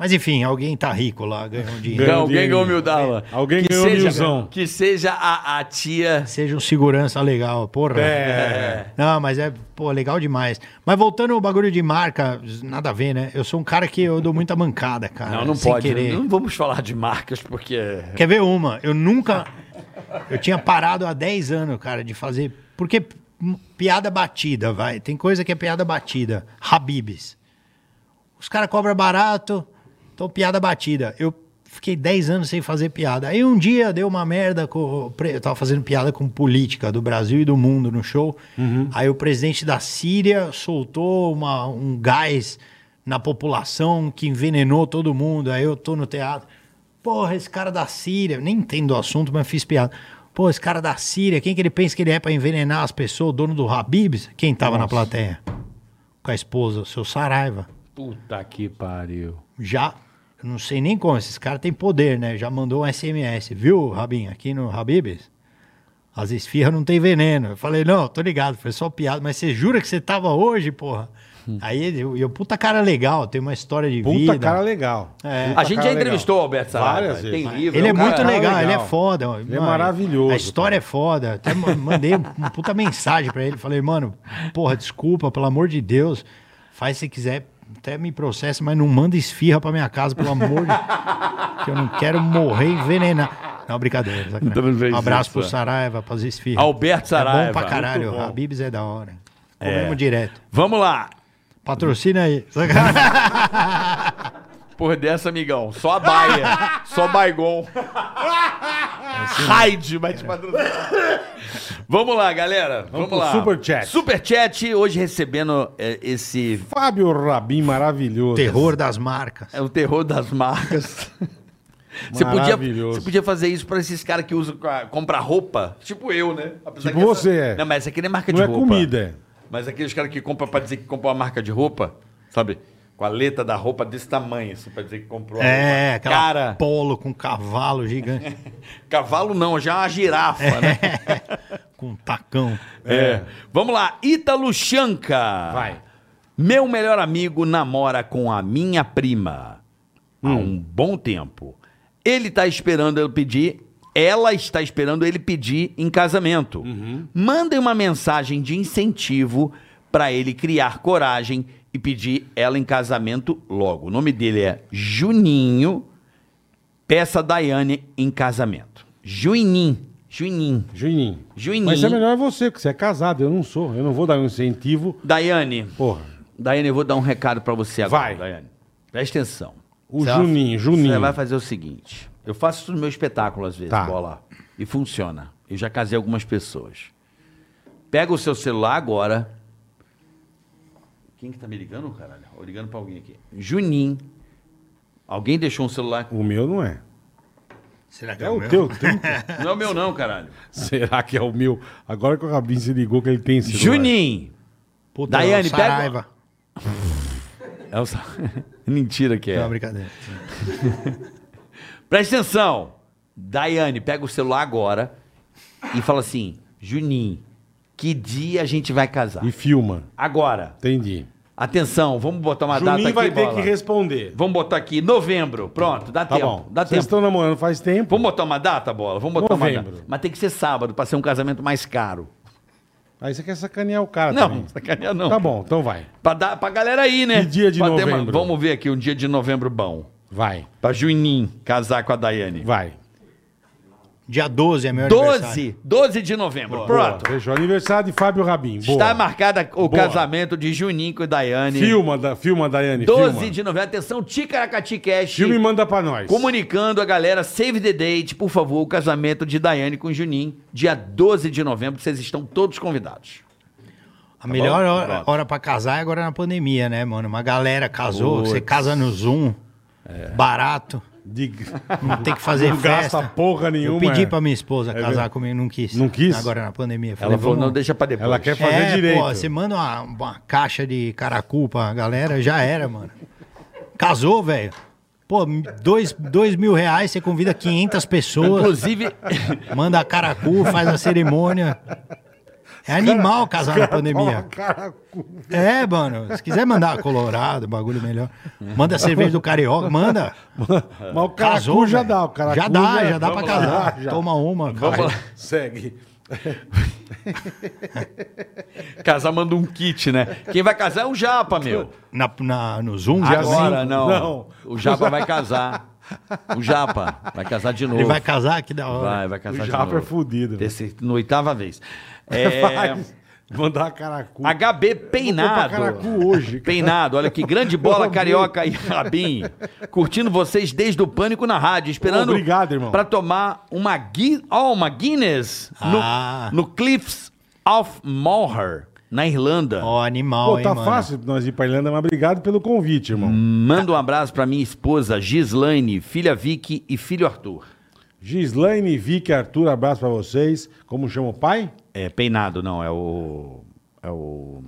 A: Mas enfim, alguém tá rico lá, ganhou um dinheiro.
B: Ganhou.
C: Não, alguém ganhou mil dólares.
B: Alguém
C: que
B: ganhou
C: seja,
B: milzão.
C: Que seja a, a tia.
A: Seja um segurança legal, porra.
B: É.
A: Não, mas é, pô, legal demais. Mas voltando ao bagulho de marca, nada a ver, né? Eu sou um cara que eu dou muita mancada, cara.
C: Não, não
A: sem
C: pode.
A: Querer.
C: Não vamos falar de marcas, porque. é-
A: É. Quer ver uma? Eu nunca. Eu tinha parado há 10 anos, cara, de fazer. Porque m- piada batida, vai. Tem coisa que é piada batida. Habibs. Os caras cobram barato, então piada batida. Eu fiquei 10 anos sem fazer piada. Aí um dia deu uma merda. Com, o pre- eu tava fazendo piada com política do Brasil e do mundo no show. Aí o presidente da Síria soltou uma- um gás na população que envenenou todo mundo. Aí eu tô no teatro. Porra, esse cara da Síria. eu Nem entendo o assunto, mas fiz piada. Pô, esse cara da Síria, quem que ele pensa que ele é pra envenenar as pessoas? O dono do Habibs? Quem tava na plateia? Com a esposa, o seu Saraiva
C: Puta que pariu.
A: já, eu não sei nem como, esses caras têm poder, né? Já mandou um SMS, viu, Rabin? Aqui no Habibs, as esfirras não tem veneno. Eu falei, não, tô ligado, foi só piada, mas você jura que você tava hoje, porra? Aí ele- eu, eu, puta cara legal, tem uma história de
B: Hum. Puta
A: vida.
B: cara legal.
A: É.
B: Puta
C: A gente já
B: cara legal.
C: entrevistou o Alberto Saraiva.
B: Várias
C: Tem
B: vezes.
C: livro.
A: Ele é
C: um cara-
A: muito legal,
B: legal.
A: ele é foda.
B: Ele é maravilhoso,
A: A história é foda. Até ma- mandei uma (laughs) puta mensagem pra ele. Falei, mano, porra, desculpa, pelo amor de Deus. Faz se quiser, até me processa, mas não manda esfirra pra minha casa, pelo amor de (laughs) Que eu não quero morrer envenenado. Não, brincadeira. sacanagem.
D: Também fez
A: Um abraço
D: isso,
A: pro
D: é.
A: Saraiva, pras esfirras.
C: Alberto
A: É
C: Saraiva.
A: bom pra caralho.
B: Muito bom.
A: Habibs é da hora. Comemos direto.
C: Vamos lá.
A: Patrocina aí. (laughs) Sacanagem.
C: Por dessa, amigão. Só a
B: (laughs)
C: baia. só Baigon.
B: Assim, né?
C: Raid vai te patrocinar. Vamos lá, galera. Vamos,
B: pro
C: lá.
B: superchat.
C: Superchat, hoje recebendo é, esse.
B: Fábio Rabin, maravilhoso.
A: Terror das marcas.
C: É o terror das
B: (laughs)
C: marcas. Você podia,
B: Maravilhoso.
C: você podia fazer isso pra esses caras que usam, pra- compra roupa, tipo eu, né? Apesar
B: Tipo
C: que
B: você, é.
C: Não, mas essa aqui não é marca
B: Não
C: de
B: é
C: roupa.
B: comida.
C: Mas aqueles caras que compram pra dizer que comprou uma marca de roupa, sabe? Com a letra da roupa desse tamanho, assim, pra dizer que comprou a
A: É,
C: roupa.
A: aquela
C: Cara,
A: polo com cavalo gigante.
C: cavalo não, já é uma girafa, né?
A: com um tacão.
C: É. Vamos lá, Ítalo Chanca.
B: Vai.
C: Meu melhor amigo namora com a minha prima há um bom tempo. Ele tá esperando eu pedir, ela está esperando ele pedir em casamento. Mandem uma mensagem de incentivo para ele criar coragem e pedir ela em casamento logo. O nome dele é Juninho. Peça a Daiane em casamento. Juinim. Juinim.
B: Juninho.
C: Juninho.
B: Mas é melhor é você, porque você é casado, eu não sou. Eu não vou dar um incentivo.
C: Daiane.
B: Porra.
C: Daiane, eu vou dar um recado pra você agora.
B: Vai.
C: Daiane. Presta atenção.
B: O
C: Você vai,
B: Juninho, Juninho.
C: Você vai fazer o seguinte. Eu faço isso no meu espetáculo às vezes,
B: Tá.
C: bola. E funciona. Eu já casei algumas pessoas. Pega o seu celular agora. Quem que tá me ligando, caralho? Ou ligando pra alguém aqui. Juninho. Alguém deixou um celular.
B: O meu não é.
A: Será que
B: É o
A: meu?
B: teu
A: (laughs)
B: 30.
C: Não é o meu não, caralho.
B: Será que é o meu? Agora que o Rabin se ligou que ele tem celular.
C: Juninho.
A: Puta,
C: Daiane,
A: é o Saraiva.
C: É o... sa- (laughs) Mentira que
A: É
B: Tá,
A: uma
C: é.
A: brincadeira.
C: Presta atenção. Daiane, pega o celular agora e fala assim: Juninho, que dia a gente vai casar?
B: E filma.
C: Agora.
B: Entendi.
C: Atenção, vamos botar uma data
B: Juninho
C: aqui,
B: vai ter
C: bola.
B: que responder.
C: Vamos botar aqui novembro. Pronto, dá
B: Tá
C: tempo.
B: bom.
C: Dá
B: Vocês
C: tempo.
B: estão namorando faz tempo.
C: Vamos botar uma data, bola? Vamos botar uma
B: Novembro.
C: data. Mas tem que ser sábado pra ser um casamento mais caro.
B: Aí você quer sacanear o cara
C: não,
B: também.
C: sacaneia não.
B: Tá bom, então vai.
C: Pra, dar, pra galera aí, né?
B: Que dia de
C: Pra ter
B: novembro?
C: Vamos ver aqui um dia de novembro bom.
B: Vai,
C: Pra Juninho casar com a Daiane.
B: vai.
A: Dia 12 é meu
C: 12, 12 de novembro. Pronto.
B: Boa, Fechou. Aniversário de Fábio Rabin. Boa.
C: Está marcado o
B: Boa.
C: casamento de Juninho com Daiane.
B: Filma, da, filma, Daiane.
C: 12
B: filma.
C: de novembro. Atenção, Ticaracati Cash.
B: Filma e manda pra nós.
C: Comunicando a galera, save the date, por favor, o casamento de Daiane com Juninho, dia 12 de novembro, vocês estão todos convidados.
A: A melhor
C: Tá bom?
A: hora,
C: Pronto.
A: hora pra casar é agora na pandemia, né, mano? Uma galera casou,
C: Putz. É.
A: você casa no Zoom, barato, (laughs)
B: De-
A: não tem que fazer
B: (laughs) Não gasta
A: festa.
B: porra
A: Eu
B: nenhuma.
A: pedi
B: é.
A: pra minha esposa casar
B: verdade.
A: comigo, não quis.
B: Não quis?
A: Agora na pandemia. Falei,
C: Ela falou,
A: vamos-
C: não, deixa pra depois.
B: Ela quer fazer
A: é,
B: direito.
A: Pô, você manda uma, uma caixa de caracu pra galera, já era, mano. Casou, velho. Pô, dois, dois mil reais, você convida 500 pessoas,
B: (laughs)
C: Inclusive,
A: manda caracu, faz a cerimônia. É animal casar na pandemia.
B: Toma, cara, cu.
A: É, mano. Se quiser mandar Colorado, bagulho melhor. Manda a cerveja do Carioca, manda.
B: Mas o cara
A: Casou,
B: cu já
A: velho.
B: dá. O cara
A: já
B: cu
A: dá, já dá pra
B: Vamos
A: casar.
B: lá, já.
A: Toma uma,
C: vamos
A: cara.
C: lá.
B: Segue.
C: (laughs) casar manda um kit, né? Quem vai casar é um japa, meu.
A: Na, na- no Zoom, já
C: Agora,
B: sim.
C: não.
B: Não.
C: O japa vai casar. O japa vai casar de novo.
A: ele vai casar, que da hora.
C: Vai, vai casar
B: O
C: de
B: japa
C: novo.
B: é fudido, velho.
C: Terceira- no oitava
B: (laughs)
C: vez. É,
B: Faz. Mandar a caracu.
C: HB Peinado.
B: Eu vou pra Caracu hoje, cara.
C: Peinado, olha que grande bola
B: Meu
C: carioca (laughs) e rabim. Curtindo vocês desde o Pânico na rádio, esperando
B: Obrigado, irmão.
C: pra tomar uma, Gui... ó, uma Guinness no,
A: Ah.
C: no Cliffs of Moher, na Irlanda.
A: Ó, animal,
B: Pô,
A: hein,
B: tá
A: mano. Hum.
B: fácil nós ir pra Irlanda, mas obrigado pelo convite, irmão.
C: Manda um abraço pra minha esposa Gislaine, filha Vicky e filho Arthur.
B: Gislaine, Vicky, Arthur, abraço pra vocês. Como chama o pai?
C: É, Peinado não, é o... É o...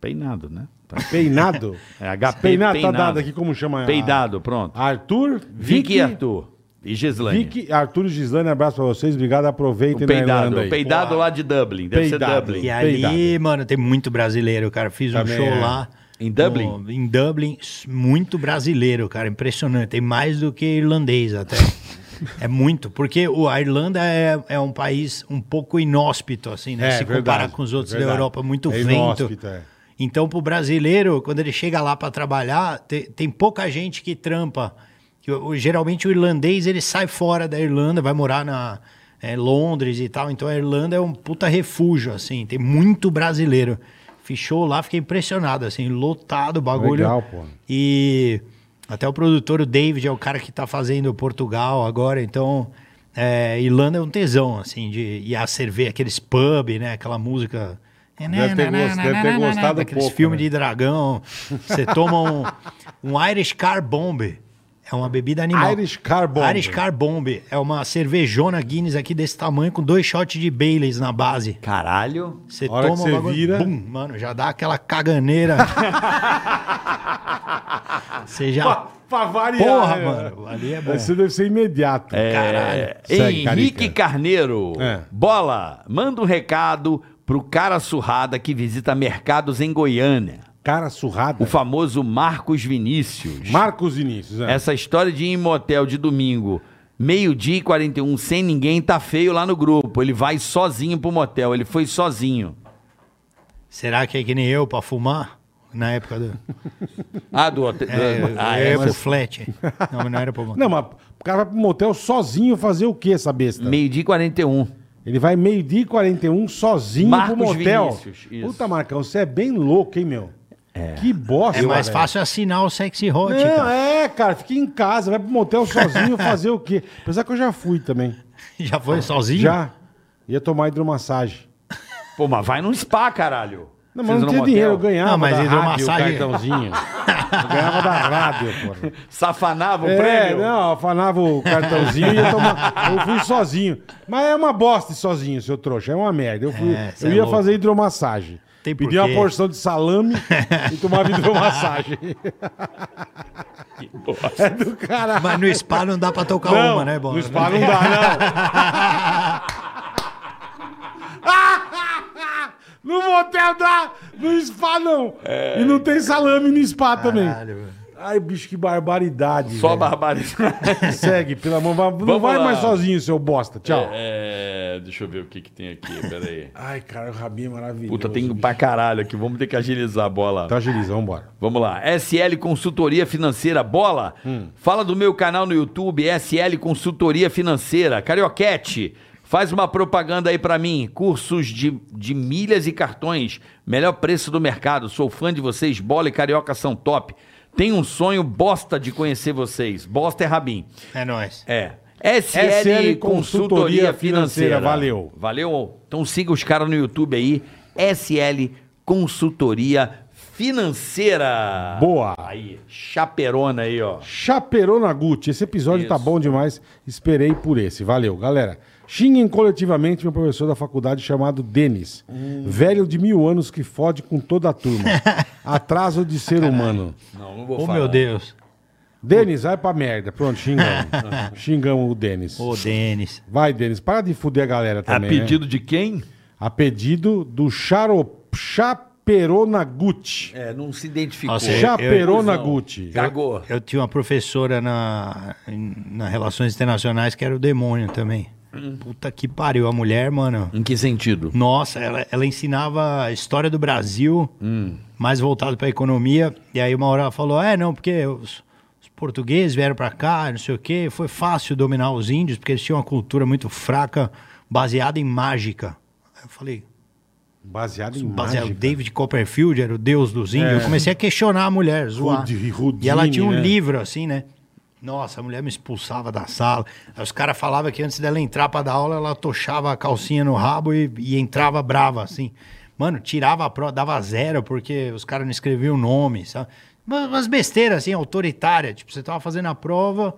C: Peinado, né?
B: Peinado.
C: (laughs) É HP
B: Peinado,
C: Peinado.
B: tá dado aqui como chama. Ah, a-
C: Peidado, pronto.
B: Arthur,
C: Vicky, e Arthur. E Gislaine.
B: Vicky, Arthur e Gislaine, abraço pra vocês. Obrigado, aproveitem
C: O
B: na Irlanda
C: peidado,
B: aí.
C: o peidado lá de Dublin. Deve
B: Peidado.
C: ser Dublin.
A: E ali,
B: Peidado.
A: mano, tem muito brasileiro, cara. Fiz um
B: Também
A: show
B: é.
A: lá.
C: Em Dublin?
A: No- em Dublin, s- muito brasileiro, cara. Impressionante. Tem mais do que irlandês até. é muito, porque o, a Irlanda é, é um país um pouco inóspito, assim, né?
B: É,
A: Se comparar
B: verdade,
A: com os outros
B: verdade.
A: da Europa, muito
B: É
A: vento.
B: inóspito, é.
A: Então, pro brasileiro, quando ele chega lá para trabalhar, te- tem, pouca gente que trampa. Que o- o- geralmente o irlandês ele sai fora da Irlanda, vai morar na eh, Londres e tal. Então a Irlanda é um puta refúgio, assim. Tem muito brasileiro. Fichou lá, fiquei impressionado, assim, lotado o bagulho.
B: Legal, pô.
A: E até o produtor, o David, é o cara que tá fazendo Portugal agora, então. eh, Irlanda é um tesão, assim, de ir a cerveja, aqueles pub, né? Aquela música. É,
B: Deve
A: Né,
B: ter gos- deve ter gostado
A: Aqueles
B: pouco,
A: filmes
B: né?
A: de dragão. Você toma um, um Irish Car Bomb. É uma bebida animal.
B: Irish Car Bomb.
A: Irish Car Bomb. É uma cervejona Guinness aqui desse tamanho com dois shots de Baileys na base.
C: Caralho.
A: Você
B: A hora
A: toma
B: que você
A: o bagulho,
B: vira-
A: bum, mano, já dá aquela
B: (laughs)
A: caganeira. Você já...
B: Pra variar.
A: Porra,
B: né?
A: mano, ali é bom.
B: Isso deve ser imediato.
C: É,
B: Segue,
C: Henrique
B: Carica.
C: Carneiro.
B: É.
C: Bola, manda um recado pro cara surrada que visita mercados em Goiânia.
B: Cara surrado.
C: O famoso Marcos Vinícius.
B: Marcos Vinícius. É.
C: Essa história de ir em motel de domingo, meio-dia e 41, sem ninguém, tá feio lá no grupo. Ele vai sozinho pro motel, ele foi sozinho.
A: Será que é que nem eu pra fumar? Na época do...
C: Ah, do
B: (laughs)
C: hotel.
A: É, eu
C: ah,
A: ia
C: é,
A: pro flat. Não, mas não era pro...
B: Não, mas o cara vai pro motel sozinho fazer o quê, essa besta?
C: meio-dia e 41.
B: Ele vai meio-dia e 41 sozinho
C: Marcos
B: pro motel.
C: Vinícius, isso.
B: Puta, Marcão, você é bem louco, hein, meu? Que bosta,
A: É mais
B: velho.
A: fácil assinar o sexy hot, cara.
B: Não, é, cara, fica em casa, vai pro motel sozinho (laughs) fazer o quê? Apesar que eu já fui também.
A: Já foi sozinho?
B: Já. Ia tomar hidromassagem.
C: Pô, mas vai num spa, caralho.
B: Não, mas
C: Vocês
B: não
C: vão
B: tinha
C: no
B: dinheiro, eu
C: motel?
B: ganhava
A: Não, mas
B: da rádio, o (laughs)
A: hidromassagem-
B: cartãozinho. eu ganhava da rádio, porra.
C: Safanava o
B: É,
C: prêmio.
B: não, afanava o cartãozinho e ia tomar. Eu fui sozinho. Mas é uma bosta ir sozinho, seu trouxa. É uma merda. Eu, fui,
A: É, cê
B: eu
A: é
B: ia
A: louco.
B: fazer hidromassagem.
A: Tem por
B: Pedi uma
A: quê.
B: porção de (laughs) salame e tomava hidromassagem. É do caralho.
A: Mas no spa não dá pra tocar
B: Não,
A: uma, né, Bola?
B: No spa não dá, não. (laughs) no motel dá, no spa não. E não tem salame no spa também.
A: Caralho, velho.
B: Ai, bicho, que barbaridade.
C: Só
B: velho.
C: (laughs) barbaridade.
B: (laughs) Segue, pelo amor. vai- Não
F: Vamos
B: vai
F: lá.
B: mais sozinho, seu bosta. Tchau.
F: É, deixa eu ver o que, que tem aqui, peraí.
B: Ai, cara, o rabinho é maravilhoso.
C: Puta, tem
B: bicho.
C: pra caralho aqui. Vamos ter que agilizar a bola.
B: Então agiliza, vambora.
C: Vamos lá. SL Consultoria Financeira Bola.
B: Hum.
C: Fala do meu canal no YouTube, SL Consultoria Financeira. Carioquete, faz uma propaganda aí pra mim. Cursos de, de milhas e cartões. Melhor preço do mercado. Sou fã de vocês. Bola e Carioca são top. Tenho um sonho bosta de conhecer vocês. Bosta é Rabin.
A: É nóis.
C: É. SL,
B: Consultoria
C: Consultoria Financeira.
B: Financeira, valeu.
C: Valeu. Então siga os caras no YouTube aí. SL Consultoria Financeira.
B: Boa.
C: Aí, chaperona aí, ó.
B: Chaperona Gucci. Esse episódio tá bom demais. Esperei por esse. Valeu, galera. Xinguem coletivamente meu professor da faculdade chamado Denis.
A: Hum.
B: Velho de mil anos que fode com toda a
A: (laughs)
B: turma. Atraso de ser humano.
C: Não, não vou
A: Ô,
C: falar.
A: meu Deus.
B: Denis, vai pra merda. Pronto,
A: (laughs)
B: xingamos. xingamos o Denis.
A: Ô, Denis.
B: Vai, Denis. Para de fuder a galera
C: A
B: também. né?
C: pedido de quem?
B: a pedido do Charo... Chaperona Gucci.
C: É, não se identificou.
A: Nossa, eu-
B: Chaperona
C: eu-
B: Gucci.
C: Cagou.
A: Eu tinha uma professora na, em- na Relações Internacionais que era o demônio também.
B: Hum.
A: Puta que pariu. A mulher, mano.
C: Em que sentido?
A: Nossa, ela, ela ensinava a história do Brasil,
B: Hum.
A: mais voltado para economia. E aí uma hora ela falou: é, não, porque os, os portugueses vieram para cá, não sei o quê. Foi fácil dominar os índios, porque eles tinham uma cultura muito fraca, baseada em mágica. Aí eu falei:
B: Baseado em
A: baseado,
B: mágica.
A: é David Copperfield era o deus dos índios. Eu comecei a questionar a mulher, zoar.
B: Rudi- Rudine,
A: e ela tinha um
B: né?
A: livro assim, né? Nossa, a mulher me expulsava da sala. Aí os caras falavam que antes dela entrar pra dar aula, ela tochava a calcinha no rabo e, e entrava brava, assim. Mano, tirava a prova, dava zero, porque os caras não escreviam o nome, sabe? Mas- Umas besteiras, assim, autoritária. Tipo, você tava fazendo a prova,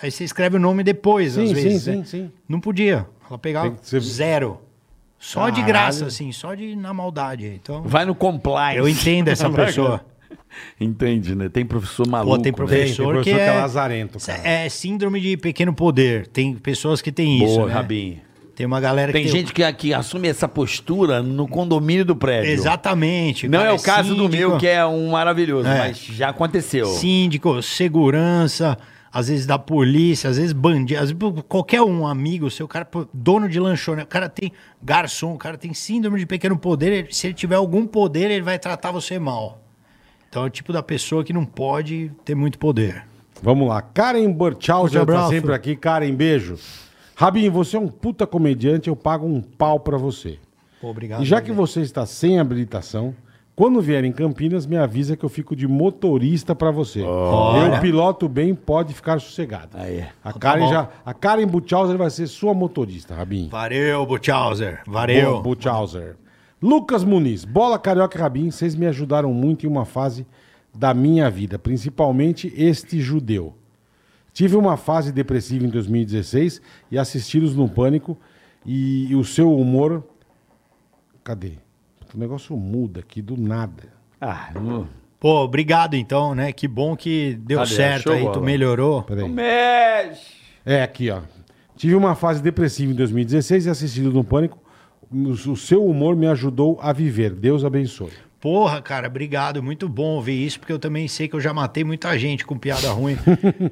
A: aí você escreve o nome depois,
B: Sim,
A: às
B: sim,
A: vezes.
B: sim,
A: né?
B: sim.
A: Não podia. Ela
B: Tem
A: pegava
B: que ser-
A: zero. Só de
B: Caralho.
A: graça, assim, só de na maldade. Então,
C: Vai no compliance.
A: eu
C: (laughs)
A: entendo essa pessoa.
C: Entende, né? Tem professor maluco.
A: Pô,
B: Tem,
A: tem professor,
B: tem professor
A: que,
B: que é
A: é,
B: lazarento, cara.
A: É síndrome de pequeno poder. Tem pessoas que têm isso,
C: Boa,
A: né?
C: Rabin.
A: Tem uma galera
C: Tem
A: que.
C: gente que, que assume essa postura no condomínio do prédio.
A: Exatamente.
C: Não
A: cara,
C: é o caso do
A: síndico.
C: meu, que é um maravilhoso,
A: É.
C: mas já aconteceu.
A: síndico, segurança, às vezes da polícia, às vezes bandido, às vezes qualquer um amigo seu, cara, pô, dono de lanchonete, o cara tem garçom, o cara tem síndrome de pequeno poder, ele- se ele tiver algum poder, ele vai tratar você mal. Então é o tipo da pessoa que não pode ter muito poder.
B: Vamos lá. Karen Burchal
A: Forte
B: já tá
A: abraço.
B: sempre aqui. Karen, beijo. Rabinho, você é um puta comediante, eu pago um pau pra você.
A: Pô, Obrigado.
B: E já que você está sem habilitação, quando vier em Campinas, me avisa que eu fico de motorista pra você. Eu piloto bem, pode ficar sossegado.
C: Aí.
B: A
A: tá
B: Karen,
A: bom.
B: já, a Karen Buchhauser vai ser sua motorista, Rabinho.
A: Valeu, Butchauser.
B: Boa,
A: Valeu.
B: Buchhauser. Lucas Muniz, bola carioca e Rabin, vocês me ajudaram muito em uma fase da minha vida, principalmente este judeu. Tive uma fase depressiva em 2016 e assisti-los no pânico e, e o seu humor. Cadê? O negócio muda aqui do nada.
C: Ah, não.
A: Pô, obrigado então, né? Que bom que deu
C: Cadê?
A: certo
C: Show
A: aí, tu
C: bola.
A: melhorou.
B: Peraí.
C: Mexe!
B: É, aqui, ó. Tive uma fase depressiva em 2016 e assistido no pânico. O, o seu humor me ajudou a viver. Deus abençoe.
A: Porra, cara, obrigado. Muito bom ouvir isso, porque eu também sei que eu já matei muita gente com
B: (laughs)
A: piada ruim.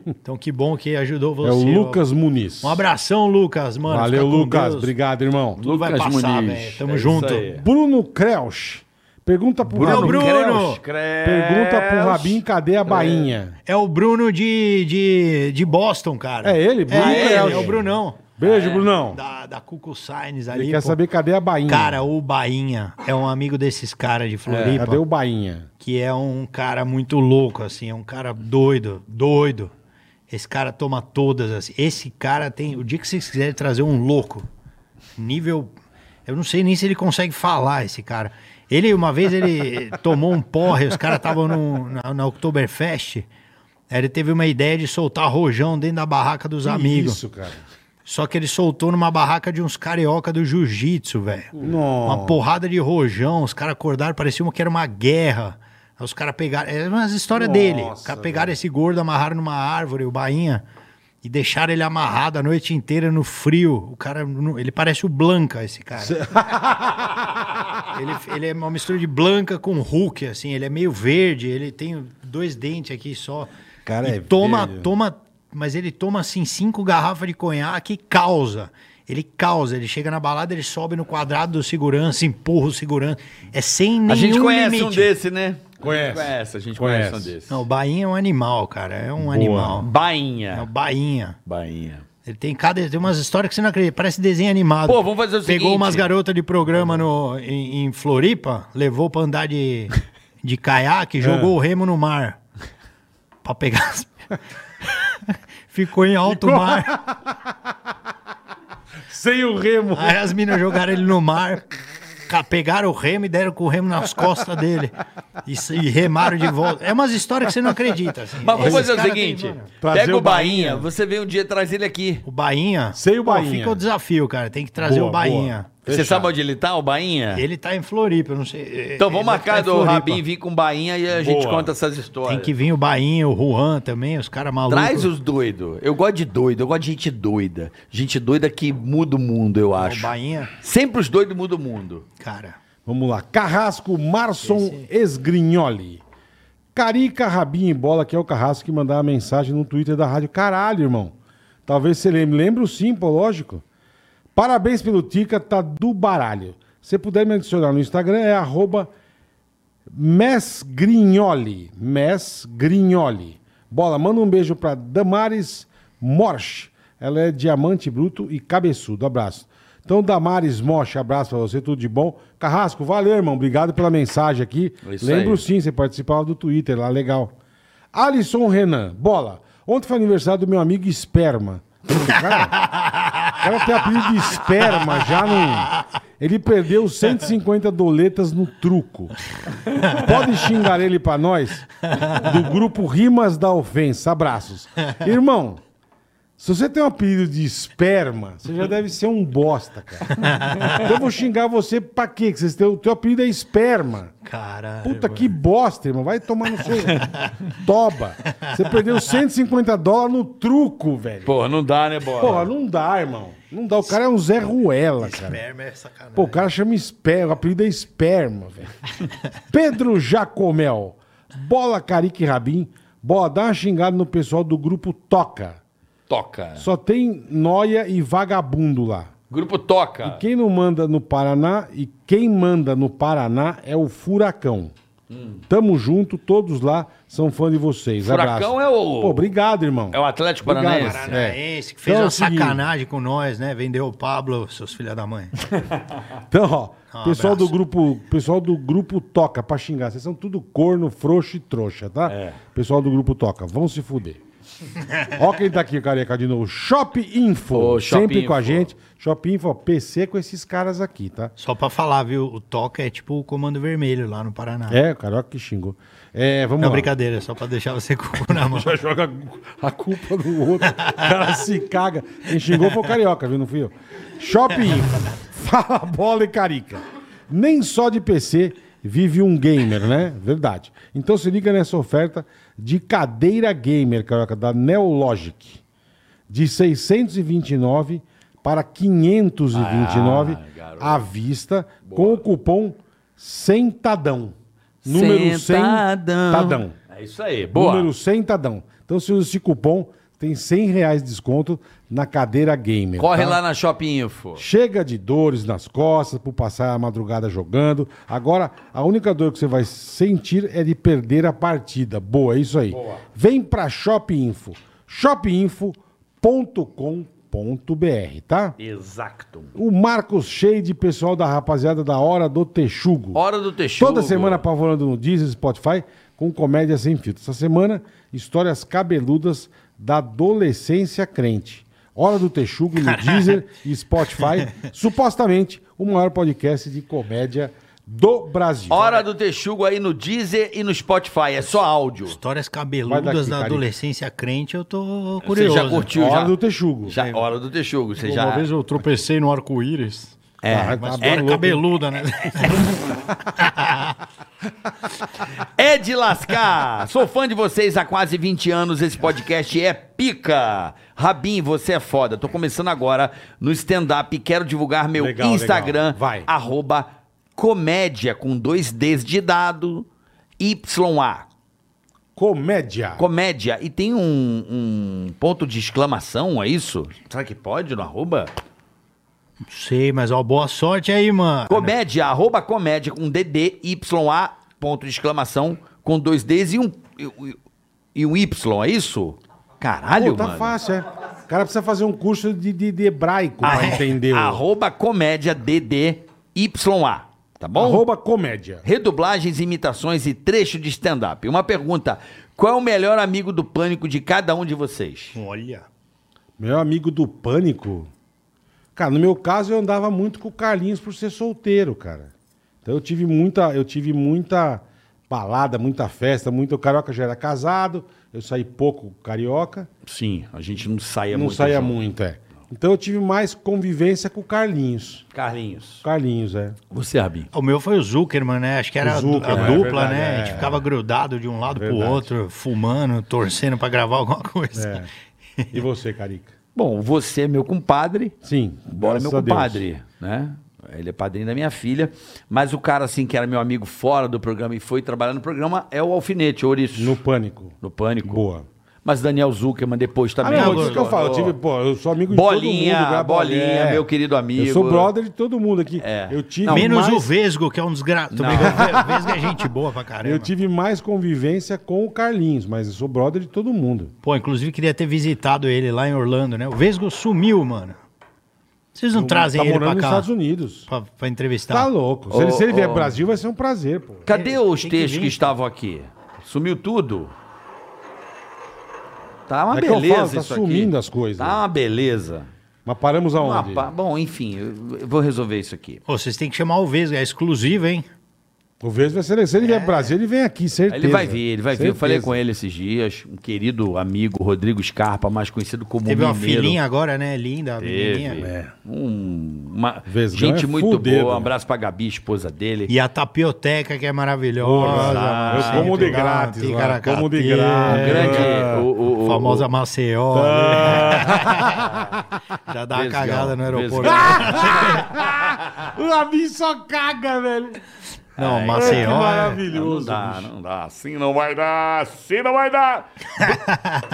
A: então que bom que ajudou você.
B: é o Lucas Muniz.
A: Um abração, Lucas, mano.
B: Valeu,
A: Fica com
B: Lucas.
A: Deus.
B: Obrigado, irmão.
A: Tudo vai
F: Lucas
A: passar,
F: Muniz.
A: velho. Tamo
F: É isso
A: junto.
F: aí.
B: Bruno Kreusch. Pergunta pro
A: Bruno,
B: Rabin.
A: Bruno.
C: Creus,
B: Pergunta pro Rabin, cadê a bainha?
A: É o Bruno de, de, de Boston, cara.
B: É ele, Bruno
A: Bruno. É,
B: Kreusch.
A: ele, é o Brunão.
B: Beijo, Brunão.
A: Da, da Cuco Signs ali.
B: Ele quer
A: pô.
B: saber é. cadê a bainha.
A: Cara, o Bainha é um amigo desses caras de
F: É,
A: Floripa.
B: É, cadê o bainha?
A: que é um cara muito louco, assim, é um cara doido, doido. Esse cara toma todas, assim. Esse cara tem. O dia que vocês quiserem trazer um louco, nível. Eu não sei nem se ele consegue falar, esse cara. Ele, uma vez, ele tomou um porre, os caras estavam no- na, na Oktoberfest. Aí ele teve uma ideia de soltar rojão dentro da barraca dos amigos.
B: Isso, cara.
A: Só que ele soltou numa barraca de uns carioca do jiu-jitsu, velho. Uma porrada de rojão, os caras acordaram, parecia uma que era uma guerra. Aí os caras pegaram. É umas histórias
B: Nossa,
A: dele. Os caras pegaram esse gordo, amarraram numa árvore, o bainha, e deixaram ele amarrado a noite inteira no frio. O cara. não- Ele parece o Blanca, esse cara.
B: (laughs)
A: ele, ele é uma mistura de Blanca com Hulk, assim. Ele é meio verde, ele tem dois dentes aqui só.
B: Cara,
A: e
B: é
A: toma,
B: velho.
A: toma, mas ele toma assim cinco garrafas de conhaque e causa. Ele causa, ele chega na balada, ele sobe no quadrado do segurança, empurra o segurança. É sem nenhum
C: A gente conhece
A: limite.
C: um desse, né?
B: Conhece.
F: Conhece, a gente conhece,
B: Conhece.
F: um desses.
A: Não, o Bainha é um animal, cara. É um animal. É o
C: Bainha.
A: Bainha.
F: Bainha.
A: Ele tem cada. Tem umas histórias que você não acredita. Parece desenho animado.
C: Pô, vamos fazer o
A: Pegou
C: seguinte.
A: umas garotas de programa no, em, em Floripa, levou pra andar
C: (laughs)
A: de, de caiaque,
C: Ah.
A: jogou o remo no mar. Pra pegar. as- (laughs) Ficou em alto mar.
B: Sem o remo.
A: Aí as minas jogaram ele no mar, ca- pegaram o remo e deram com o remo nas costas dele. E, se- e remaram de volta. É umas histórias que você não acredita. assim.
C: Mas vamos
A: Esses
C: fazer o
A: caras
C: seguinte:
A: têm, mano.
B: Trazer
C: pega
B: o
C: o Bainha,
B: Bainha.
C: você vem um dia e traz ele aqui.
A: o Bainha.
B: Sei o
A: Pô,
B: Bainha.
A: fica o desafio, cara. Tem que trazer
B: Boa,
A: o Bainha.
B: boa.
C: Você
B: Fechado.
C: sabe onde ele tá, o Bainha?
A: Ele tá em Floripa, eu não sei.
C: Então vamos
A: Ele deve
C: marcar
A: tá em
C: do
A: Floripa.
C: Rabin vir com o Bainha e a gente
B: Boa.
C: conta essas histórias.
A: Tem que vir o Bainha, o Juan também, os caras malucos.
C: Traz os doidos. Eu gosto de doido, eu gosto de gente doida. Gente doida que muda o mundo, eu
A: O
C: acho.
A: Bainha,
C: Sempre os doidos mudam o mundo.
A: cara.
B: Vamos lá. Carrasco Marson Esgrignoli. Carica Rabinho e Bola, que é o Carrasco que mandava mensagem no Twitter da rádio. Caralho, irmão. Talvez você lembre. Lembro sim, pô, lógico. Parabéns pelo Tica, tá do baralho. Se puder me adicionar no Instagram, é arroba Mesgrignoli. Mesgrignoli. Bola, manda um beijo pra Damares Morsch. Ela é diamante bruto e cabeçudo. Abraço. Então, Damares Morsch, abraço pra você, tudo de bom. Carrasco, valeu, irmão. Obrigado pela mensagem aqui.
C: É Isso
B: Lembro
C: aí.
B: sim, você participava do Twitter lá, legal. Alisson Renan, bola. Ontem foi aniversário do meu amigo Esperma. O cara, o cara tem apelido um de Esperma já não. Ele perdeu 150 doletas no truco. Pode xingar ele pra nós? Do grupo Rimas da Ofensa. Abraços. Irmão, se você tem um apelido de esperma, você já deve ser um bosta, cara. Então eu vou xingar você pra quê? Que você tem, o teu apelido é esperma.
A: Cara.
B: Puta que bosta, irmão. Vai tomar no seu. Toba. Você perdeu 150 dólares no truco, velho.
F: Porra, não dá, né, Bola?
B: Porra, não dá, irmão. Não dá, o cara é um Zé Ruela,
F: né?
B: cara.
A: Esperma é sacanagem.
B: Pô, o cara chama esperma, o apelido é esperma,
F: (laughs)
B: velho. Pedro Jacomel, bola Carique Rabin, bola, dá uma xingada no pessoal do grupo Toca.
F: Toca.
B: Só tem noia e vagabundo lá.
F: Grupo Toca.
B: Quem não manda no Paraná e quem manda no Paraná é o Furacão.
F: Hum.
B: Tamo junto, todos lá são fã de vocês.
F: Furacão
B: Abraço.
F: é o-
B: Pô, obrigado, irmão.
F: É o Atlético
B: Obrigado.
F: Paranaense.
A: Paranaense,
B: É.
A: que fez
B: Então é o
A: uma
B: seguinte.
A: sacanagem com nós, né? Vendeu o Pablo, seus filha da mãe.
B: Então, ó,
A: Um
B: pessoal do
A: abraço.
B: grupo, pessoal do grupo Toca pra xingar, vocês são tudo corno, frouxo e trouxa, tá?
F: É.
B: Pessoal do grupo Toca, vão se
A: (laughs)
B: fuder. ó quem tá aqui, careca, de novo. Shop Info,
F: Ô, Shop
B: sempre com a
F: Info.
B: gente. Shop Info, ó, PC com esses caras aqui, tá?
A: Só pra falar, viu? O Toca é tipo o Comando Vermelho lá no Paraná.
B: É, o Caroca que xingou. É, vamos
A: Não,
B: lá.
A: brincadeira, só pra deixar você com o cu na mão.
B: Já joga a culpa no outro. O cara se caga. Quem xingou foi o carioca, viu? Não fui eu. Shopping. Fala bola e carica. Nem só de PC vive um gamer, né? Verdade. Então se liga nessa oferta de cadeira gamer, carioca, da Neologic. De 629 para 529 à vista, com o cupom SENTADÃO. Número
C: Sentadão.
B: SENTADÃO.
F: É isso aí. Boa.
B: Número sentadão. Então, se usa esse cupom, tem 100 reais de desconto na cadeira gamer.
C: Corre
B: tá?
C: lá na Shopping Info.
B: Chega de dores nas costas por passar a madrugada jogando. Agora, a única dor que você vai sentir é de perder a partida. Boa, é isso aí. Vem pra Shop Info. shopinfo.com.br, tá?
F: Exacto.
B: O Marcos Shade, pessoal da rapaziada da Hora do Texugo.
C: Hora do Texugo.
B: Toda semana apavorando no Deezer, Spotify, com comédia sem filtro. Essa semana, histórias cabeludas da adolescência crente. Hora do Texugo no Deezer
C: (laughs)
B: e Spotify, supostamente o maior podcast de comédia do Brasil.
C: Hora do Texugo aí no Deezer e no Spotify. É só áudio.
A: Histórias
B: Vai daqui,
A: cabeludas da
B: Carica.
A: adolescência crente, eu tô
C: Você
A: curioso. É,
C: já curtiu?
B: Hora
C: já?
B: do Texugo.
C: Já, hora do Texugo. Você já.
G: Uma vez eu tropecei no arco-íris.
C: É,
B: tá
A: Mas
B: bem
A: é
B: louco, hein?
A: cabeluda, né? (laughs)
C: É de lascar! (laughs) Sou fã de vocês há quase 20 anos, esse podcast é pica! Rabin, você é foda. Tô começando agora no stand-up e quero divulgar meu
B: Legal,
C: Instagram,
B: legal. Vai.
C: arroba comédia com dois Ds de dado, YA.
B: Comédia.
C: Comédia. E tem um, um ponto de exclamação, é isso? Será que pode no arroba?
A: Não sei, mas ó, boa sorte aí, mano.
C: Comédia, arroba comédia com DD, YA, ponto de exclamação, com dois Ds e um, e, e um Y, é isso? Caralho,
B: Pô, tá
C: mano.
B: fácil, é. O cara precisa fazer um curso de, de, de hebraico
C: Ah,
B: pra
C: é.
B: entender. o-
C: Arroba comédia DD, YA, tá bom?
B: Arroba comédia.
C: Redublagens, imitações e trecho de stand-up. Uma pergunta, qual é o melhor amigo do pânico de cada um de vocês?
A: Olha.
B: Meu amigo do pânico. Cara, no meu caso eu andava muito com o Carlinhos por ser solteiro, cara. Então eu tive muita, eu tive muita balada, muita festa, muito o carioca já era casado, eu saí pouco com o carioca,
F: Sim, a gente não saia
B: não
F: muito.
B: saía
F: junto.
B: muito, é. Então eu tive mais convivência com o Carlinhos.
F: Carlinhos.
B: Carlinhos, é.
F: Você, Rabin.
A: O meu foi o Zuckerman, né? Acho que era a du-
B: Zuckerman,
A: a
B: é
A: dupla,
B: verdade,
A: né?
B: é,
A: a gente
B: é.
A: ficava grudado de um lado
B: Verdade.
A: pro outro, fumando, torcendo pra gravar alguma coisa.
B: É.
C: (laughs)
B: E você, Carica?
C: Bom, você é meu compadre,
B: Sim.
C: Bora,
B: graças
C: é meu
B: a Deus.
C: compadre, né? Ele é padrinho da minha filha. Mas o cara, assim, que era meu amigo fora do programa e foi trabalhar no programa, é o Alfinete, Ouriço.
B: No
C: No,
B: pânico.
C: Pânico.
B: Boa.
C: Mas Daniel Zuckerman depois
B: Ah,
C: também.
B: não,
A: Boa,
B: isso que eu
A: boa,
B: falo. Eu tive, pô, eu sou amigo
C: Bolinha,
B: de todo mundo. cara,
C: Bolinha,
B: é.
C: meu querido amigo.
B: Eu sou brother de todo mundo aqui.
C: É.
B: Eu tive
A: Menos
B: mais...
A: o Vesgo, que é um desgraçado. O Vesgo é gente boa pra caramba.
B: Eu tive mais convivência com o Carlinhos, mas eu sou brother de todo mundo.
A: Pô, inclusive queria ter visitado ele lá em Orlando, né? O Vesgo sumiu, mano. Vocês não trazem
B: tá
A: ele
B: morando
A: pra
B: nos
A: cá
B: Estados Unidos.
A: pra, pra entrevistar?
B: Tá louco. Se ele, se ele
C: Ô,
B: vier
C: ô.
B: pro Brasil, vai ser um prazer, pô.
C: Cadê os
A: Tem que
C: textos que,
A: vir.
C: estavam aqui? Sumiu tudo? Tá uma
B: É que eu
C: beleza
B: falo, tá
C: isso aqui.
B: sumindo as coisas.
C: Tá uma beleza.
B: Mas paramos
C: Uma
B: aonde?
C: pa- Bom, enfim, eu eu vou resolver isso aqui.
A: Ô, vocês têm que chamar o Vesgo, é exclusivo, hein?
B: O Vesgo vai ser. Se ele vier pro Brasil, ele vem aqui, certeza.
C: É. Ele vai vir, ele vai vir. Eu falei com ele esses dias, um querido amigo, Rodrigo Scarpa, mais conhecido como
A: Teve uma
C: Mineiro.
A: filhinha agora, né? Linda, a menininha.
C: Teve. Um- uma,
B: É. Vesgão
C: gente
B: é
C: muito
B: fudido,
C: boa. Um
B: né?
C: abraço pra Gabi, esposa dele.
A: E a tapioteca que é maravilhosa.
B: Porra, eu como de grátis lá,
A: Ticaracati,
B: como de grátis. Tá.
C: Um grande.
B: É.
C: o- o- o-
A: Famosa
C: o-
A: Maceió.
B: (laughs)
A: né? Já dá uma
C: Vesgão,
A: cagada no aeroporto.
C: Vesgão.
B: O
A: Ah,
B: Lavinho só caga, velho.
A: Não,
B: Que
A: Maceió. é-
C: Ah, Não
B: maravilhoso.
C: dá,
B: bicho.
C: não dá.
E: Assim não vai dar, assim não vai dar.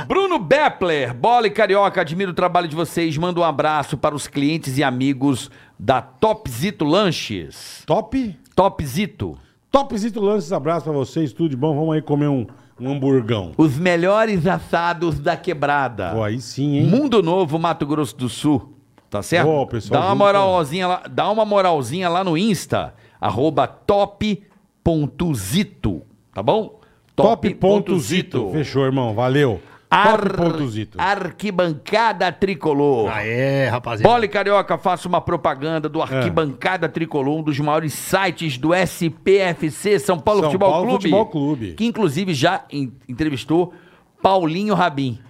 C: Bruno Bepler, bola e carioca, admiro o trabalho de vocês. Manda um abraço para os clientes e amigos da Topzito Lanches.
B: Top.
C: Topzito,
B: Topzito Lances, abraço pra vocês, tudo de bom. Vamos aí comer um, um hamburgão.
C: os melhores assados da quebrada.
B: Pô, aí sim, hein?
C: Mundo Novo, Mato Grosso do Sul. Tá certo?
B: Ô, pessoal,
C: dá, uma
B: junto.
C: moralzinha lá, dá uma moralzinha lá no Insta, arroba top.zito, tá bom?
B: Top ponto Zito. Fechou, irmão. Valeu. Top ponto Zito.
C: Arquibancada Tricolor.
A: Aê, rapaziada.
C: Bola e Carioca, faça uma propaganda
B: Ah.
C: do Arquibancada Tricolor, um dos maiores sites do SPFC, São Paulo,
B: São
C: Futebol,
B: Paulo
C: Clube,
B: Futebol Clube.
C: Que inclusive já en- entrevistou Paulinho Rabin.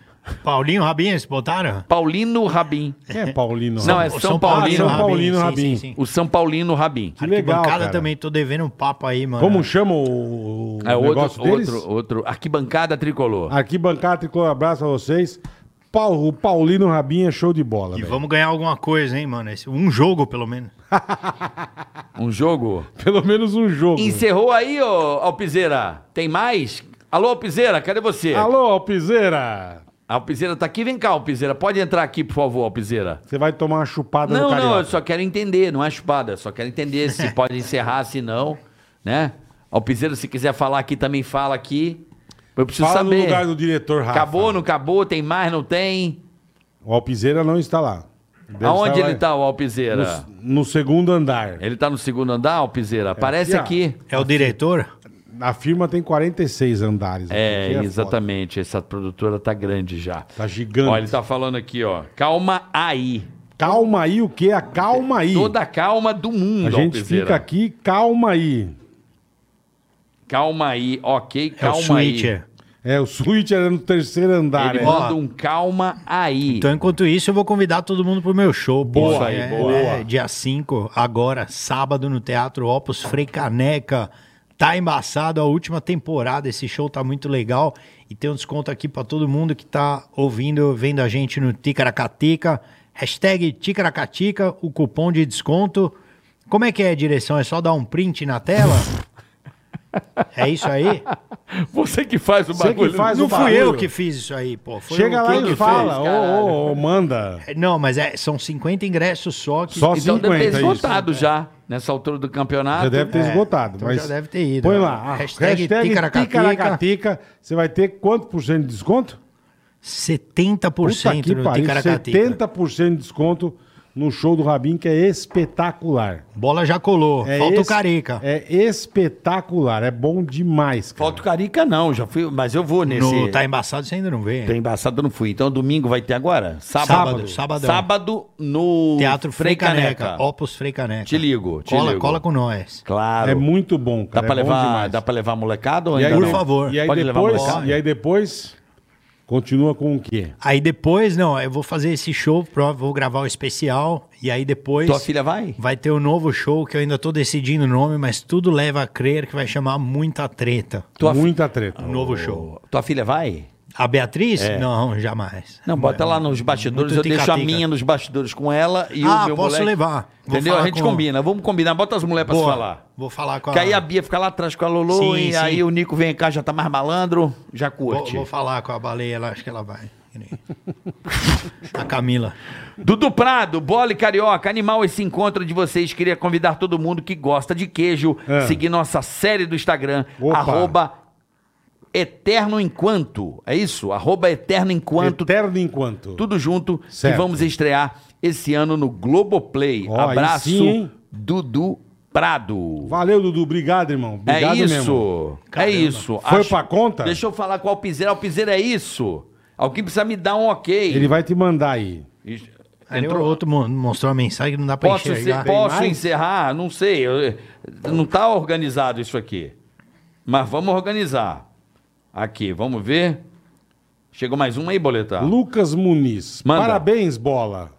A: Paulinho Rabinho, eles botaram?
C: Paulino Rabin.
B: Quem é Paulino?
C: Não, é São Paulino.
B: Ah, São Paulino Rabin.
C: O São Paulino Rabin.
B: Que legal,
A: Arquibancada
B: cara.
A: também, tô devendo um papo aí, mano.
B: Como chama o, o
C: É outro,
B: negócio deles? Ah.
C: outro, outro. Arquibancada Tricolor.
B: Arquibancada, tricolor, abraço pra vocês. Pau- o Paulino Rabinha, show de bola,
A: E
B: velho.
A: vamos ganhar alguma coisa, hein, mano? Esse- um jogo, pelo menos.
C: Um jogo.
B: Pelo menos um jogo.
C: Encerrou aí, ô Alpizeira. Tem mais? Alô, Alpizeira, cadê você?
B: Alô, Alpizeira!
C: A Alpizeira tá aqui, vem cá, Alpizeira. Pode entrar aqui, por favor, Alpizeira.
B: Você vai tomar uma chupada no
C: Não,
B: Tá carioca.
C: não, eu só quero entender, não é chupada. Só quero entender
B: (laughs)
C: se pode encerrar, se não, né? Alpizeira, se quiser falar aqui, também fala aqui. Eu preciso
B: Fala
C: saber.
B: no lugar do diretor Rafa.
C: Acabou, não acabou? Tem mais, não tem?
B: O Alpizeira não está lá. Deve
C: Aonde
B: estar
C: ele
B: lá
C: tá, o Alpizeira?
B: No, no segundo andar.
C: Ele tá no segundo andar, Alpizeira? Aparece
B: É aqui,
C: aqui.
A: É o diretor?
B: A firma tem 46 andares.
C: É,
B: Aqui foda.
C: exatamente. Essa produtora tá grande já.
B: Tá gigante.
C: Ó, ele tá falando aqui, ó. Calma aí.
B: Calma aí o quê? É Calma aí.
C: Toda a calma do mundo,
B: A gente
C: Alpizeira.
B: fica aqui, calma aí.
C: Calma aí, ok,
A: É o
C: calma aí.
A: switcher.
B: É, o suíte era no terceiro andar.
C: Ele
B: é.
C: manda um calma aí.
A: Então, enquanto isso, eu vou convidar todo mundo pro meu show.
B: Boa,
A: pô.
B: aí,
A: É,
B: boa.
A: é, dia 5, agora, sábado, no Teatro Opus Frei Caneca. Tá embaçado a última temporada. Esse show tá muito legal. E tem um desconto aqui pra todo mundo que tá ouvindo, vendo a gente no Ticaracatica. Hashtag Ticaracatica, o cupom de desconto. Como é que é a direção? É só dar um print na tela? É isso aí?
C: Você que faz o
B: Você que
C: bagulho.
B: faz
A: Não
B: o
A: fui
B: barulho.
A: eu que fiz isso aí, pô. Foi
B: Chega
A: o-
B: lá
C: quem que
B: e
C: fez,
B: fala, ô,
C: caralho?
B: ô, ô, manda.
A: Não, mas é- são 50 ingressos só que
B: Só
C: Então deve
B: 50
C: ter
B: é isso.
C: esgotado já, nessa altura do campeonato.
B: Já deve ter
A: É,
B: esgotado,
A: então
B: mas...
A: já deve ter ido.
B: Põe lá, a
A: Hashtag
B: hashtag,
A: Ticaracatica.
B: Ticaracatica, você vai ter quanto por cento de desconto?
A: 70% no Ticaracatica.
B: 70% de desconto no show do Rabin, que é espetacular.
A: Bola já colou,
B: É
A: falta o
B: es-
A: Careca.
B: É espetacular, é bom demais, cara.
C: Foto carica não, já fui, mas eu vou
B: É
C: nesse.
A: No Tá Embaçado você ainda não vê.
C: Tem embaçado, eu não fui. Então domingo vai ter agora?
A: Sábado,
C: Sábado.
A: sabadão.
C: Sábado no
A: Teatro Frei Caneca,
C: Caneca.
A: Opus Frei Caneca.
C: Te ligo, te
A: cola,
C: ligo.
A: cola com nós.
C: Claro.
B: É muito bom,
C: Dá
B: cara.
C: pra
B: é bom
C: levar,
B: demais.
C: dá pra levar molecada ou
B: E aí,
C: ainda
A: Por
C: não?
A: favor.
B: E aí,
C: Pode levar
B: depois,
C: molecada?
B: e aí depois, continua com o quê?
A: Aí depois, não, eu vou fazer esse show, prova- vou gravar o especial, e aí depois
C: Tua filha vai?
A: vai ter um novo show que eu ainda tô decidindo o nome, mas tudo leva a crer que vai chamar muita treta.
C: Tua fi-
B: Muita treta.
A: Um novo show.
C: Tua filha vai?
A: A Beatriz?
B: É.
A: Não, jamais.
C: Não, bota lá nos bastidores,
A: Muito
C: eu deixo a
A: tica-tica.
C: minha nos bastidores com ela e
A: Ah,
C: o meu
A: posso
C: moleque.
A: levar. Vou
C: Entendeu? A
A: falar
C: gente
A: com-
C: combina, vamos combinar, bota as mulheres pra se
A: Boa,
C: falar.
A: Vou falar com a...
C: Que aí é a Bia fica lá atrás com a Lolo
A: Sim,
C: e
A: sim.
C: aí o Nico vem cá, já tá mais malandro, já
A: Vou,
C: curte.
A: vou falar com a baleia lá, acho que ela vai. (laughs) A Camila.
C: Dudu Prado, Bole Carioca, animal esse encontro de vocês. Queria convidar todo mundo que gosta de queijo,
B: É.
C: seguir nossa série do Instagram,
B: Opa.
C: arroba Eterno Enquanto. É isso? Arroba Eterno Enquanto,
B: Eterno enquanto.
C: tudo junto,
B: Certo.
C: que vamos estrear esse ano no Globoplay.
B: Ó, aí
C: Abraço,
B: sim, hein?
C: Dudu Prado.
B: Valeu, Dudu. Obrigado, irmão. Obrigado
C: é
B: mesmo.
C: isso, é isso.
B: Foi pra conta?
C: Deixa eu falar com o Alpizeira. Alpizeira é isso. Alguém precisa me dar um ok.
B: Ele vai te mandar aí.
C: Isso.
A: Ali
C: Entrou-
A: o outro mo- mostrou uma mensagem que não dá pra
C: Posso,
A: enxergar.
C: ser- posso
B: mais?
C: encerrar? Não sei. eu- eh, não está organizado isso aqui. Mas vamos organizar. Aqui, vamos ver. Chegou mais uma aí, Boletar.
B: Lucas Muniz.
C: Tá. Manda.
B: Parabéns, bola.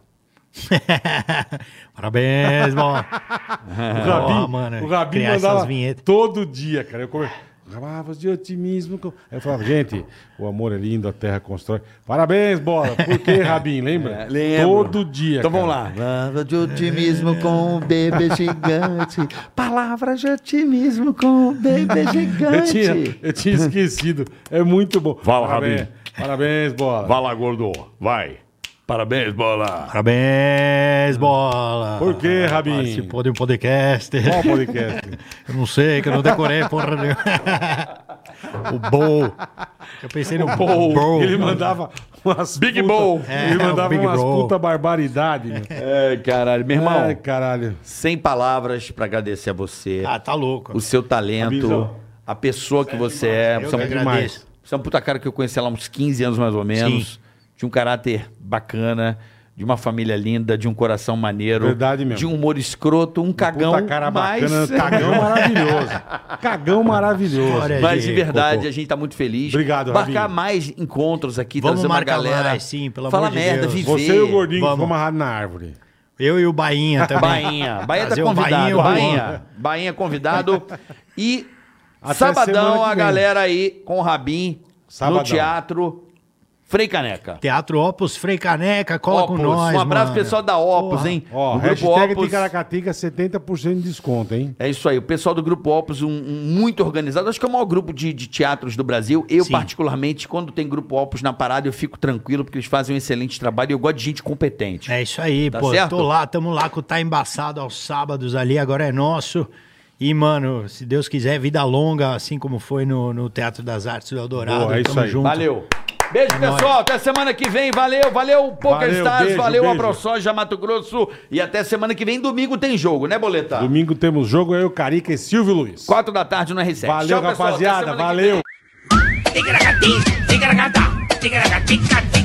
A: (laughs) Parabéns,
C: (laughs)
A: mano.
B: O Rabi,
A: Ó, Ah, mano,
B: o Rabi
A: criar
B: mandava
A: essas vinhetas.
B: todo dia, cara. Eu come... Gravavas de otimismo. com- Aí eu falava, gente, o amor é lindo, a terra constrói. Parabéns, bola.
C: (laughs)
B: Por quê, Rabin? Lembra? Todo dia.
C: É, Então vamos
B: cara.
C: lá.
H: Palavra de otimismo com o bebê gigante. Palavra de otimismo com o bebê
B: Eu tinha,
H: gigante.
B: eu tinha esquecido. É muito bom.
I: Fala,
B: Parabéns.
I: Rabin.
B: Parabéns, bola.
I: Vai lá, gordo. Vai. Parabéns, bola.
A: Parabéns, bola.
B: Por
C: Ah,
B: quê, Rabin?
A: Participou de um podcast.
B: Qual podcast?
A: Eu não sei, que eu não decorei, porra nenhuma. o Bowl. Eu pensei no Bowl.
B: Ele mandava umas
I: Big
B: puta-
I: Bowl.
A: É,
B: ele
A: o
B: mandava
A: Big
B: umas
A: Bowl.
B: puta barbaridade, meu.
C: É, caralho, meu irmão.
B: Ai, caralho.
C: Sem palavras para agradecer a você,
A: Ah, tá louco.
C: o seu talento,
B: Abizão.
C: a pessoa que você é.
A: Eu
C: Você
A: que
C: é um-
A: agradeço.
C: Você é um puta cara que eu conheci lá há uns 15 anos mais ou menos. Tinha um caráter bacana, de uma família linda, de um coração maneiro.
B: Verdade mesmo.
C: De um humor escroto, um
A: então,
C: cagão.
B: Puta tá cara
C: mas...
B: bacana. Cagão maravilhoso. Cagão maravilhoso.
C: (laughs)
A: Olha,
C: Mas de verdade,
B: Popô.
C: a gente tá muito feliz.
B: Obrigado,
C: Marcar
B: Rabinho.
C: mais encontros aqui,
A: Vamos
C: trazer uma
A: marcar
C: galera.
A: mais, sim, pelo
C: Fala
A: amor de
C: merda,
A: Deus.
C: viver.
B: Você e o gordinho que
A: Vamos.
B: ficou amarrado na árvore.
A: Eu e o Bainha também.
C: Bainha. Bainha tá
A: Trazer um o Bainha e
C: convidado.
A: o
C: Bainha. Bainha convidado. E
B: Até semana
C: sabadão
B: que
C: a
B: vem.
C: galera aí com o Rabin
B: Sabadão.
C: no teatro Frei Caneca.
A: Teatro Opus Frei Caneca, cola
C: Opus.
A: com nós.
C: um abraço
A: mano.
C: pessoal da Opus,
A: Porra.
C: hein?
B: Ó,
C: No
B: hashtag Ticaracatica, 70% de desconto, hein?
C: É isso aí, o pessoal do Grupo Opus, um, um muito organizado. Acho que é o maior grupo de, de teatros do Brasil. Eu,
A: Sim.
C: particularmente, quando tem Grupo Opus na parada, eu fico tranquilo, porque eles fazem um excelente trabalho e eu gosto de gente competente.
A: É isso aí,
C: Tá
A: pô.
C: certo?
A: Tô lá, tamo lá com o Tá Embaçado aos sábados ali, agora é nosso. E, mano, se Deus quiser, vida longa, assim como foi no, no Teatro das Artes do Eldorado.
B: Boa, é isso
A: tamo
B: aí.
A: junto.
C: Valeu. Beijo, pessoal. Até semana que vem. Valeu, valeu, Poker
B: É Valeu,
C: Stars.
B: beijo,
C: valeu,
B: beijo.
C: AproSoja, Mato Grosso. E até semana que vem. Domingo tem jogo, né, Boleta?
B: Domingo temos jogo, eu, Carica e Silvio Luiz.
C: Quatro da tarde no R7.
B: Valeu,
C: Tchau, pessoal. Até
B: rapaziada.
C: semana que
B: Valeu.
C: vem.
J: Ticaracatica, ticaracatica, ticaracatica, ticaracatica.